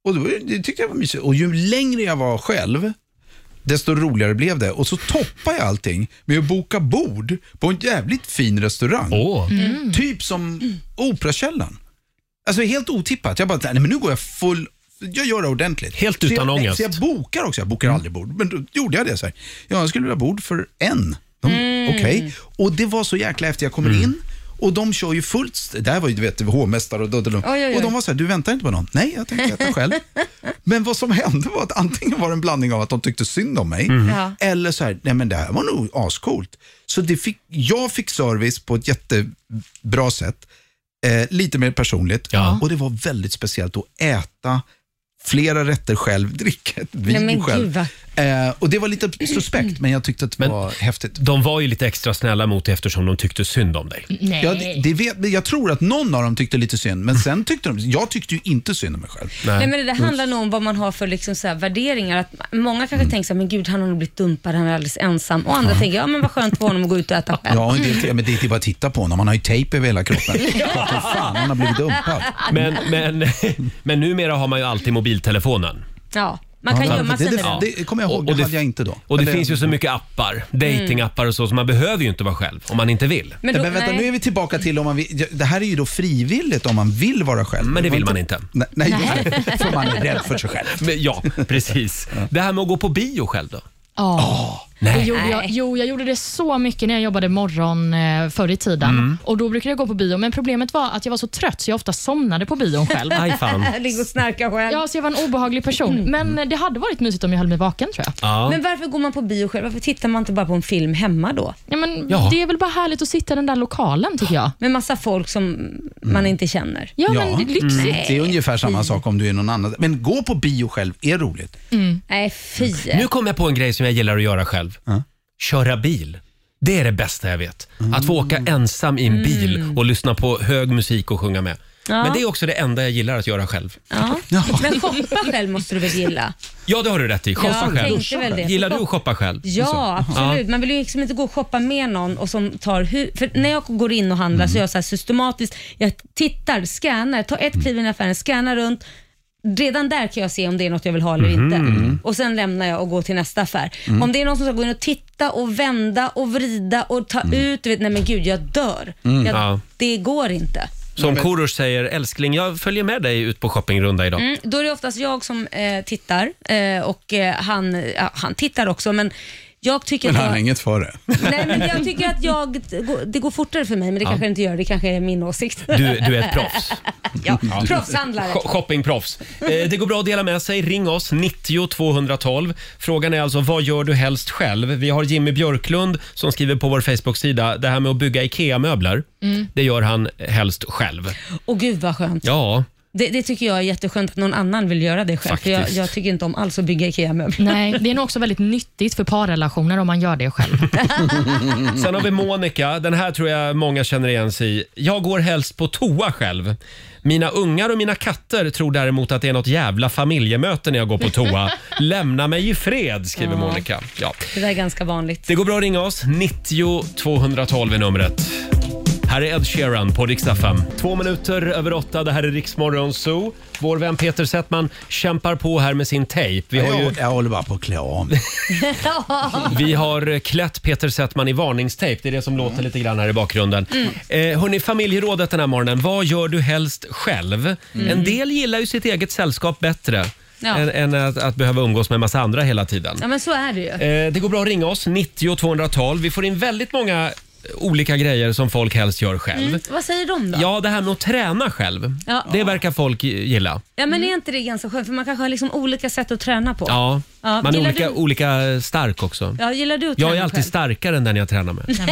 Speaker 9: Och då, det tyckte jag var mysigt. Och ju längre jag var själv, desto roligare blev det. Och så toppade jag allting med att boka bord på en jävligt fin restaurang.
Speaker 10: Mm.
Speaker 9: Typ som Operakällaren. Alltså helt otippat. Jag bara, nej men nu går jag full jag gör det ordentligt. Helt
Speaker 1: utan
Speaker 9: så jag,
Speaker 1: ångest.
Speaker 9: Så jag bokar också. Jag
Speaker 10: Mm.
Speaker 9: bokar aldrig bord. Men då gjorde jag det. så här. Ja, jag skulle vilja ha bord för en. De,
Speaker 10: Mm.
Speaker 9: Okej. Och det var så jäkla efter jag kommer in och de kör ju fullt. st- Det här var ju du vet, hovmästare och dödelum.
Speaker 10: Oj, oj, oj.
Speaker 9: Och de var så här, du väntar inte på någon? Nej, jag tänkte äta själv. Men vad som hände var att antingen var det en blandning av att de tyckte synd om mig,
Speaker 10: Mm. Ja.
Speaker 9: eller så här, nej men det här var nog ascoolt. Så det fick, jag fick service på ett jättebra sätt, eh, lite mer personligt, och det var väldigt speciellt att äta flera rätter själv, dricka ett vin
Speaker 13: Nej, men gud,
Speaker 9: själv.
Speaker 13: vad
Speaker 9: Eh, och det var lite suspekt, men jag tyckte att det var häftigt.
Speaker 1: De var ju lite extra snälla mot dig eftersom de tyckte synd om dig.
Speaker 9: Nej. Ja, det, det vet, men jag tror att någon av dem tyckte lite synd, men sen tyckte de, jag tyckte ju inte synd om mig själv.
Speaker 2: Nej. men det där handlar nog om vad man har för liksom så här värderingar. Att många kanske
Speaker 1: Mm.
Speaker 2: tänker så här, men gud han har nog blivit dumpad, han är alldeles ensam. Och andra tänker, ja men vad skönt för honom att gå ut och äta själv.
Speaker 9: Ja, och en del, ja, men det är bara att titta på honom, han har ju tejp över hela kroppen. Vad fan, han har blivit dumpad.
Speaker 1: Men, men, men numera har man ju alltid mobiltelefonen.
Speaker 2: Ja, man kan
Speaker 1: Ja,
Speaker 2: gömma
Speaker 1: det-
Speaker 2: sig med
Speaker 1: det-
Speaker 2: den.
Speaker 1: det-
Speaker 9: Det kommer jag ihåg,
Speaker 1: Och
Speaker 9: det
Speaker 1: det-
Speaker 9: hade jag inte då.
Speaker 1: Och det
Speaker 9: Eller-
Speaker 1: finns ju så mycket appar, datingappar och så, så man behöver ju inte vara själv om man inte vill.
Speaker 9: Men, men vänta, nu är vi tillbaka till om man vill, det här är ju då frivilligt om man vill vara själv. Men
Speaker 1: det vill man inte.
Speaker 9: Nej, nej, för man är rädd för sig själv.
Speaker 1: Men, ja, precis. Det här med att gå på bio själv då?
Speaker 3: Ja. Det gjorde jag, jo, jag gjorde det så mycket när jag jobbade morgon eh, förr i tiden.
Speaker 1: Mm.
Speaker 3: Och Då brukade jag gå på bio, men problemet var att jag var så trött så jag ofta somnade på bion själv.
Speaker 1: Aj, fan.
Speaker 2: Ligg och snarka själv.
Speaker 3: Ja, så jag var en obehaglig person. Men eh, det hade varit mysigt om jag höll mig vaken tror jag.
Speaker 1: Ja.
Speaker 2: Men varför går man på bio själv? Varför tittar man inte bara på en film hemma då?
Speaker 3: Ja, men
Speaker 2: Ja.
Speaker 3: Det är väl bara härligt att sitta i den där lokalen tycker jag.
Speaker 2: Med massa folk som
Speaker 1: Mm.
Speaker 2: man inte känner.
Speaker 3: Ja, men det är lyxigt.
Speaker 9: Mm. Det är ungefär samma sak om du är någon annan. Men gå på bio själv är roligt.
Speaker 2: Nej, fy.
Speaker 1: Nu kom jag på en grej som jag gillar att göra själv. Köra bil. Det är det bästa jag vet.
Speaker 9: Mm.
Speaker 1: Att få åka ensam i en bil och lyssna på hög musik och sjunga med.
Speaker 2: Mm. Ja.
Speaker 1: Men det är också det enda jag gillar att göra själv.
Speaker 2: Ja. Men shoppa själv måste du väl gilla?
Speaker 1: Ja, det har du rätt i. Shoppa
Speaker 2: Ja, jag
Speaker 1: själv.
Speaker 2: tänkte väl det.
Speaker 1: Gillar du att shoppa själv?
Speaker 2: Ja, absolut.
Speaker 1: Ja.
Speaker 2: Man vill ju liksom inte gå och shoppa med någon och som tar hu- För när jag går in och handlar
Speaker 1: Mm.
Speaker 2: så är jag så här systematiskt, jag tittar, scannar, tar ett kliv in i affären, scannar runt. Redan där kan jag se om det är något jag vill ha eller
Speaker 4: Mhm.
Speaker 2: inte. Och Sen lämnar jag och går till nästa affär.
Speaker 4: Mm.
Speaker 2: Om det är någon som ska gå in och titta och vända och vrida och ta ut, du vet, nej men gud jag dör.
Speaker 1: Mm.
Speaker 2: Jag,
Speaker 1: Ja.
Speaker 2: Det går inte.
Speaker 1: Liksom. Som Korosh säger, älskling, jag följer med dig ut på shoppingrunda idag.
Speaker 2: Mm, då är det oftast jag som eh, tittar eh, och eh, han, ja, han tittar också men jag tycker
Speaker 9: Men
Speaker 2: att
Speaker 9: han
Speaker 2: jag...
Speaker 9: har inget för det.
Speaker 2: Nej, men jag tycker att jag, det går fortare för mig, men det
Speaker 1: Ja.
Speaker 2: kanske det inte gör. Det kanske är min åsikt.
Speaker 1: Du, du är ett proffs.
Speaker 2: Ja, proffshandlare.
Speaker 1: Sh- Shoppingproffs. Eh, det går bra att dela med sig. Ring oss, 90 212. Frågan är alltså, vad gör du helst själv? Vi har Jimmy Björklund som skriver på vår Facebook-sida, det här med att bygga IKEA-möbler,
Speaker 2: Mm.
Speaker 1: det gör han helst själv.
Speaker 2: Och gud vad skönt.
Speaker 1: Ja,
Speaker 2: Det, det tycker jag är jätteskönt att någon annan vill göra det själv. För jag,
Speaker 1: Faktiskt.
Speaker 2: jag tycker inte om alls att bygga IKEA-möbler.
Speaker 3: Mm. Nej, det är nog också väldigt nyttigt för parrelationer om man gör det själv.
Speaker 1: Sen har vi Monica. Den här tror jag många känner igen sig i. Jag går helst på toa själv. Mina ungar och mina katter tror däremot att det är något jävla familjemöte när jag går på toa. Lämna mig i fred, skriver
Speaker 2: Ja.
Speaker 1: Monica. Ja.
Speaker 2: Det där är ganska vanligt.
Speaker 1: Det går bra att ringa oss. 90 212 är numret. Här är Ed Sheeran på riksdag 5. Två minuter över åtta. Det här är Riksmorgon Zoo. Vår vän Peter Settman kämpar på här med sin tejp. Vi har
Speaker 9: jag,
Speaker 1: ju...
Speaker 9: jag håller bara på att klä av
Speaker 1: Vi har klätt Peter Settman i varningstejp. Det är det som låter lite grann här i bakgrunden.
Speaker 2: Mm.
Speaker 1: Eh, hörni, familjerådet den här morgonen. Vad gör du helst själv?
Speaker 2: Mm.
Speaker 1: En del gillar ju sitt eget sällskap bättre
Speaker 2: Ja.
Speaker 1: än, än att, att behöva umgås med en massa andra hela tiden.
Speaker 2: Ja, men så är det ju.
Speaker 1: Eh, det går bra att ringa oss, 90 212. Vi får in väldigt många eh, olika grejer som folk helst gör själv.
Speaker 2: Mm. Vad säger de då?
Speaker 1: Ja, det här med att träna själv.
Speaker 2: Ja.
Speaker 1: Det verkar folk gilla.
Speaker 2: Ja, men är inte det ganska skönt? För man kanske har liksom olika sätt att träna på.
Speaker 1: Ja.
Speaker 2: Ja,
Speaker 1: Man är
Speaker 2: gillar
Speaker 1: olika,
Speaker 2: du-
Speaker 1: olika stark också.
Speaker 2: Ja, gillar du att
Speaker 1: Jag
Speaker 2: träna
Speaker 1: är alltid
Speaker 2: själv?
Speaker 1: starkare än den jag tränar med.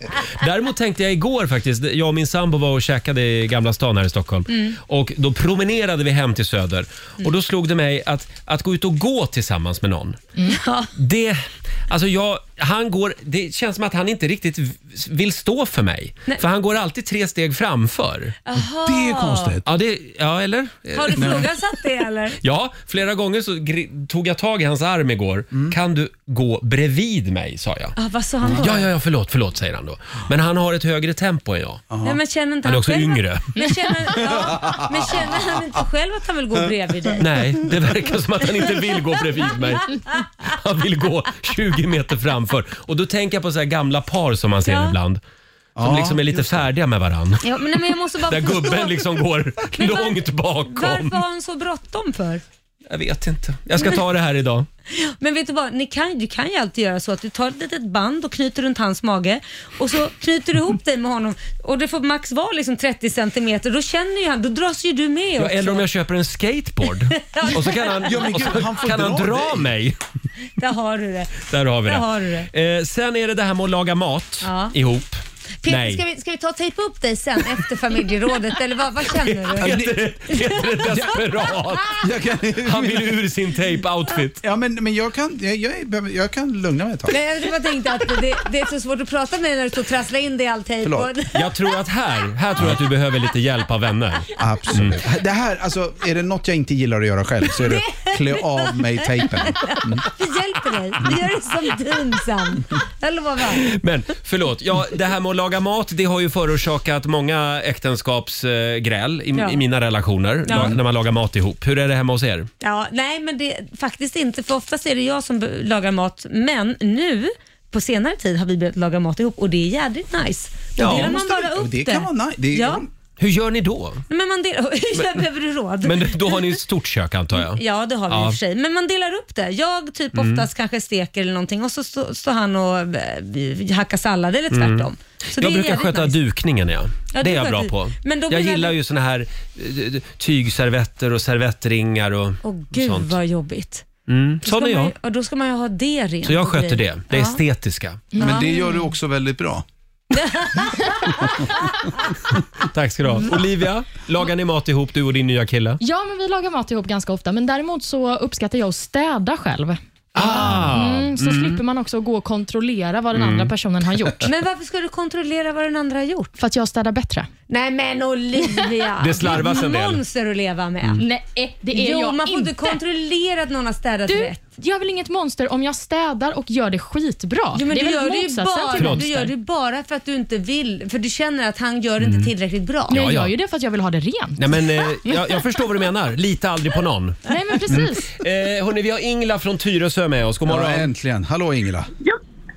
Speaker 1: Däremot tänkte jag igår faktiskt, jag och min sambo var och käkade i Gamla stan här i Stockholm.
Speaker 13: Mm.
Speaker 1: Och Då promenerade vi hem till Söder och då slog det mig att, att gå ut och gå tillsammans med någon. Det, alltså jag, han går, det känns som att han inte riktigt v- vill stå för mig. För han går alltid tre steg framför.
Speaker 2: Aha. Det är konstigt.
Speaker 1: Ja, det, ja eller?
Speaker 2: Har du
Speaker 1: Nej.
Speaker 2: frågasatt det eller?
Speaker 1: Ja, flera gånger så gri- tog jag tag i hans arm igår. Kan du gå bredvid mig, sa jag.
Speaker 2: Ah, vad sa han då?
Speaker 1: Ja, ja, ja, förlåt, förlåt, säger han då. Men han har ett högre tempo än jag.
Speaker 2: Nej, men känner inte
Speaker 1: Han är också
Speaker 2: själv att-
Speaker 1: yngre.
Speaker 2: Men känner, ja, men känner han inte själv att han vill gå bredvid dig?
Speaker 1: Nej, det verkar som att han inte vill gå bredvid mig. Han vill gå 20 meter framför. Och då tänker jag på så här gamla par som man ser
Speaker 2: Ja.
Speaker 1: ibland. Som
Speaker 2: Ja,
Speaker 1: liksom är lite färdiga med varann.
Speaker 2: Ja, men, nej, men jag måste bara
Speaker 1: Där
Speaker 2: förstå.
Speaker 1: gubben liksom går
Speaker 2: Men var-
Speaker 1: långt bakom.
Speaker 2: Varför har han så bråttom för?
Speaker 1: Jag vet inte. Jag ska ta det här idag.
Speaker 2: Men vet du vad, Ni kan, du kan ju alltid göra så att du tar ett litet band och knyter runt hans mage och så knyter du ihop dig med honom och det får max vara liksom 30 centimeter. Då känner ju han, då dras ju du med
Speaker 1: Ja,
Speaker 2: också.
Speaker 1: eller om jag köper en skateboard. Och så kan han,
Speaker 2: Ja, men
Speaker 1: och så
Speaker 2: gud, han får
Speaker 1: kan han
Speaker 2: dra
Speaker 1: dra
Speaker 2: dig.
Speaker 1: mig.
Speaker 2: Där har du det.
Speaker 1: Där har vi
Speaker 2: Där
Speaker 1: det.
Speaker 2: har du
Speaker 1: Eh, sen är det det här med att laga mat
Speaker 2: Ja.
Speaker 1: ihop.
Speaker 2: Peter,
Speaker 1: Nej.
Speaker 2: Ska, vi, ska vi ta och tejpa upp dig sen efter familjerådet eller vad, vad känner du?
Speaker 1: Peter, Peter är desperat. Han vill ur sin tape-outfit.
Speaker 9: Ja, men, men jag, kan, jag, jag, är- jag kan lugna mig ett tag.
Speaker 2: Nej, jag bara tänkte att det, det är så svårt att prata med dig när du står och trasslar in dig i all tejp. och-
Speaker 1: Jag tror att här, här tror jag att du behöver lite hjälp av vänner.
Speaker 9: Absolut.
Speaker 2: Mm.
Speaker 9: Det här, alltså, är det något jag inte gillar att göra själv så är det klä av mig tejpen. Mm.
Speaker 2: Vi hjälper dig. Vi gör det som team sen. Jag lovar.
Speaker 1: Men förlåt, ja, det här med att laga mat det har ju förorsakat många äktenskapsgräl i,
Speaker 2: Ja.
Speaker 1: i mina relationer
Speaker 2: Ja.
Speaker 1: la- när man lagar mat ihop. Hur är det hemma hos er?
Speaker 2: Ja, nej, men det faktiskt inte. För oftast är det jag som be- lagar mat. Men nu på senare tid har vi börjat laga mat ihop och det är jädrigt nice. Då
Speaker 1: Ja.
Speaker 2: delar man
Speaker 1: Måste
Speaker 2: bara
Speaker 1: vi-
Speaker 2: upp det.
Speaker 1: det kan vara nice. Det är-
Speaker 2: ja.
Speaker 1: Hur gör ni då?
Speaker 2: Men man delar... Jag behöver du råd?
Speaker 1: Men då har ni ett stort kök antar jag?
Speaker 2: Ja, det har vi i och för sig. Men man delar upp det. Jag typ
Speaker 1: Mm.
Speaker 2: oftast kanske steker eller någonting och så stå- står han och eh, hackar sallad eller
Speaker 1: Mm.
Speaker 2: tvärtom. Så
Speaker 1: jag
Speaker 2: det är
Speaker 1: brukar
Speaker 2: jävligt
Speaker 1: sköta
Speaker 2: nice.
Speaker 1: dukningen, ja. det
Speaker 2: Ja, du
Speaker 1: är jag bra
Speaker 2: sköter-
Speaker 1: på.
Speaker 2: Men då
Speaker 1: jag
Speaker 2: blir
Speaker 1: gillar
Speaker 2: det-
Speaker 1: ju såna här eh, tygservetter och servettringar och
Speaker 2: Åh gud
Speaker 1: sånt.
Speaker 2: vad jobbigt.
Speaker 1: Mm,
Speaker 2: Då
Speaker 1: sån är
Speaker 2: ska man
Speaker 1: jag.
Speaker 2: ju- Och då ska man ju ha det rent.
Speaker 1: Så jag
Speaker 2: och
Speaker 1: sköter
Speaker 2: grejer.
Speaker 1: det. Det
Speaker 2: Ja.
Speaker 1: estetiska.
Speaker 2: Ja. Men det gör du
Speaker 9: också väldigt bra.
Speaker 1: Tack ska du
Speaker 7: Mm.
Speaker 1: ha. Olivia, lagar ni mat ihop du och din nya kille?
Speaker 3: Ja, men vi lagar mat ihop ganska ofta, men däremot så uppskattar jag att städa själv.
Speaker 1: Ah,
Speaker 3: Mm, så
Speaker 1: mm.
Speaker 3: slipper man också gå och kontrollera vad den
Speaker 1: Mm.
Speaker 3: andra personen har gjort.
Speaker 2: Men varför ska du kontrollera vad den andra har gjort?
Speaker 3: För att jag städar bättre.
Speaker 2: Nej men Olivia.
Speaker 1: Det slarvas en
Speaker 2: Det är
Speaker 1: del.
Speaker 2: ett monster att leva med.
Speaker 1: Mm.
Speaker 3: Nej, det är
Speaker 2: jo,
Speaker 3: jag
Speaker 2: man får
Speaker 3: inte.
Speaker 2: inte kontrollera att någon har städat
Speaker 3: Du,
Speaker 2: rätt.
Speaker 3: jag är väl inget monster om jag städar och gör det skitbra?
Speaker 2: Jo, men
Speaker 3: det är
Speaker 2: du,
Speaker 3: väl
Speaker 2: gör det ju
Speaker 3: motsatsen till
Speaker 2: bara, du
Speaker 3: monster.
Speaker 2: gör det ju bara för att du inte vill, för du känner att han gör det inte tillräckligt bra.
Speaker 1: Jag Mm. Ja, ja. gör ju
Speaker 3: det för att jag vill ha det rent.
Speaker 1: Nej, men, eh, jag, jag förstår vad du menar. Lita aldrig på någon.
Speaker 3: Nej, men precis.
Speaker 1: Eh, hörni, vi har Ingela från Tyresö med oss. God morgon.
Speaker 9: Ja, äntligen. Hallå Ingela.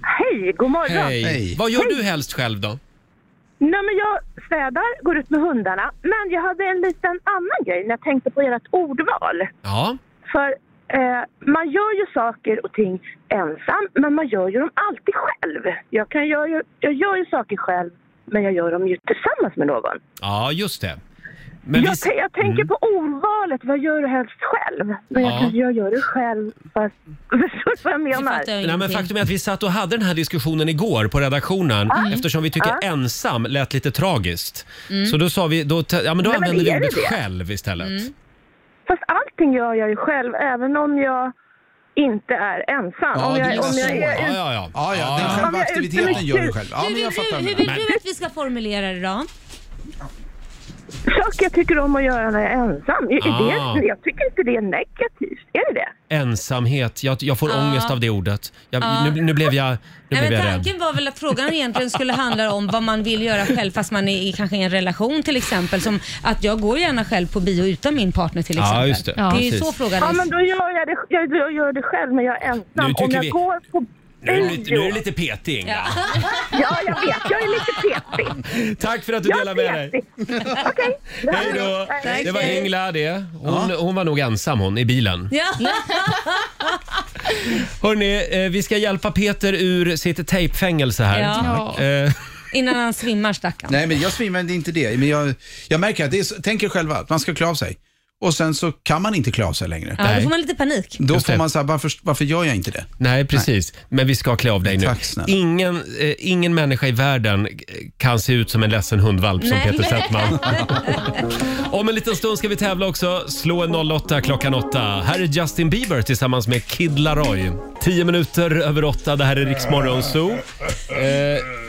Speaker 7: Hej, god morgon.
Speaker 1: Hej. Vad gör du helst själv då?
Speaker 7: Nej, men jag städar, går ut med hundarna. Men jag hade en liten annan grej när jag tänkte på ert ordval.
Speaker 1: Ja.
Speaker 7: För eh, man gör ju saker och ting ensam, men man gör ju dem alltid själv. Jag, kan, jag, gör, jag gör ju saker själv, men jag gör dem ju tillsammans med någon.
Speaker 1: Ja, just det.
Speaker 7: jag,
Speaker 1: vi- Mm.
Speaker 7: tän- jag tänker på ordvalet, vad gör du helst själv? Men jag,
Speaker 1: Ja.
Speaker 7: kanske jag gör det själv, fast... Förstår du vad jag menar?
Speaker 1: Nej, men faktum är att vi satt och hade den här diskussionen igår på redaktionen
Speaker 7: Mm.
Speaker 1: eftersom vi tycker
Speaker 7: Ja.
Speaker 1: ensam lät lite tragiskt.
Speaker 7: Mm.
Speaker 1: Så då sa vi, då, te- ja men då
Speaker 7: Nej, men
Speaker 1: använde vi
Speaker 7: är det
Speaker 1: ordet
Speaker 7: det? Mm.
Speaker 1: själv istället.
Speaker 7: Fast allting gör jag ju själv, även om jag inte är ensam. om jag, om jag är
Speaker 1: ja,
Speaker 7: ut-
Speaker 1: ja, ja.
Speaker 9: Ja, ja,
Speaker 7: den själva aktiviteten gör du själv. Ja,
Speaker 2: hur,
Speaker 7: men
Speaker 2: vill
Speaker 7: jag fattar
Speaker 2: du,
Speaker 7: vad
Speaker 2: hur
Speaker 7: du
Speaker 2: vill
Speaker 7: menar.
Speaker 2: du att vi ska formulera det då?
Speaker 7: Saker jag tycker om att göra när jag är ensam. Är
Speaker 1: Ah.
Speaker 7: det, jag tycker inte det är negativt. Är det det?
Speaker 1: Ensamhet, jag, jag får
Speaker 2: Ja.
Speaker 1: ångest av det ordet. Jag,
Speaker 2: Ja.
Speaker 1: nu, nu blev jag, nu
Speaker 2: Nej,
Speaker 1: blev
Speaker 2: men
Speaker 1: jag rädd.
Speaker 2: tanken var väl att frågan egentligen skulle handla om vad man vill göra själv fast man är i, kanske i en relation till exempel. Som att jag går gärna själv på bio utan min partner till
Speaker 1: Ja,
Speaker 2: exempel.
Speaker 1: just det.
Speaker 2: det är ju
Speaker 1: Precis.
Speaker 2: så frågan
Speaker 7: Ja,
Speaker 2: är.
Speaker 7: men då gör jag det, jag, jag gör det själv, men jag är ensam.
Speaker 1: Nu
Speaker 7: Om
Speaker 1: tycker
Speaker 7: jag
Speaker 1: vi-
Speaker 7: går på
Speaker 1: Nu är, du lite, nu är du lite petig Ingela.
Speaker 7: Ja, jag vet. Jag är lite petig.
Speaker 1: Tack för att du
Speaker 7: Jag
Speaker 1: delar med dig.
Speaker 7: petig. Okej.
Speaker 1: Hej då!
Speaker 7: Tack.
Speaker 1: Det var Ingela det. Hon, hon var nog ensam hon i bilen.
Speaker 2: Ja.
Speaker 1: Hörni, eh, vi ska hjälpa Peter ur sitt tejpfängelse här.
Speaker 2: Ja.
Speaker 1: Eh,
Speaker 2: Innan han svimmar stackarn.
Speaker 9: Nej, men jag svimmade inte det. Men jag, jag märker att det är, så- tänk er själva, att man ska klä av sig. Och sen så kan man inte klä av sig längre.
Speaker 2: Ja, då får man lite panik.
Speaker 9: Då får man säga, varför, varför gör jag inte det?
Speaker 1: Nej, precis. Men vi ska klä av dig nu.
Speaker 9: Tack snälla.
Speaker 1: Ingen, eh, ingen människa i världen eh, kan se ut som en ledsen hundvalp som
Speaker 2: Nej.
Speaker 1: Peter Settman. Om en liten stund ska vi tävla också. Slå en 08 klockan 8. Här är Justin Bieber tillsammans med Kid Laroi. 10 minuter över 8. Det här är Rix Morgon Zoo. Eh,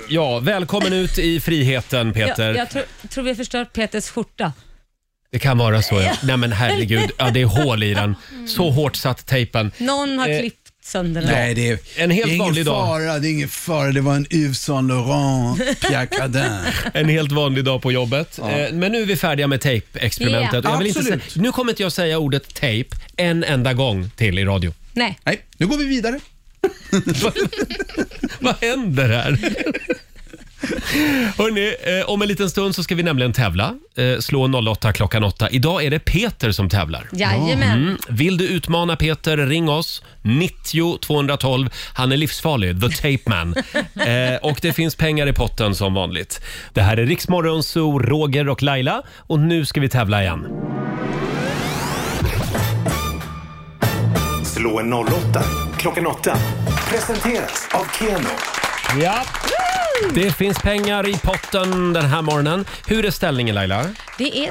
Speaker 1: ja, välkommen ut i friheten Peter.
Speaker 2: Jag, jag tror, tror vi har förstört Peters skjorta.
Speaker 1: Det kan vara så ja. Nej men herregud, ja, det är hål i den. Så hårt satt tejpen.
Speaker 2: Någon har
Speaker 1: Eh,
Speaker 2: klippt sönder den.
Speaker 9: Nej, det är,
Speaker 1: En helt
Speaker 9: det är
Speaker 1: vanlig
Speaker 9: ingen
Speaker 1: dag.
Speaker 9: fara, det är ingen fara. Det var en Yves Saint Laurent Pierre Cardin.
Speaker 1: En helt vanlig dag på jobbet.
Speaker 9: Ja.
Speaker 1: Eh, Men nu är vi färdiga med tejpexperimentet.
Speaker 9: Ja.
Speaker 1: Och jag vill inte
Speaker 9: Absolut.
Speaker 1: säga- Nu kommer inte jag säga ordet tejp en enda gång till i radio.
Speaker 9: Mm.
Speaker 2: Nej.
Speaker 9: Nej, nu går vi vidare.
Speaker 1: Vad händer här? Hörrni, eh, om en liten stund så ska vi nämligen tävla. Eh, Slå 08 klockan 8. Idag är det Peter som tävlar.
Speaker 2: Jajamän.
Speaker 1: Vill du utmana Peter, ring oss. 90 212. Han är livsfarlig, the tape man. eh, och det finns pengar i potten som vanligt. Det här är Riksmorgon Zoo, Roger och Laila. Och nu ska vi tävla igen.
Speaker 6: Slå en 08 klockan 8. Presenteras av Keno.
Speaker 1: Ja. Det finns pengar i potten den här morgonen. Hur är ställningen Laila?
Speaker 13: Det är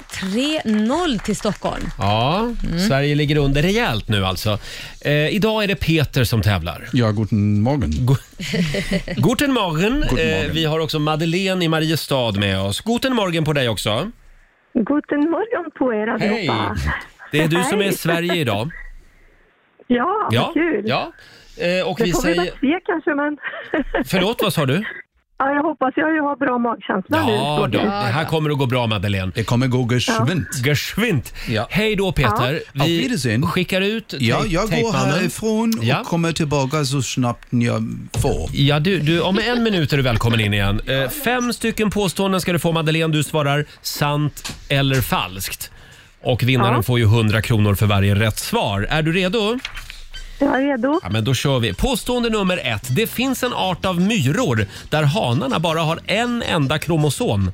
Speaker 13: 3-0 till Stockholm.
Speaker 1: Ja,
Speaker 7: Mm.
Speaker 1: Sverige ligger under rejält nu alltså. Eh, idag är det Peter som tävlar.
Speaker 9: Ja, guten morgen.
Speaker 1: Guten morgen.
Speaker 9: Guten morgen.
Speaker 1: Eh, vi har också Madeleine i Mariestad med oss. Guten morgen på dig också.
Speaker 7: Guten morgon på er allihopa.
Speaker 1: Det är du som är
Speaker 7: Hej.
Speaker 1: Sverige idag.
Speaker 7: Ja,
Speaker 1: Ja,
Speaker 7: vad kul.
Speaker 1: ja. Eh, och
Speaker 7: det
Speaker 1: vi
Speaker 7: får vi
Speaker 1: säger...
Speaker 7: väl se kanske, men
Speaker 1: Förlåt, vad sa du?
Speaker 7: ja, jag hoppas jag har bra magkänsla nu.
Speaker 1: Ja,
Speaker 7: Så
Speaker 1: då.
Speaker 7: det-
Speaker 1: det här kommer att gå bra Madeleine.
Speaker 9: Det kommer gå geschwind.
Speaker 1: Geschwind. Hej då Peter.
Speaker 9: Ja. Auf
Speaker 1: Vi
Speaker 9: Wiedersehen.
Speaker 1: skickar ut
Speaker 9: Ja,
Speaker 1: te-
Speaker 9: jag går
Speaker 1: tejpmannen.
Speaker 9: härifrån och
Speaker 1: Ja.
Speaker 9: kommer tillbaka så snabbt jag får.
Speaker 1: Ja, du, du, om en minut är du välkommen in igen. Eh, fem stycken påståenden ska du få Madeleine. Du svarar sant eller falskt. Och vinnaren
Speaker 7: Ja.
Speaker 1: får ju 100 kronor för varje rätt svar. Är du redo?
Speaker 7: Jag är redo.
Speaker 1: Ja, men då kör vi. Påstående nummer ett. Det finns en art av myror där hanarna bara har en enda kromosom.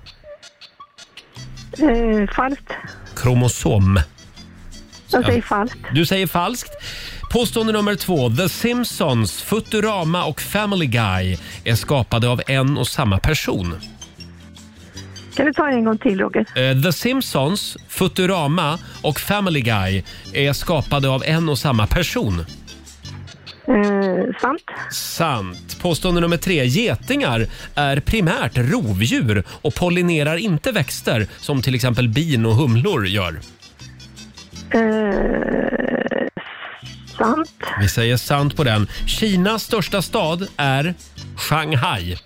Speaker 7: Eh, falskt.
Speaker 1: Kromosom.
Speaker 7: Jag säger falskt.
Speaker 1: Du säger falskt. Påstående nummer två. The Simpsons, Futurama och Family Guy är skapade av en och samma person.
Speaker 7: Kan du ta en gång till, Roger?
Speaker 1: Eh, The Simpsons, Futurama och Family Guy är skapade av en och samma person.
Speaker 7: Eh, sant.
Speaker 1: Sant. Påstående nummer tre. Getingar är primärt rovdjur och pollinerar inte växter som till exempel bin och humlor gör.
Speaker 7: Eh, sant.
Speaker 1: Vi säger sant på den. Kinas största stad är Shanghai.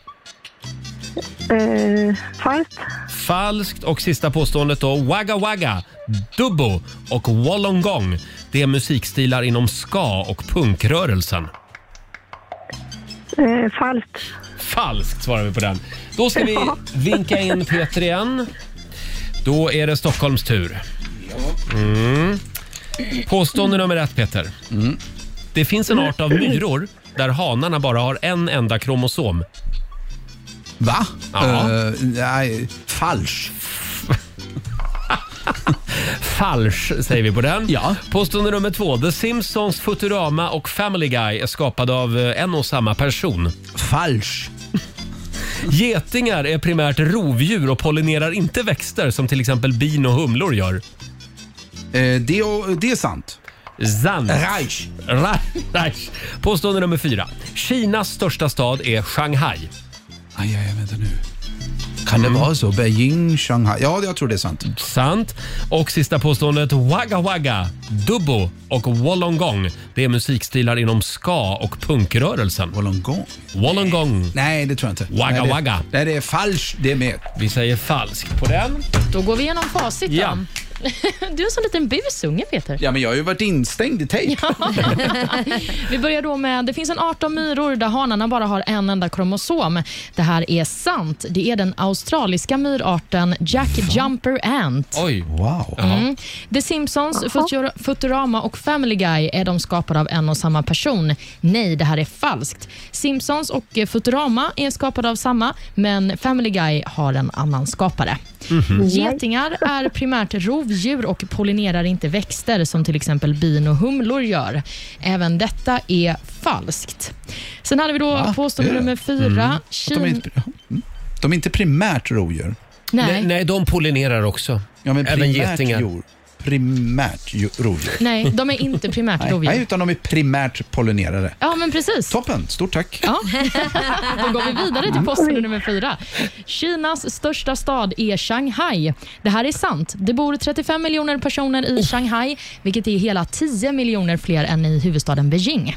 Speaker 7: Eh, falskt.
Speaker 1: Falskt. Och sista påståendet då. Wagga Wagga, Dubbo och Wollongong. Det är musikstilar inom ska och punkrörelsen.
Speaker 7: Eh, falskt.
Speaker 1: Falskt svarar vi på den. Då ska vi vinka in Peter igen. Då är det Stockholms tur. Mm. Påstående nummer ett, Peter. Det finns en art av myror där hanarna bara har en enda kromosom.
Speaker 9: Va?
Speaker 1: Ja.
Speaker 9: Eh, nej, falsch.
Speaker 1: Falsch säger vi på den. Ja. Påstående nummer två. The Simpsons, Futurama och Family Guy är skapade av eh, en och samma person.
Speaker 9: Falsch.
Speaker 1: Getingar är primärt rovdjur och pollinerar inte växter som till exempel bin och humlor gör.
Speaker 9: Eh, det, är sant.
Speaker 1: Sant.
Speaker 9: Reich.
Speaker 1: Ra- Reich. Påstående nummer fyra. Kinas största stad är Shanghai.
Speaker 9: Aj, aj, vänta nu. Kan
Speaker 1: Mm.
Speaker 9: det vara så? Beijing, Shanghai? Ja, jag tror det är sant.
Speaker 1: Sant. Och sista påståendet. Wagga Wagga, Dubbo och Wollongong. Det är musikstilar inom ska och punkrörelsen.
Speaker 9: Wollongong?
Speaker 1: Wollongong.
Speaker 9: Nej, det tror jag inte.
Speaker 1: Wagga
Speaker 9: Nej, det-
Speaker 1: Wagga.
Speaker 9: Nej, det är falskt det med.
Speaker 1: Vi säger falskt på den.
Speaker 3: Då går vi igenom facit. då.
Speaker 9: Ja.
Speaker 3: Du är en sån liten busunge, Peter.
Speaker 9: Ja, men jag har ju varit instängd i tejp.
Speaker 3: Vi börjar då med, det finns en art av myror där hanarna bara har en enda kromosom. Det här är sant. Det är den australiska myrarten Jack Jumper Ant.
Speaker 1: Oj.
Speaker 9: Wow.
Speaker 3: Mm. The Simpsons, Futura- Futurama och Family Guy är de skapade av en och samma person. Nej, det här är falskt. Simpsons och eh, Futurama är skapade av samma, men Family Guy har en annan skapare.
Speaker 9: Mhm.
Speaker 3: Getingar är primärt rovdjur och pollinerar inte växter som till exempel bin och humlor gör. Även detta är falskt. Sen hade vi då påstående
Speaker 9: Det är det.
Speaker 3: nummer fyra.
Speaker 9: Mm. Att De, är
Speaker 3: Kin-
Speaker 9: inte, mm. de är inte primärt rovdjur.
Speaker 3: Nej.
Speaker 1: Nej, nej, de pollinerar också.
Speaker 9: Ja, men
Speaker 1: Även
Speaker 9: primärt
Speaker 1: getingar.
Speaker 9: Djur. Primärt ju- rovdjur.
Speaker 3: Nej, de är inte primärt
Speaker 9: Nej, nej,
Speaker 3: rovdjur.
Speaker 9: utan de är primärt pollinerare.
Speaker 3: Ja, men precis.
Speaker 9: Toppen, stort tack.
Speaker 3: Ja. Då går vi vidare
Speaker 1: Mm.
Speaker 3: till påstående nummer fyra. Kinas största stad är Shanghai. Det här är sant. Det bor 35 miljoner personer i Shanghai, vilket är hela 10 miljoner fler än i huvudstaden Beijing.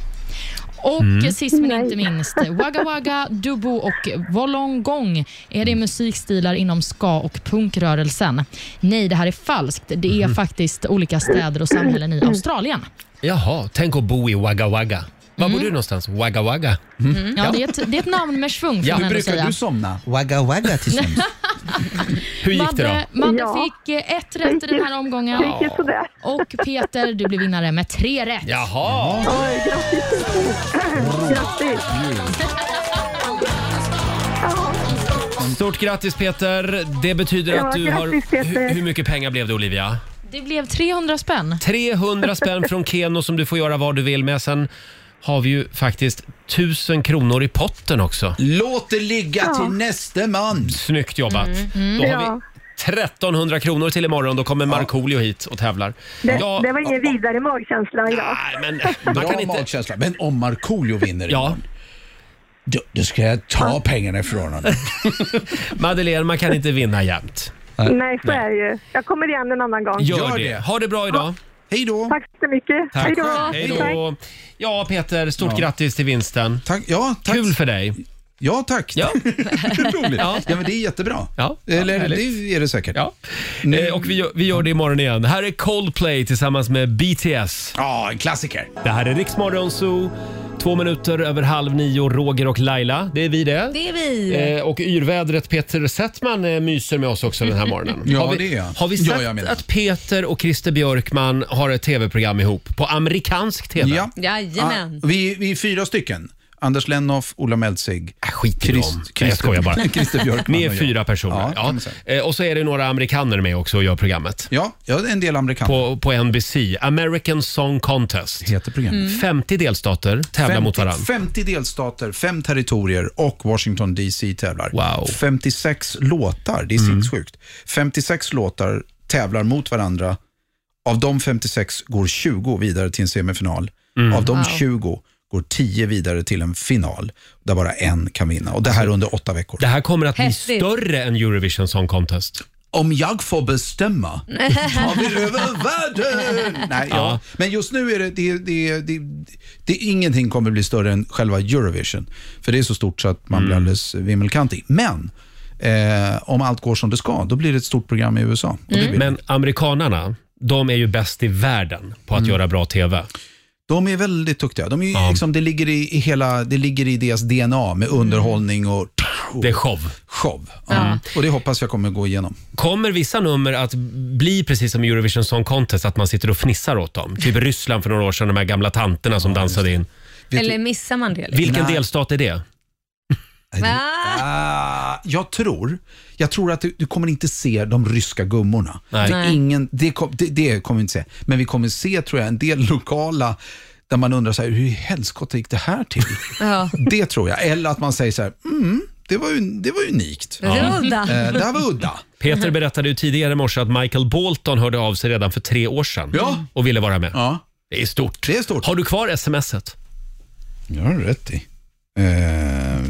Speaker 3: Och
Speaker 1: Mm.
Speaker 3: sist men inte minst, Wagga Wagga, Dubo och Wollongong. Är det musikstilar inom ska och punkrörelsen? Nej, det här är falskt. Det
Speaker 1: Mhm.
Speaker 3: är faktiskt olika städer och samhällen
Speaker 1: Mm.
Speaker 3: i Australien.
Speaker 1: Jaha, tänk att bo i Wagga Wagga. Var bor du någonstans? Wagga Wagga.
Speaker 3: Ja, det, är ett, det är ett namn med svung, får
Speaker 1: Mm. Ja,
Speaker 3: man
Speaker 1: hur
Speaker 3: ändå
Speaker 1: brukar
Speaker 3: säga.
Speaker 1: du
Speaker 9: somna? Wagga wagga till sömns.
Speaker 1: Hur gick det då?
Speaker 3: Madde, Madde
Speaker 7: Ja.
Speaker 3: fick eh, ett rätt i den här omgången.
Speaker 7: Det gick ju sådär.
Speaker 3: Och Peter, du blev vinnare med tre rätt.
Speaker 1: Jaha.
Speaker 7: Oj, grattis. grattis.
Speaker 1: Stort grattis Peter. Det betyder
Speaker 7: Ja,
Speaker 1: att du har...
Speaker 7: grattis, Peter.
Speaker 1: Hur, hur mycket pengar blev det Olivia?
Speaker 3: Det blev 300 spänn.
Speaker 1: 300 spänn från Keno som du får göra vad du vill med. Sen har vi ju faktiskt tusen kronor i potten också.
Speaker 9: Låt det ligga till näste man.
Speaker 1: Snyggt jobbat. Då har vi 1300 kronor till imorgon. Då kommer Markoolio hit och tävlar.
Speaker 12: Det,
Speaker 1: Ja,
Speaker 12: det var ingen vidare magkänsla idag.
Speaker 1: men,
Speaker 9: Bra magkänsla. Men om Markoolio vinner ja. då, då ska jag ta pengarna ifrån honom.
Speaker 1: Madeleine, man kan inte vinna jämt.
Speaker 12: Nej, så är det ju. Jag kommer igen en annan gång.
Speaker 1: Gör det. Ha det bra idag.
Speaker 9: Hej då.
Speaker 12: Tack så mycket.
Speaker 1: Tack.
Speaker 12: Hej då.
Speaker 1: Hej då. Ja, Peter, stort
Speaker 9: Ja.
Speaker 1: grattis till vinsten.
Speaker 9: Tack, ja, tack.
Speaker 1: Kul för dig.
Speaker 9: Ja, tack.
Speaker 1: Ja.
Speaker 9: Roligt.
Speaker 1: Ja.
Speaker 9: Ja. men det är jättebra.
Speaker 1: Ja,
Speaker 9: Eller
Speaker 1: härligt.
Speaker 9: det är det säkert.
Speaker 1: Ja. Eh, Och vi gör, vi gör det imorgon igen. Här är Coldplay tillsammans med BTS.
Speaker 9: Ja, en klassiker.
Speaker 1: Det här är Riksmorgon Zoo. Två minuter över halv nio, Roger och Laila. Det är vi det.
Speaker 13: Det är vi.
Speaker 1: Eh, och yrvädret Peter Settman eh, myser med oss också den här morgonen.
Speaker 9: Ja,
Speaker 1: har vi,
Speaker 9: det är jag.
Speaker 1: Har vi
Speaker 9: Ja,
Speaker 1: sagt
Speaker 9: jag menar.
Speaker 1: att Peter och Christer Björkman har ett tv-program ihop på amerikansk tv?
Speaker 9: Ja.
Speaker 13: Jajamän.
Speaker 9: Ah, vi, vi är fyra stycken. Anders Lennoff, Ola Meltzig,
Speaker 1: Äh, Skit i dem. Nej, Jag skojar bara.
Speaker 9: Christer Björkman
Speaker 1: Ni är
Speaker 9: och jag.
Speaker 1: fyra personer.
Speaker 9: Ja,
Speaker 1: Ja,
Speaker 9: kan man säga.
Speaker 1: Eh, Och så är det några amerikaner med också och gör programmet.
Speaker 9: Ja, ja en del amerikaner.
Speaker 1: På, på NBC, American Song Contest.
Speaker 9: Heter programmet.
Speaker 1: Mm. 50 delstater tävlar mot varandra.
Speaker 9: 50 delstater, fem territorier och Washington DC tävlar.
Speaker 1: Wow. Mm.
Speaker 9: 56 låtar, det är sinnessjukt. 56 låtar tävlar mot varandra. Av de 56 går 20 vidare till en semifinal.
Speaker 1: Mm.
Speaker 9: Av de 20 går 10 vidare till en final, där bara en kan vinna. Och Det här
Speaker 1: Alltså-
Speaker 9: under åtta veckor.
Speaker 1: Det här kommer att bli
Speaker 13: Häftigt.
Speaker 1: större än Eurovision Song Contest.
Speaker 9: Om jag får bestämma tar vi över världen! Nej, ja.
Speaker 1: Ja.
Speaker 9: Men just nu är det, det, det, det, det, ingenting kommer bli större än själva Eurovision. För det är så stort så att man
Speaker 1: Mm.
Speaker 9: blir alldeles vimmelkantig. Men eh, om allt går som det ska, då blir det ett stort program i USA. Och det blir,
Speaker 1: Men amerikanarna, de är ju bäst i världen på att
Speaker 9: Mm.
Speaker 1: göra bra TV.
Speaker 9: de är väldigt duktiga. De är, ju liksom, det, ligger i, i hela, det ligger i deras DNA med underhållning och, och
Speaker 1: Det är show.
Speaker 9: show. Ja. Och det hoppas jag kommer gå igenom.
Speaker 1: Kommer vissa nummer att bli precis som Eurovision Song Contest, att man sitter och fnissar åt dem? Typ Ryssland för några år sedan, de här gamla tanterna som dansade in.
Speaker 9: Vet
Speaker 13: Eller
Speaker 9: du-
Speaker 13: missar man det? Liksom?
Speaker 1: Vilken
Speaker 9: Nej.
Speaker 1: delstat är det?
Speaker 13: Va?
Speaker 9: Ah, jag tror jag tror att du, du kommer inte se de ryska gummorna.
Speaker 1: Nej.
Speaker 9: Det, är ingen, det, kom, det, det kommer vi inte se. Men vi kommer se, tror jag, en del lokala där man undrar så här, hur i helskotta gick det här till?
Speaker 2: liksom?
Speaker 13: Ja.
Speaker 9: det tror jag. Eller att man säger så här, mm, det var, ju, det var unikt.
Speaker 13: Det var
Speaker 9: Eh,
Speaker 13: udda.
Speaker 9: det här var udda.
Speaker 1: Peter berättade ju tidigare i morse att Michael Bolton hörde av sig redan för tre år sedan
Speaker 9: Ja.
Speaker 1: och ville vara med.
Speaker 9: Ja,
Speaker 1: Det är stort.
Speaker 9: det är stort.
Speaker 1: Har du kvar smset?
Speaker 9: Jag har rätt i. Eh,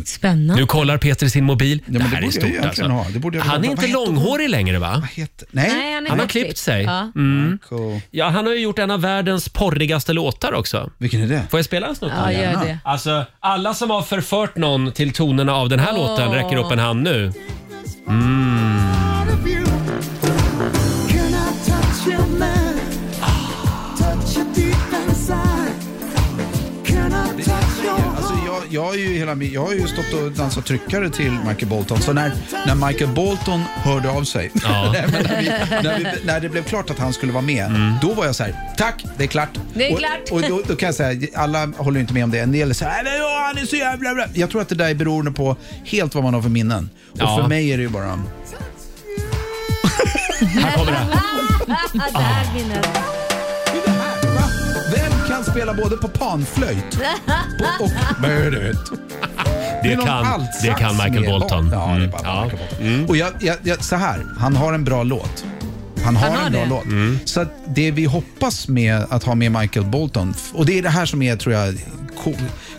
Speaker 13: Spännande.
Speaker 1: Nu kollar Peter i sin mobil.
Speaker 9: men
Speaker 1: det
Speaker 9: det
Speaker 1: här
Speaker 9: borde
Speaker 1: är
Speaker 9: jag
Speaker 1: stort
Speaker 9: egentligen
Speaker 1: alltså.
Speaker 9: ha. Det borde jag väl
Speaker 1: han är
Speaker 9: ha.
Speaker 1: inte
Speaker 9: Vad heter hon?
Speaker 1: långhårig längre va?
Speaker 9: vad heter, nej.
Speaker 13: Nej, han, är
Speaker 1: Han har
Speaker 13: kortklippt.
Speaker 1: klippt sig.
Speaker 13: Ja.
Speaker 1: Mm.
Speaker 9: Cool.
Speaker 1: Ja, han har ju gjort en av världens porrigaste låtar också.
Speaker 9: Vilken är det?
Speaker 1: Får jag spela en snutt?
Speaker 13: ja, gör det.
Speaker 1: Alltså, alla som har förfört någon till tonerna av den här
Speaker 13: Åh.
Speaker 1: låten räcker upp en hand nu.
Speaker 9: Alltså jag, jag, har ju hela, min- jag har ju stått och dansat tryckare till Michael Bolton, så när, när Michael Bolton hörde av sig,
Speaker 1: Ja.
Speaker 9: Nej, men när, vi, när, vi, när det blev klart att han skulle vara med,
Speaker 1: Mm.
Speaker 9: då var jag så här, tack, det är klart.
Speaker 13: Det är klart.
Speaker 9: Och, och då, då kan jag säga, alla håller inte med om det, en del är så här, "Nej, men ja, han är så jävla bra. Jag tror att det där är beroende på helt vad man har för minnen. Och
Speaker 1: Ja.
Speaker 9: för mig är det ju bara,
Speaker 1: Här kommer den.
Speaker 13: Där minnet.
Speaker 9: Va? vem kan spela både på panflöjt och möret?
Speaker 1: Det
Speaker 9: är någon
Speaker 1: kan,
Speaker 9: allsats
Speaker 1: det kan Michael
Speaker 9: med
Speaker 1: Bolton.
Speaker 9: bak- Ja, det är
Speaker 1: Mm.
Speaker 9: bara
Speaker 1: Ja.
Speaker 9: Michael Bolton. Och jag, jag, jag, så här, han har en bra låt. Han har,
Speaker 13: Han har
Speaker 9: en bra
Speaker 13: det.
Speaker 9: låt.
Speaker 1: Mm.
Speaker 9: Så att det vi hoppas med att ha med Michael Bolton, f- och det är det här som är, tror jag, co-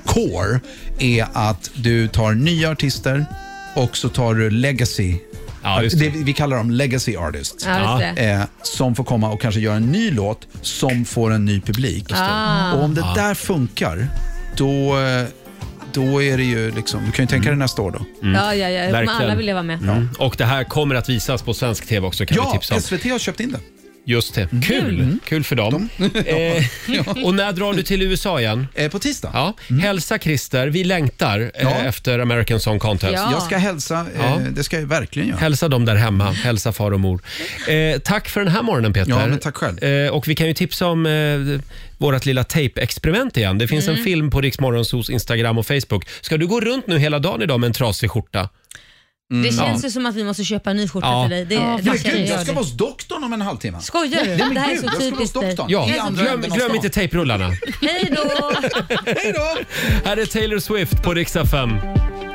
Speaker 9: core, är att du tar nya artister och så tar du legacy.
Speaker 1: Ja, just
Speaker 9: det.
Speaker 1: det.
Speaker 9: vi- vi kallar dem legacy artists.
Speaker 13: Ja,
Speaker 1: Ja.
Speaker 13: just det.
Speaker 9: Eh, som får komma och kanske göra en ny låt som får en ny publik. Och om det där funkar, då, eh, då är det ju liksom, du kan ju tänka
Speaker 14: Mm.
Speaker 9: dig nästa år då.
Speaker 13: Ja, ja, ja. Kommer
Speaker 1: Mm. Verkligen.
Speaker 13: alla vilja vara med.
Speaker 1: Mm. Och det här kommer att visas på svensk TV också kan vi
Speaker 9: Ja, Mm.
Speaker 1: tipsa om.
Speaker 9: SVT har köpt in det.
Speaker 1: Just det. Kul! Kul för dem. Eh, och när drar du till USA igen?
Speaker 9: Eh, på tisdag.
Speaker 1: Ja. Hälsa Christer, vi längtar eh,
Speaker 9: Ja.
Speaker 1: efter American Song Contest.
Speaker 13: Ja.
Speaker 9: Jag ska hälsa, eh,
Speaker 1: Ja.
Speaker 9: det ska jag verkligen göra.
Speaker 1: Hälsa dem där hemma. Hälsa far och mor. Eh, tack för den här morgonen Peter.
Speaker 9: Ja, men tack själv.
Speaker 1: Eh, och vi kan ju tipsa om eh, vårt lilla tejpexperiment igen. Det finns en film på Riksmorgonsos Instagram och Facebook. Ska du gå runt nu hela dagen idag med en trasig skjorta?
Speaker 9: Mm.
Speaker 2: det känns
Speaker 9: Ja.
Speaker 2: ju som att vi måste köpa en ny skjorta
Speaker 9: Ja.
Speaker 2: till dig. Det,
Speaker 9: Ja,
Speaker 2: det
Speaker 9: men
Speaker 2: känns-
Speaker 9: gud,
Speaker 2: gör
Speaker 9: jag ska
Speaker 2: det.
Speaker 9: vara hos doktorn om en halvtimme.
Speaker 2: Skojar du?
Speaker 9: Nej, men
Speaker 2: Det här är
Speaker 9: gud,
Speaker 2: så
Speaker 9: jag ska vara hos
Speaker 2: typiskt dig.
Speaker 9: doktorn.
Speaker 2: Ja.
Speaker 9: I andra
Speaker 1: glöm,
Speaker 9: änden av
Speaker 1: glöm
Speaker 9: stan.
Speaker 1: inte tejprullarna.
Speaker 2: Hej då!
Speaker 9: Hej då!
Speaker 1: Här är Taylor Swift på riksdag 5.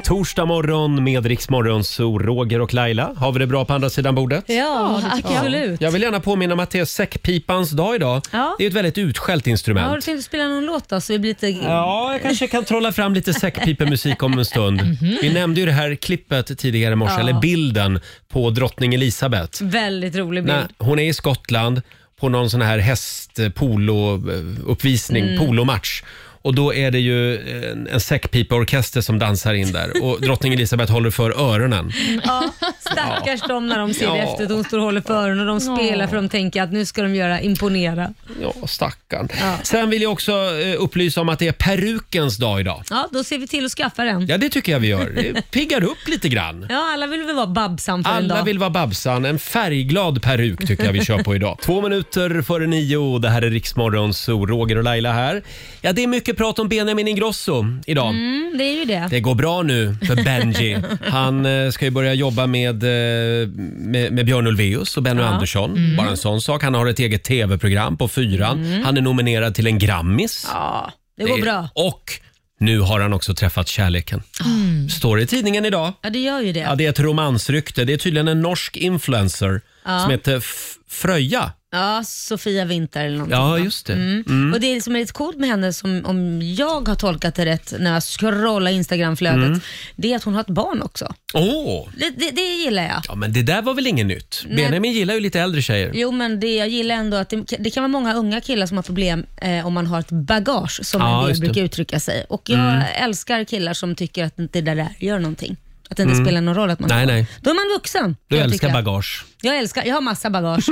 Speaker 1: Torsdag morgon med Riksmorgon, så Roger och Laila. Har vi det bra på andra sidan bordet?
Speaker 2: Ja,
Speaker 15: det tycker jag.
Speaker 2: absolut.
Speaker 1: Jag vill gärna påminna om att det är säckpipans dag idag.
Speaker 2: Ja.
Speaker 1: Det är ett väldigt utskällt
Speaker 2: Ja, Har du
Speaker 1: instrument.
Speaker 2: tänkt att spela någon låt då? Så vi blir lite...
Speaker 1: Ja, jag kanske kan trolla fram lite säckpipemusik om en stund. Vi nämnde ju det här klippet tidigare i morse,
Speaker 2: Mhm. Ja. Mm.
Speaker 1: eller bilden på drottning Elisabeth.
Speaker 2: Väldigt rolig bild.
Speaker 1: När hon är i Skottland på någon sån här eh, hästpolo-uppvisning,
Speaker 2: Mm.
Speaker 1: polomatch. Och då är det ju eh, en, en säckpipeorkester som dansar in där och drottning Elisabeth håller för öronen.
Speaker 2: Ja, stackars dem när de ser det
Speaker 1: Ja.
Speaker 2: efter. De står och håller för öronen och de spelar för de tänker att nu ska de göra imponera.
Speaker 1: Ja, stackarn. Sen vill jag också eh, upplysa om att det är perukens dag idag.
Speaker 2: Ja, då ser vi till att skaffa den.
Speaker 1: Ja, det tycker jag vi gör. Det piggar upp lite grann.
Speaker 2: Ja, alla vill väl vara Babsan för en
Speaker 1: Alla
Speaker 2: dag.
Speaker 1: vill vara Babsan. En färgglad peruk tycker jag vi kör på idag. Två minuter före nio. Det här är Riksmorgon, så Roger och Laila här. Ja, det är mycket prat om Benjamin Ingrosso idag.
Speaker 2: Mm, det är ju det.
Speaker 1: Det går bra nu för Benji. Han eh, ska ju börja jobba med, eh, med, med Björn Ulvaeus och Benny
Speaker 2: Ja.
Speaker 1: Andersson.
Speaker 2: Mm.
Speaker 1: Bara en sån sak. Han har ett eget tv-program på fyran.
Speaker 2: Mm.
Speaker 1: Han är nominerad till en Grammis.
Speaker 2: Ja, det går
Speaker 1: är-
Speaker 2: bra.
Speaker 1: Och nu har han också träffat kärleken.
Speaker 2: Mm.
Speaker 1: Står det i tidningen idag.
Speaker 2: Ja, det gör ju det.
Speaker 1: Ja, det är ett romansrykte. Det är tydligen en norsk influencer
Speaker 2: Ja.
Speaker 1: som heter F- Fröja.
Speaker 2: Ja, Sofia Winter eller någonting.
Speaker 1: Ja,
Speaker 2: va?
Speaker 1: just det.
Speaker 2: Mm.
Speaker 1: Mm.
Speaker 2: Och Det som är lite coolt med henne, som, om jag har tolkat det rätt när jag scrollar Instagramflödet,
Speaker 1: Mm.
Speaker 2: det är att hon har ett barn också.
Speaker 1: Åh!
Speaker 2: Det, det, det gillar jag.
Speaker 1: Ja, men det där var väl inget nytt?
Speaker 2: Nej.
Speaker 1: Benjamin gillar ju lite äldre tjejer.
Speaker 2: Jo, men det, jag gillar ändå att det, det kan vara många unga killar som har problem eh, om man har ett bagage, som
Speaker 1: Ja,
Speaker 2: en del
Speaker 1: just det.
Speaker 2: brukar uttrycka sig. Och jag
Speaker 1: Mm.
Speaker 2: älskar killar som tycker att inte det där gör någonting. Att det inte
Speaker 1: Mm.
Speaker 2: spelar någon roll att man
Speaker 1: Nej,
Speaker 2: har.
Speaker 1: nej.
Speaker 2: Då är man vuxen.
Speaker 1: Du
Speaker 2: kan jag
Speaker 1: älskar
Speaker 2: tycka.
Speaker 1: bagage.
Speaker 2: Jag älskar, jag har massa bagage.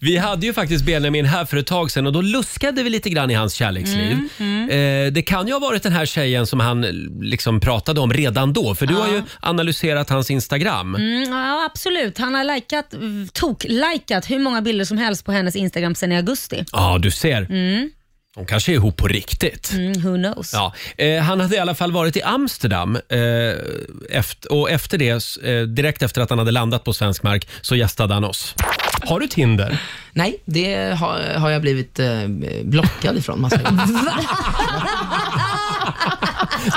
Speaker 1: Vi hade ju faktiskt Benjamin här för ett tag sedan och då luskade vi lite grann i hans kärleksliv.
Speaker 2: Mm, mm.
Speaker 1: Eh, det kan ju ha varit den här tjejen som han eh, liksom pratade om redan då, för du har ju analyserat hans Instagram.
Speaker 2: Mm, ja, absolut. Han har likat, tok-likat hur många bilder som helst på hennes Instagram sedan i augusti.
Speaker 1: Ja, du ser.
Speaker 2: Mm.
Speaker 1: De kanske är ihop på riktigt.
Speaker 2: Mm, who knows?
Speaker 1: Ja, eh, han hade i alla fall varit i Amsterdam eh, efter, och efter det, eh, direkt efter att han hade landat på svensk mark, så gästade han oss. Har du Tinder?
Speaker 14: Nej, det har, har jag blivit eh, blockad ifrån massa gånger.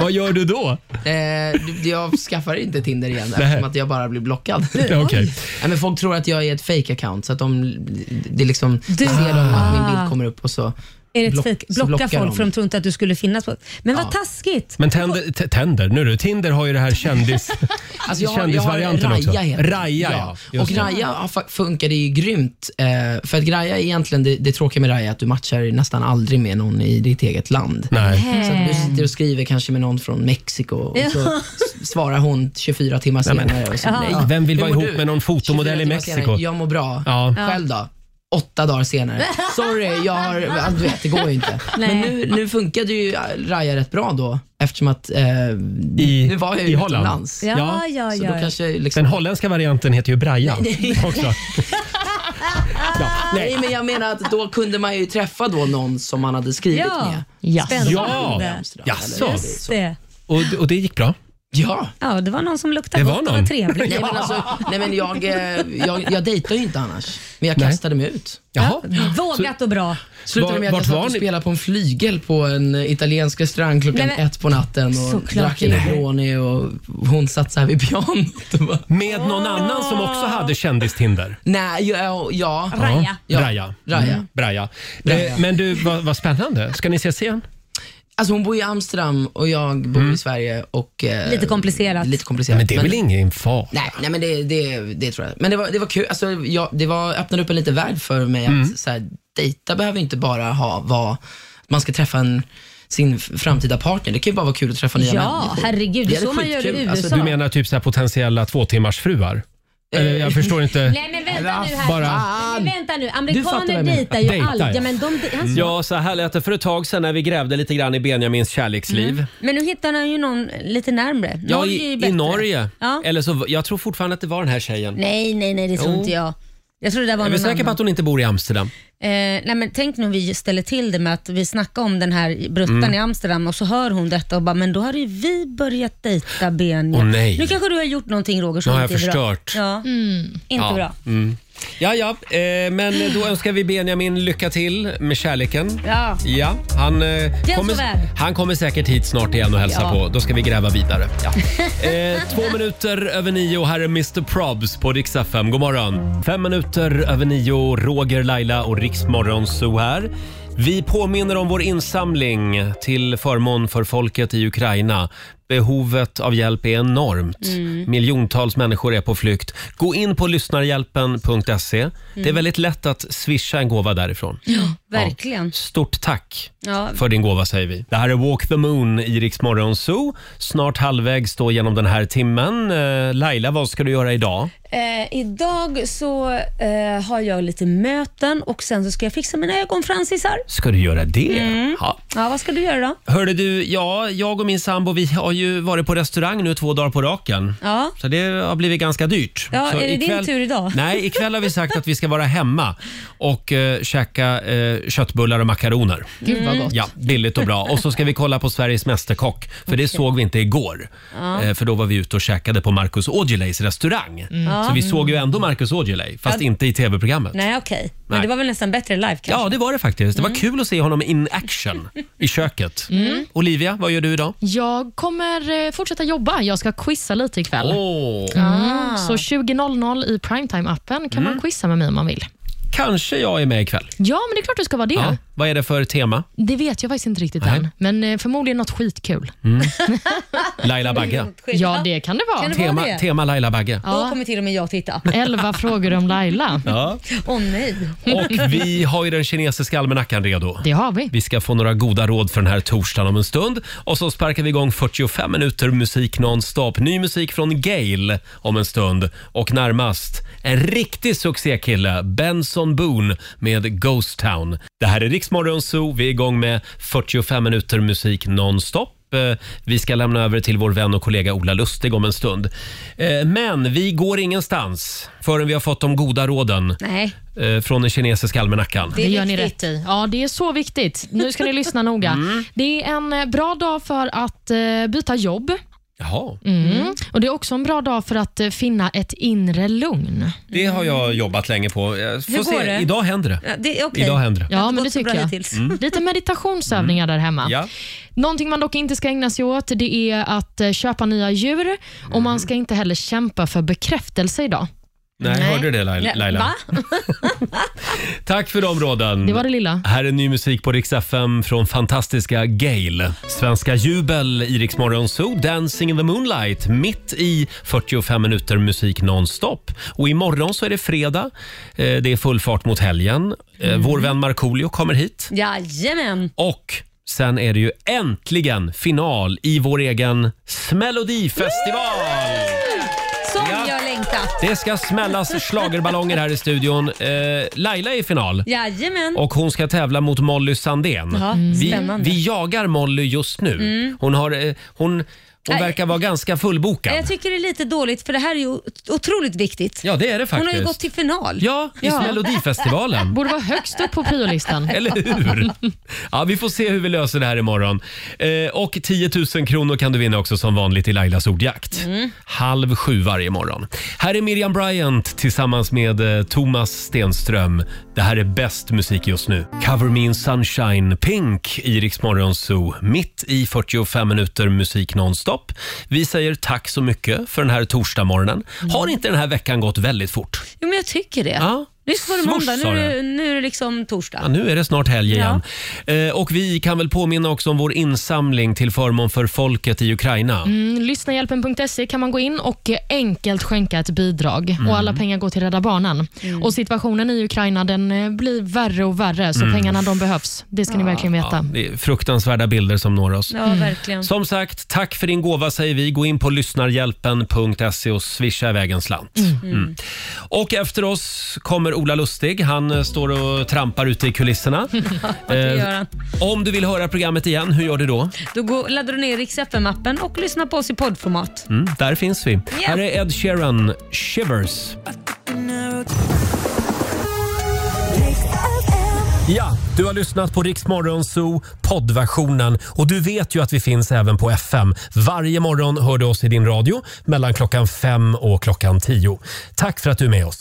Speaker 1: Vad gör du då?
Speaker 14: Eh, du- jag skaffar inte Tinder igen
Speaker 1: Nej.
Speaker 14: eftersom att jag bara blir blockad.
Speaker 1: okej.
Speaker 14: Nej, men folk tror att jag är ett fake account så att de, det är liksom, ser de att min bild kommer upp och så
Speaker 2: Är det ett
Speaker 14: block-
Speaker 2: fejk?
Speaker 14: så
Speaker 2: Blocka
Speaker 14: blockar
Speaker 2: folk
Speaker 14: de.
Speaker 2: för de tror inte att du skulle finnas på... Men vad taskigt!
Speaker 1: Men tänder, t- tänder, nu du, Tinder har ju det här kändis,
Speaker 14: Alltså jag har, jag har
Speaker 1: kändisvarianten också.
Speaker 14: Raja heter det.
Speaker 1: Raja, ja.
Speaker 14: Och
Speaker 1: Just det.
Speaker 14: Raja har fa- funkade ju grymt. Eh, för att Raja är egentligen, det, det tråkiga med Raja är att du matchar nästan aldrig med någon i ditt eget land.
Speaker 1: Nej.
Speaker 14: Så att du sitter och skriver kanske med någon från Mexiko och så
Speaker 1: Mm. Ja.
Speaker 14: s- svarar hon 24 timmar
Speaker 1: Nej, men-
Speaker 14: senare. och så,
Speaker 1: Ja.
Speaker 14: nej.
Speaker 1: Vem vill
Speaker 14: Hur
Speaker 1: vara
Speaker 14: mår
Speaker 1: ihop
Speaker 14: du?
Speaker 1: med någon fotomodell i
Speaker 14: 24 timmar
Speaker 1: Mexiko?
Speaker 14: senare, Jag mår bra.
Speaker 1: Ja. Ja.
Speaker 14: Själv då? Åtta dagar senare. Sorry, jag har... ja, Du vet, det går ju inte. Men nu, nu funkade ju Raja rätt bra då eftersom att eh, nu var jag ju
Speaker 1: I Holland.
Speaker 14: utomlands. Så då kanske liksom-
Speaker 1: Den holländska varianten heter ju Braja också.
Speaker 14: Nej. men jag menar att då kunde man ju träffa då någon som man hade skrivit
Speaker 2: Ja.
Speaker 14: med.
Speaker 2: Ja. Spännande.
Speaker 14: Amsterdam,
Speaker 1: Jaså.
Speaker 14: eller?
Speaker 2: Just det.
Speaker 1: Och, och det gick bra?
Speaker 14: Ja.
Speaker 2: Ja, det var någon som luktade
Speaker 1: Det var
Speaker 2: gott och
Speaker 1: någon.
Speaker 2: var trevlig.
Speaker 14: Nej, men alltså, nej, men jag, eh, jag, jag dejtar ju inte annars, men jag
Speaker 1: Nej.
Speaker 14: kastade mig ut.
Speaker 1: Jaha.
Speaker 2: Vågat och bra.
Speaker 14: Slutade
Speaker 1: Var-
Speaker 14: med att
Speaker 1: vart
Speaker 14: jag
Speaker 1: var
Speaker 14: satt och
Speaker 1: ni?
Speaker 14: spelade på en flygel på en eh, italiensk restaurang klockan
Speaker 2: Nej, men-
Speaker 14: ett på natten och
Speaker 2: Såklart
Speaker 14: drack
Speaker 2: inte.
Speaker 14: Negroni och hon satt så här vid pianot. och bara-
Speaker 1: Med någon annan som också hade kändistinder?
Speaker 14: Nej, ja. ja.
Speaker 1: Ja.
Speaker 14: Ja.
Speaker 1: Raja.
Speaker 14: Raja.
Speaker 1: Mm. Braja.
Speaker 14: Braja.
Speaker 1: Eh, Men du, vad, vad spännande. Ska ni ses igen?
Speaker 14: Alltså hon bor i Amsterdam och jag bor i Sverige. Och, eh,
Speaker 2: Lite komplicerat.
Speaker 14: Lite komplicerat.
Speaker 1: Men det är väl ingen fara?
Speaker 14: Nej, nej men det, det, det tror jag. Men det var, det var kul. Alltså, jag, det var, öppnade upp en liten värld för mig.
Speaker 1: Mm.
Speaker 14: Att, så här, dejta behöver inte bara ha vad man ska träffa en, sin framtida partner. Det kan ju bara vara kul att träffa nya
Speaker 2: Ja,
Speaker 14: människor.
Speaker 2: herregud. Det är så man gör i
Speaker 14: skitkul.
Speaker 2: USA.
Speaker 1: Du menar typ så här potentiella tvåtimmarsfruar? Eller, jag förstår inte.
Speaker 2: Eh.
Speaker 1: Alltså,
Speaker 2: Nej men vänta nu här. Mm.
Speaker 1: Bara-
Speaker 2: Nej, vänta nu.
Speaker 1: fattar vad jag
Speaker 2: Amerikaner
Speaker 1: menar.
Speaker 2: dejtar ju
Speaker 1: Dejtar,
Speaker 2: aldrig.
Speaker 1: ja.
Speaker 2: Ja, men, de, han,
Speaker 1: Ja, så här lät det för ett tag sedan när vi grävde lite grann i Benjamins kärleksliv.
Speaker 2: men nu hittar han ju någon lite närmre.
Speaker 1: Ja,
Speaker 2: Mm. Norge är ju
Speaker 1: i, i
Speaker 2: bättre.
Speaker 1: Norge.
Speaker 2: Ja.
Speaker 1: Eller så, jag tror fortfarande att det var den här tjejen.
Speaker 2: Nej, nej, nej det tror
Speaker 1: Jo.
Speaker 2: inte jag.
Speaker 13: Jag tror det där var
Speaker 1: Är vi
Speaker 13: någon
Speaker 1: säkra på
Speaker 13: annan.
Speaker 1: att hon inte bor i Amsterdam?
Speaker 13: Eh, nej men tänk nu om vi ställer till det med att vi snackar om den här bruttan
Speaker 1: Mm.
Speaker 13: i Amsterdam och så hör hon detta och bara, men då har ju vi börjat dejta Benja.
Speaker 1: Åh, nej.
Speaker 13: Nu kanske du har gjort någonting Roger som
Speaker 1: Nu har
Speaker 13: inte
Speaker 1: jag
Speaker 13: är
Speaker 1: förstört.
Speaker 13: bra. Ja, inte
Speaker 1: ja.
Speaker 13: bra.
Speaker 1: Mm. Ja, ja, eh, men då önskar vi Benjamin lycka till med kärleken.
Speaker 13: Ja.
Speaker 1: Ja, han, eh,
Speaker 13: Den som
Speaker 1: kommer,
Speaker 13: är.
Speaker 1: han kommer säkert hit snart igen och hälsa
Speaker 13: Ja.
Speaker 1: på. Då ska vi gräva vidare. Ja. Eh, två minuter över nio, här är Mr Probs på Rix FM. God morgon! Fem minuter över nio, Roger, Laila och Rix Morgonzoo här. Vi påminner om vår insamling till förmån för folket i Ukraina. Behovet av hjälp är enormt.
Speaker 16: Mm.
Speaker 1: Miljontals människor är på flykt. Gå in på lyssnarhjälpen.se. E. Det är
Speaker 13: Mm.
Speaker 1: väldigt lätt att swisha en gåva därifrån.
Speaker 13: Ja, verkligen.
Speaker 1: Stort tack
Speaker 13: Ja.
Speaker 1: för din gåva säger vi. Det här är Walk the Moon i Rix Morgon Zoo. Snart halvvägs då genom den här timmen. Eh, Laila, vad ska du göra idag?
Speaker 13: Eh, idag så eh, har jag lite möten och sen så ska jag fixa mina ögonfransisar.
Speaker 1: Ska du göra det? Ja.
Speaker 13: Ja, vad ska du göra då?
Speaker 1: Mm. Hörde du, ja, jag och min sambo vi har ju varit på restaurang nu två dagar på raken.
Speaker 13: Ja.
Speaker 1: Så det har blivit ganska dyrt.
Speaker 13: Ja,
Speaker 1: så
Speaker 13: är det din tur idag?
Speaker 1: Nej, ikväll har vi sagt att vi ska vara hemma och eh, käka eh, köttbullar och makaroner.
Speaker 13: Gud, vad gott.
Speaker 1: Ja, billigt och bra. Och så ska vi kolla på Sveriges Mästerkock, för det såg vi inte igår.
Speaker 13: Ja.
Speaker 1: Eh, för då var vi ute och käkade på Marcus Aujalais restaurang.
Speaker 13: Mm.
Speaker 1: Så vi
Speaker 13: Ja.
Speaker 1: såg ju ändå Marcus Aujalay, fast
Speaker 13: Ja.
Speaker 1: inte i tv-programmet.
Speaker 13: Nej Mm. okej, men
Speaker 1: Nej.
Speaker 13: det var väl nästan bättre live kanske?
Speaker 1: Ja, det var det faktiskt. Det var kul att se honom in action i köket.
Speaker 13: Mm.
Speaker 1: Olivia, vad gör du idag?
Speaker 3: Jag kommer eh, fortsätta jobba. Jag ska quizza lite ikväll.
Speaker 1: Åh.
Speaker 3: Mm. Så 20.00 i primetime-appen kan
Speaker 1: Mm.
Speaker 3: man quizza med mig om man vill.
Speaker 1: Kanske jag är med ikväll.
Speaker 3: Ja, men det är klart du ska vara det.
Speaker 1: Ja. Vad är det för tema?
Speaker 3: Det vet jag faktiskt inte riktigt
Speaker 1: Nej.
Speaker 3: än, men eh, förmodligen något skitkul.
Speaker 1: Mm. Laila Bagge.
Speaker 3: Ja, det kan det vara.
Speaker 1: Tema, tema Laila Bagge.
Speaker 13: Då kommer till och med jag titta.
Speaker 3: 11 frågor om Laila.
Speaker 1: Ja.
Speaker 13: Åh nej.
Speaker 1: Och vi har ju den kinesiska almanackan redo.
Speaker 3: Det har vi.
Speaker 1: Vi ska få några goda råd för den här torsdagen om en stund. Och så sparkar vi igång 45 minuter musik nonstop. Ny musik från Gail om en stund. Och närmast en riktig succékille, Benson Boone med Ghost Town. Det här är Riksmorgon Zoo. Vi är igång med 45 minuter musik nonstop. Eh, Vi ska lämna över till vår vän och kollega Ola Lustig om en stund. Eh, Men vi går ingenstans förrän vi har fått de goda råden
Speaker 3: Nej.
Speaker 1: eh, från den kinesiska almanackan.
Speaker 3: Det, gör ni rätt i. Ja, det är så viktigt. Nu ska ni lyssna noga. Det är en eh, bra dag för att eh, byta jobb.
Speaker 1: Jaha.
Speaker 3: Mm. Och Det är också en bra dag för att eh, finna ett inre lugn.
Speaker 1: Det har jag jobbat länge på. Jag får
Speaker 3: Hur går
Speaker 1: se.
Speaker 3: det?
Speaker 1: Idag händer det. Idag händer det.
Speaker 3: Ja, men det tycker jag.
Speaker 1: Mm.
Speaker 3: Lite meditationsövningar där hemma.
Speaker 1: Ja.
Speaker 3: Någonting man dock inte ska ägna sig åt det är att eh, köpa nya djur och man ska inte heller kämpa för bekräftelse idag.
Speaker 1: Nej, hörde du det Laila? Laila? Tack för de råden.
Speaker 3: Det var det lilla.
Speaker 1: Här är ny musik på Rix FM från fantastiska Gail. Svenska jubel i Rix Morgon Zoo, Dancing in the Moonlight, mitt i 45 minuter musik nonstop. Och imorgon så är det fredag. Eh, Det är full fart mot helgen. Eh,
Speaker 3: Mm.
Speaker 1: Vår vän Markoolio kommer hit.
Speaker 13: Jajamän.
Speaker 1: Och sen är det ju äntligen final i vår egen Smelodifestival!
Speaker 13: Som
Speaker 1: Ja.
Speaker 13: jag längtat.
Speaker 1: Det ska smällas schlagerballonger här i studion. Eh, Laila är i final.
Speaker 13: Jajamän.
Speaker 1: Och hon ska tävla mot Molly Sandén.
Speaker 13: Ja,
Speaker 1: vi,
Speaker 13: spännande.
Speaker 1: vi jagar Molly just nu.
Speaker 13: Mm.
Speaker 1: Hon, har, eh, hon, hon
Speaker 13: Nej.
Speaker 1: verkar vara ganska fullbokad.
Speaker 13: Jag tycker det är lite dåligt för det här är ju otroligt viktigt.
Speaker 1: Ja, det är det
Speaker 13: Hon
Speaker 1: faktiskt.
Speaker 13: har ju gått till final.
Speaker 1: Ja, i Melodifestivalen.
Speaker 3: Borde vara högst upp på priolistan.
Speaker 1: Eller hur? Ja, vi får se hur vi löser det här imorgon. Eh, och 10 000 kronor kan du vinna också som vanligt i Lailas ordjakt.
Speaker 13: Mm.
Speaker 1: Halv sju varje morgon. Här är Miriam Bryant tillsammans med eh, Thomas Stenström. Det här är bäst musik just nu. Cover Me In Sunshine, Pink i Rix Morgon Zoo. Mitt i 45 minuter musik nonstop. Vi säger tack så mycket för den här torsdagsmorgonen. Har inte den här veckan gått väldigt fort?
Speaker 13: Jo, men jag tycker det.
Speaker 1: Ja.
Speaker 13: Nyss var Mm. det
Speaker 1: Svors,
Speaker 13: måndag, nu
Speaker 1: sa
Speaker 13: är det, nu är det liksom torsdag.
Speaker 1: Ja, nu är det snart helg igen. Eh, och vi kan väl påminna också om vår insamling till förmån för folket i Ukraina.
Speaker 3: Mm, lyssnahjälpen.se kan man gå in och eh, enkelt skänka ett bidrag. Och Alla pengar går till Rädda Barnen. Och situationen i Ukraina den eh, blir värre och värre, så
Speaker 1: Mm.
Speaker 3: pengarna de behövs. Det ska ni verkligen veta.
Speaker 1: Det är fruktansvärda bilder som når oss.
Speaker 3: Ja, Mm. verkligen.
Speaker 1: Som sagt, tack för din gåva säger vi. Gå in på lyssnarhjälpen.se och swisha iväg en slant. Mm. Och efter oss kommer Ola Lustig. Han eh, står och trampar ute i kulisserna. Eh,
Speaker 13: det gör han.
Speaker 1: om du vill höra programmet igen, hur gör du då?
Speaker 13: Då går, laddar du ner Rix FM-appen och lyssnar på oss i poddformat.
Speaker 1: Mm, där finns vi. Här är Ed Sheeran, Shivers. Ja, du har lyssnat på Rix Morgon Zoo poddversionen och du vet ju att vi finns även på FM. Varje morgon hör du oss i din radio mellan klockan fem och klockan tio. Tack för att du är med oss.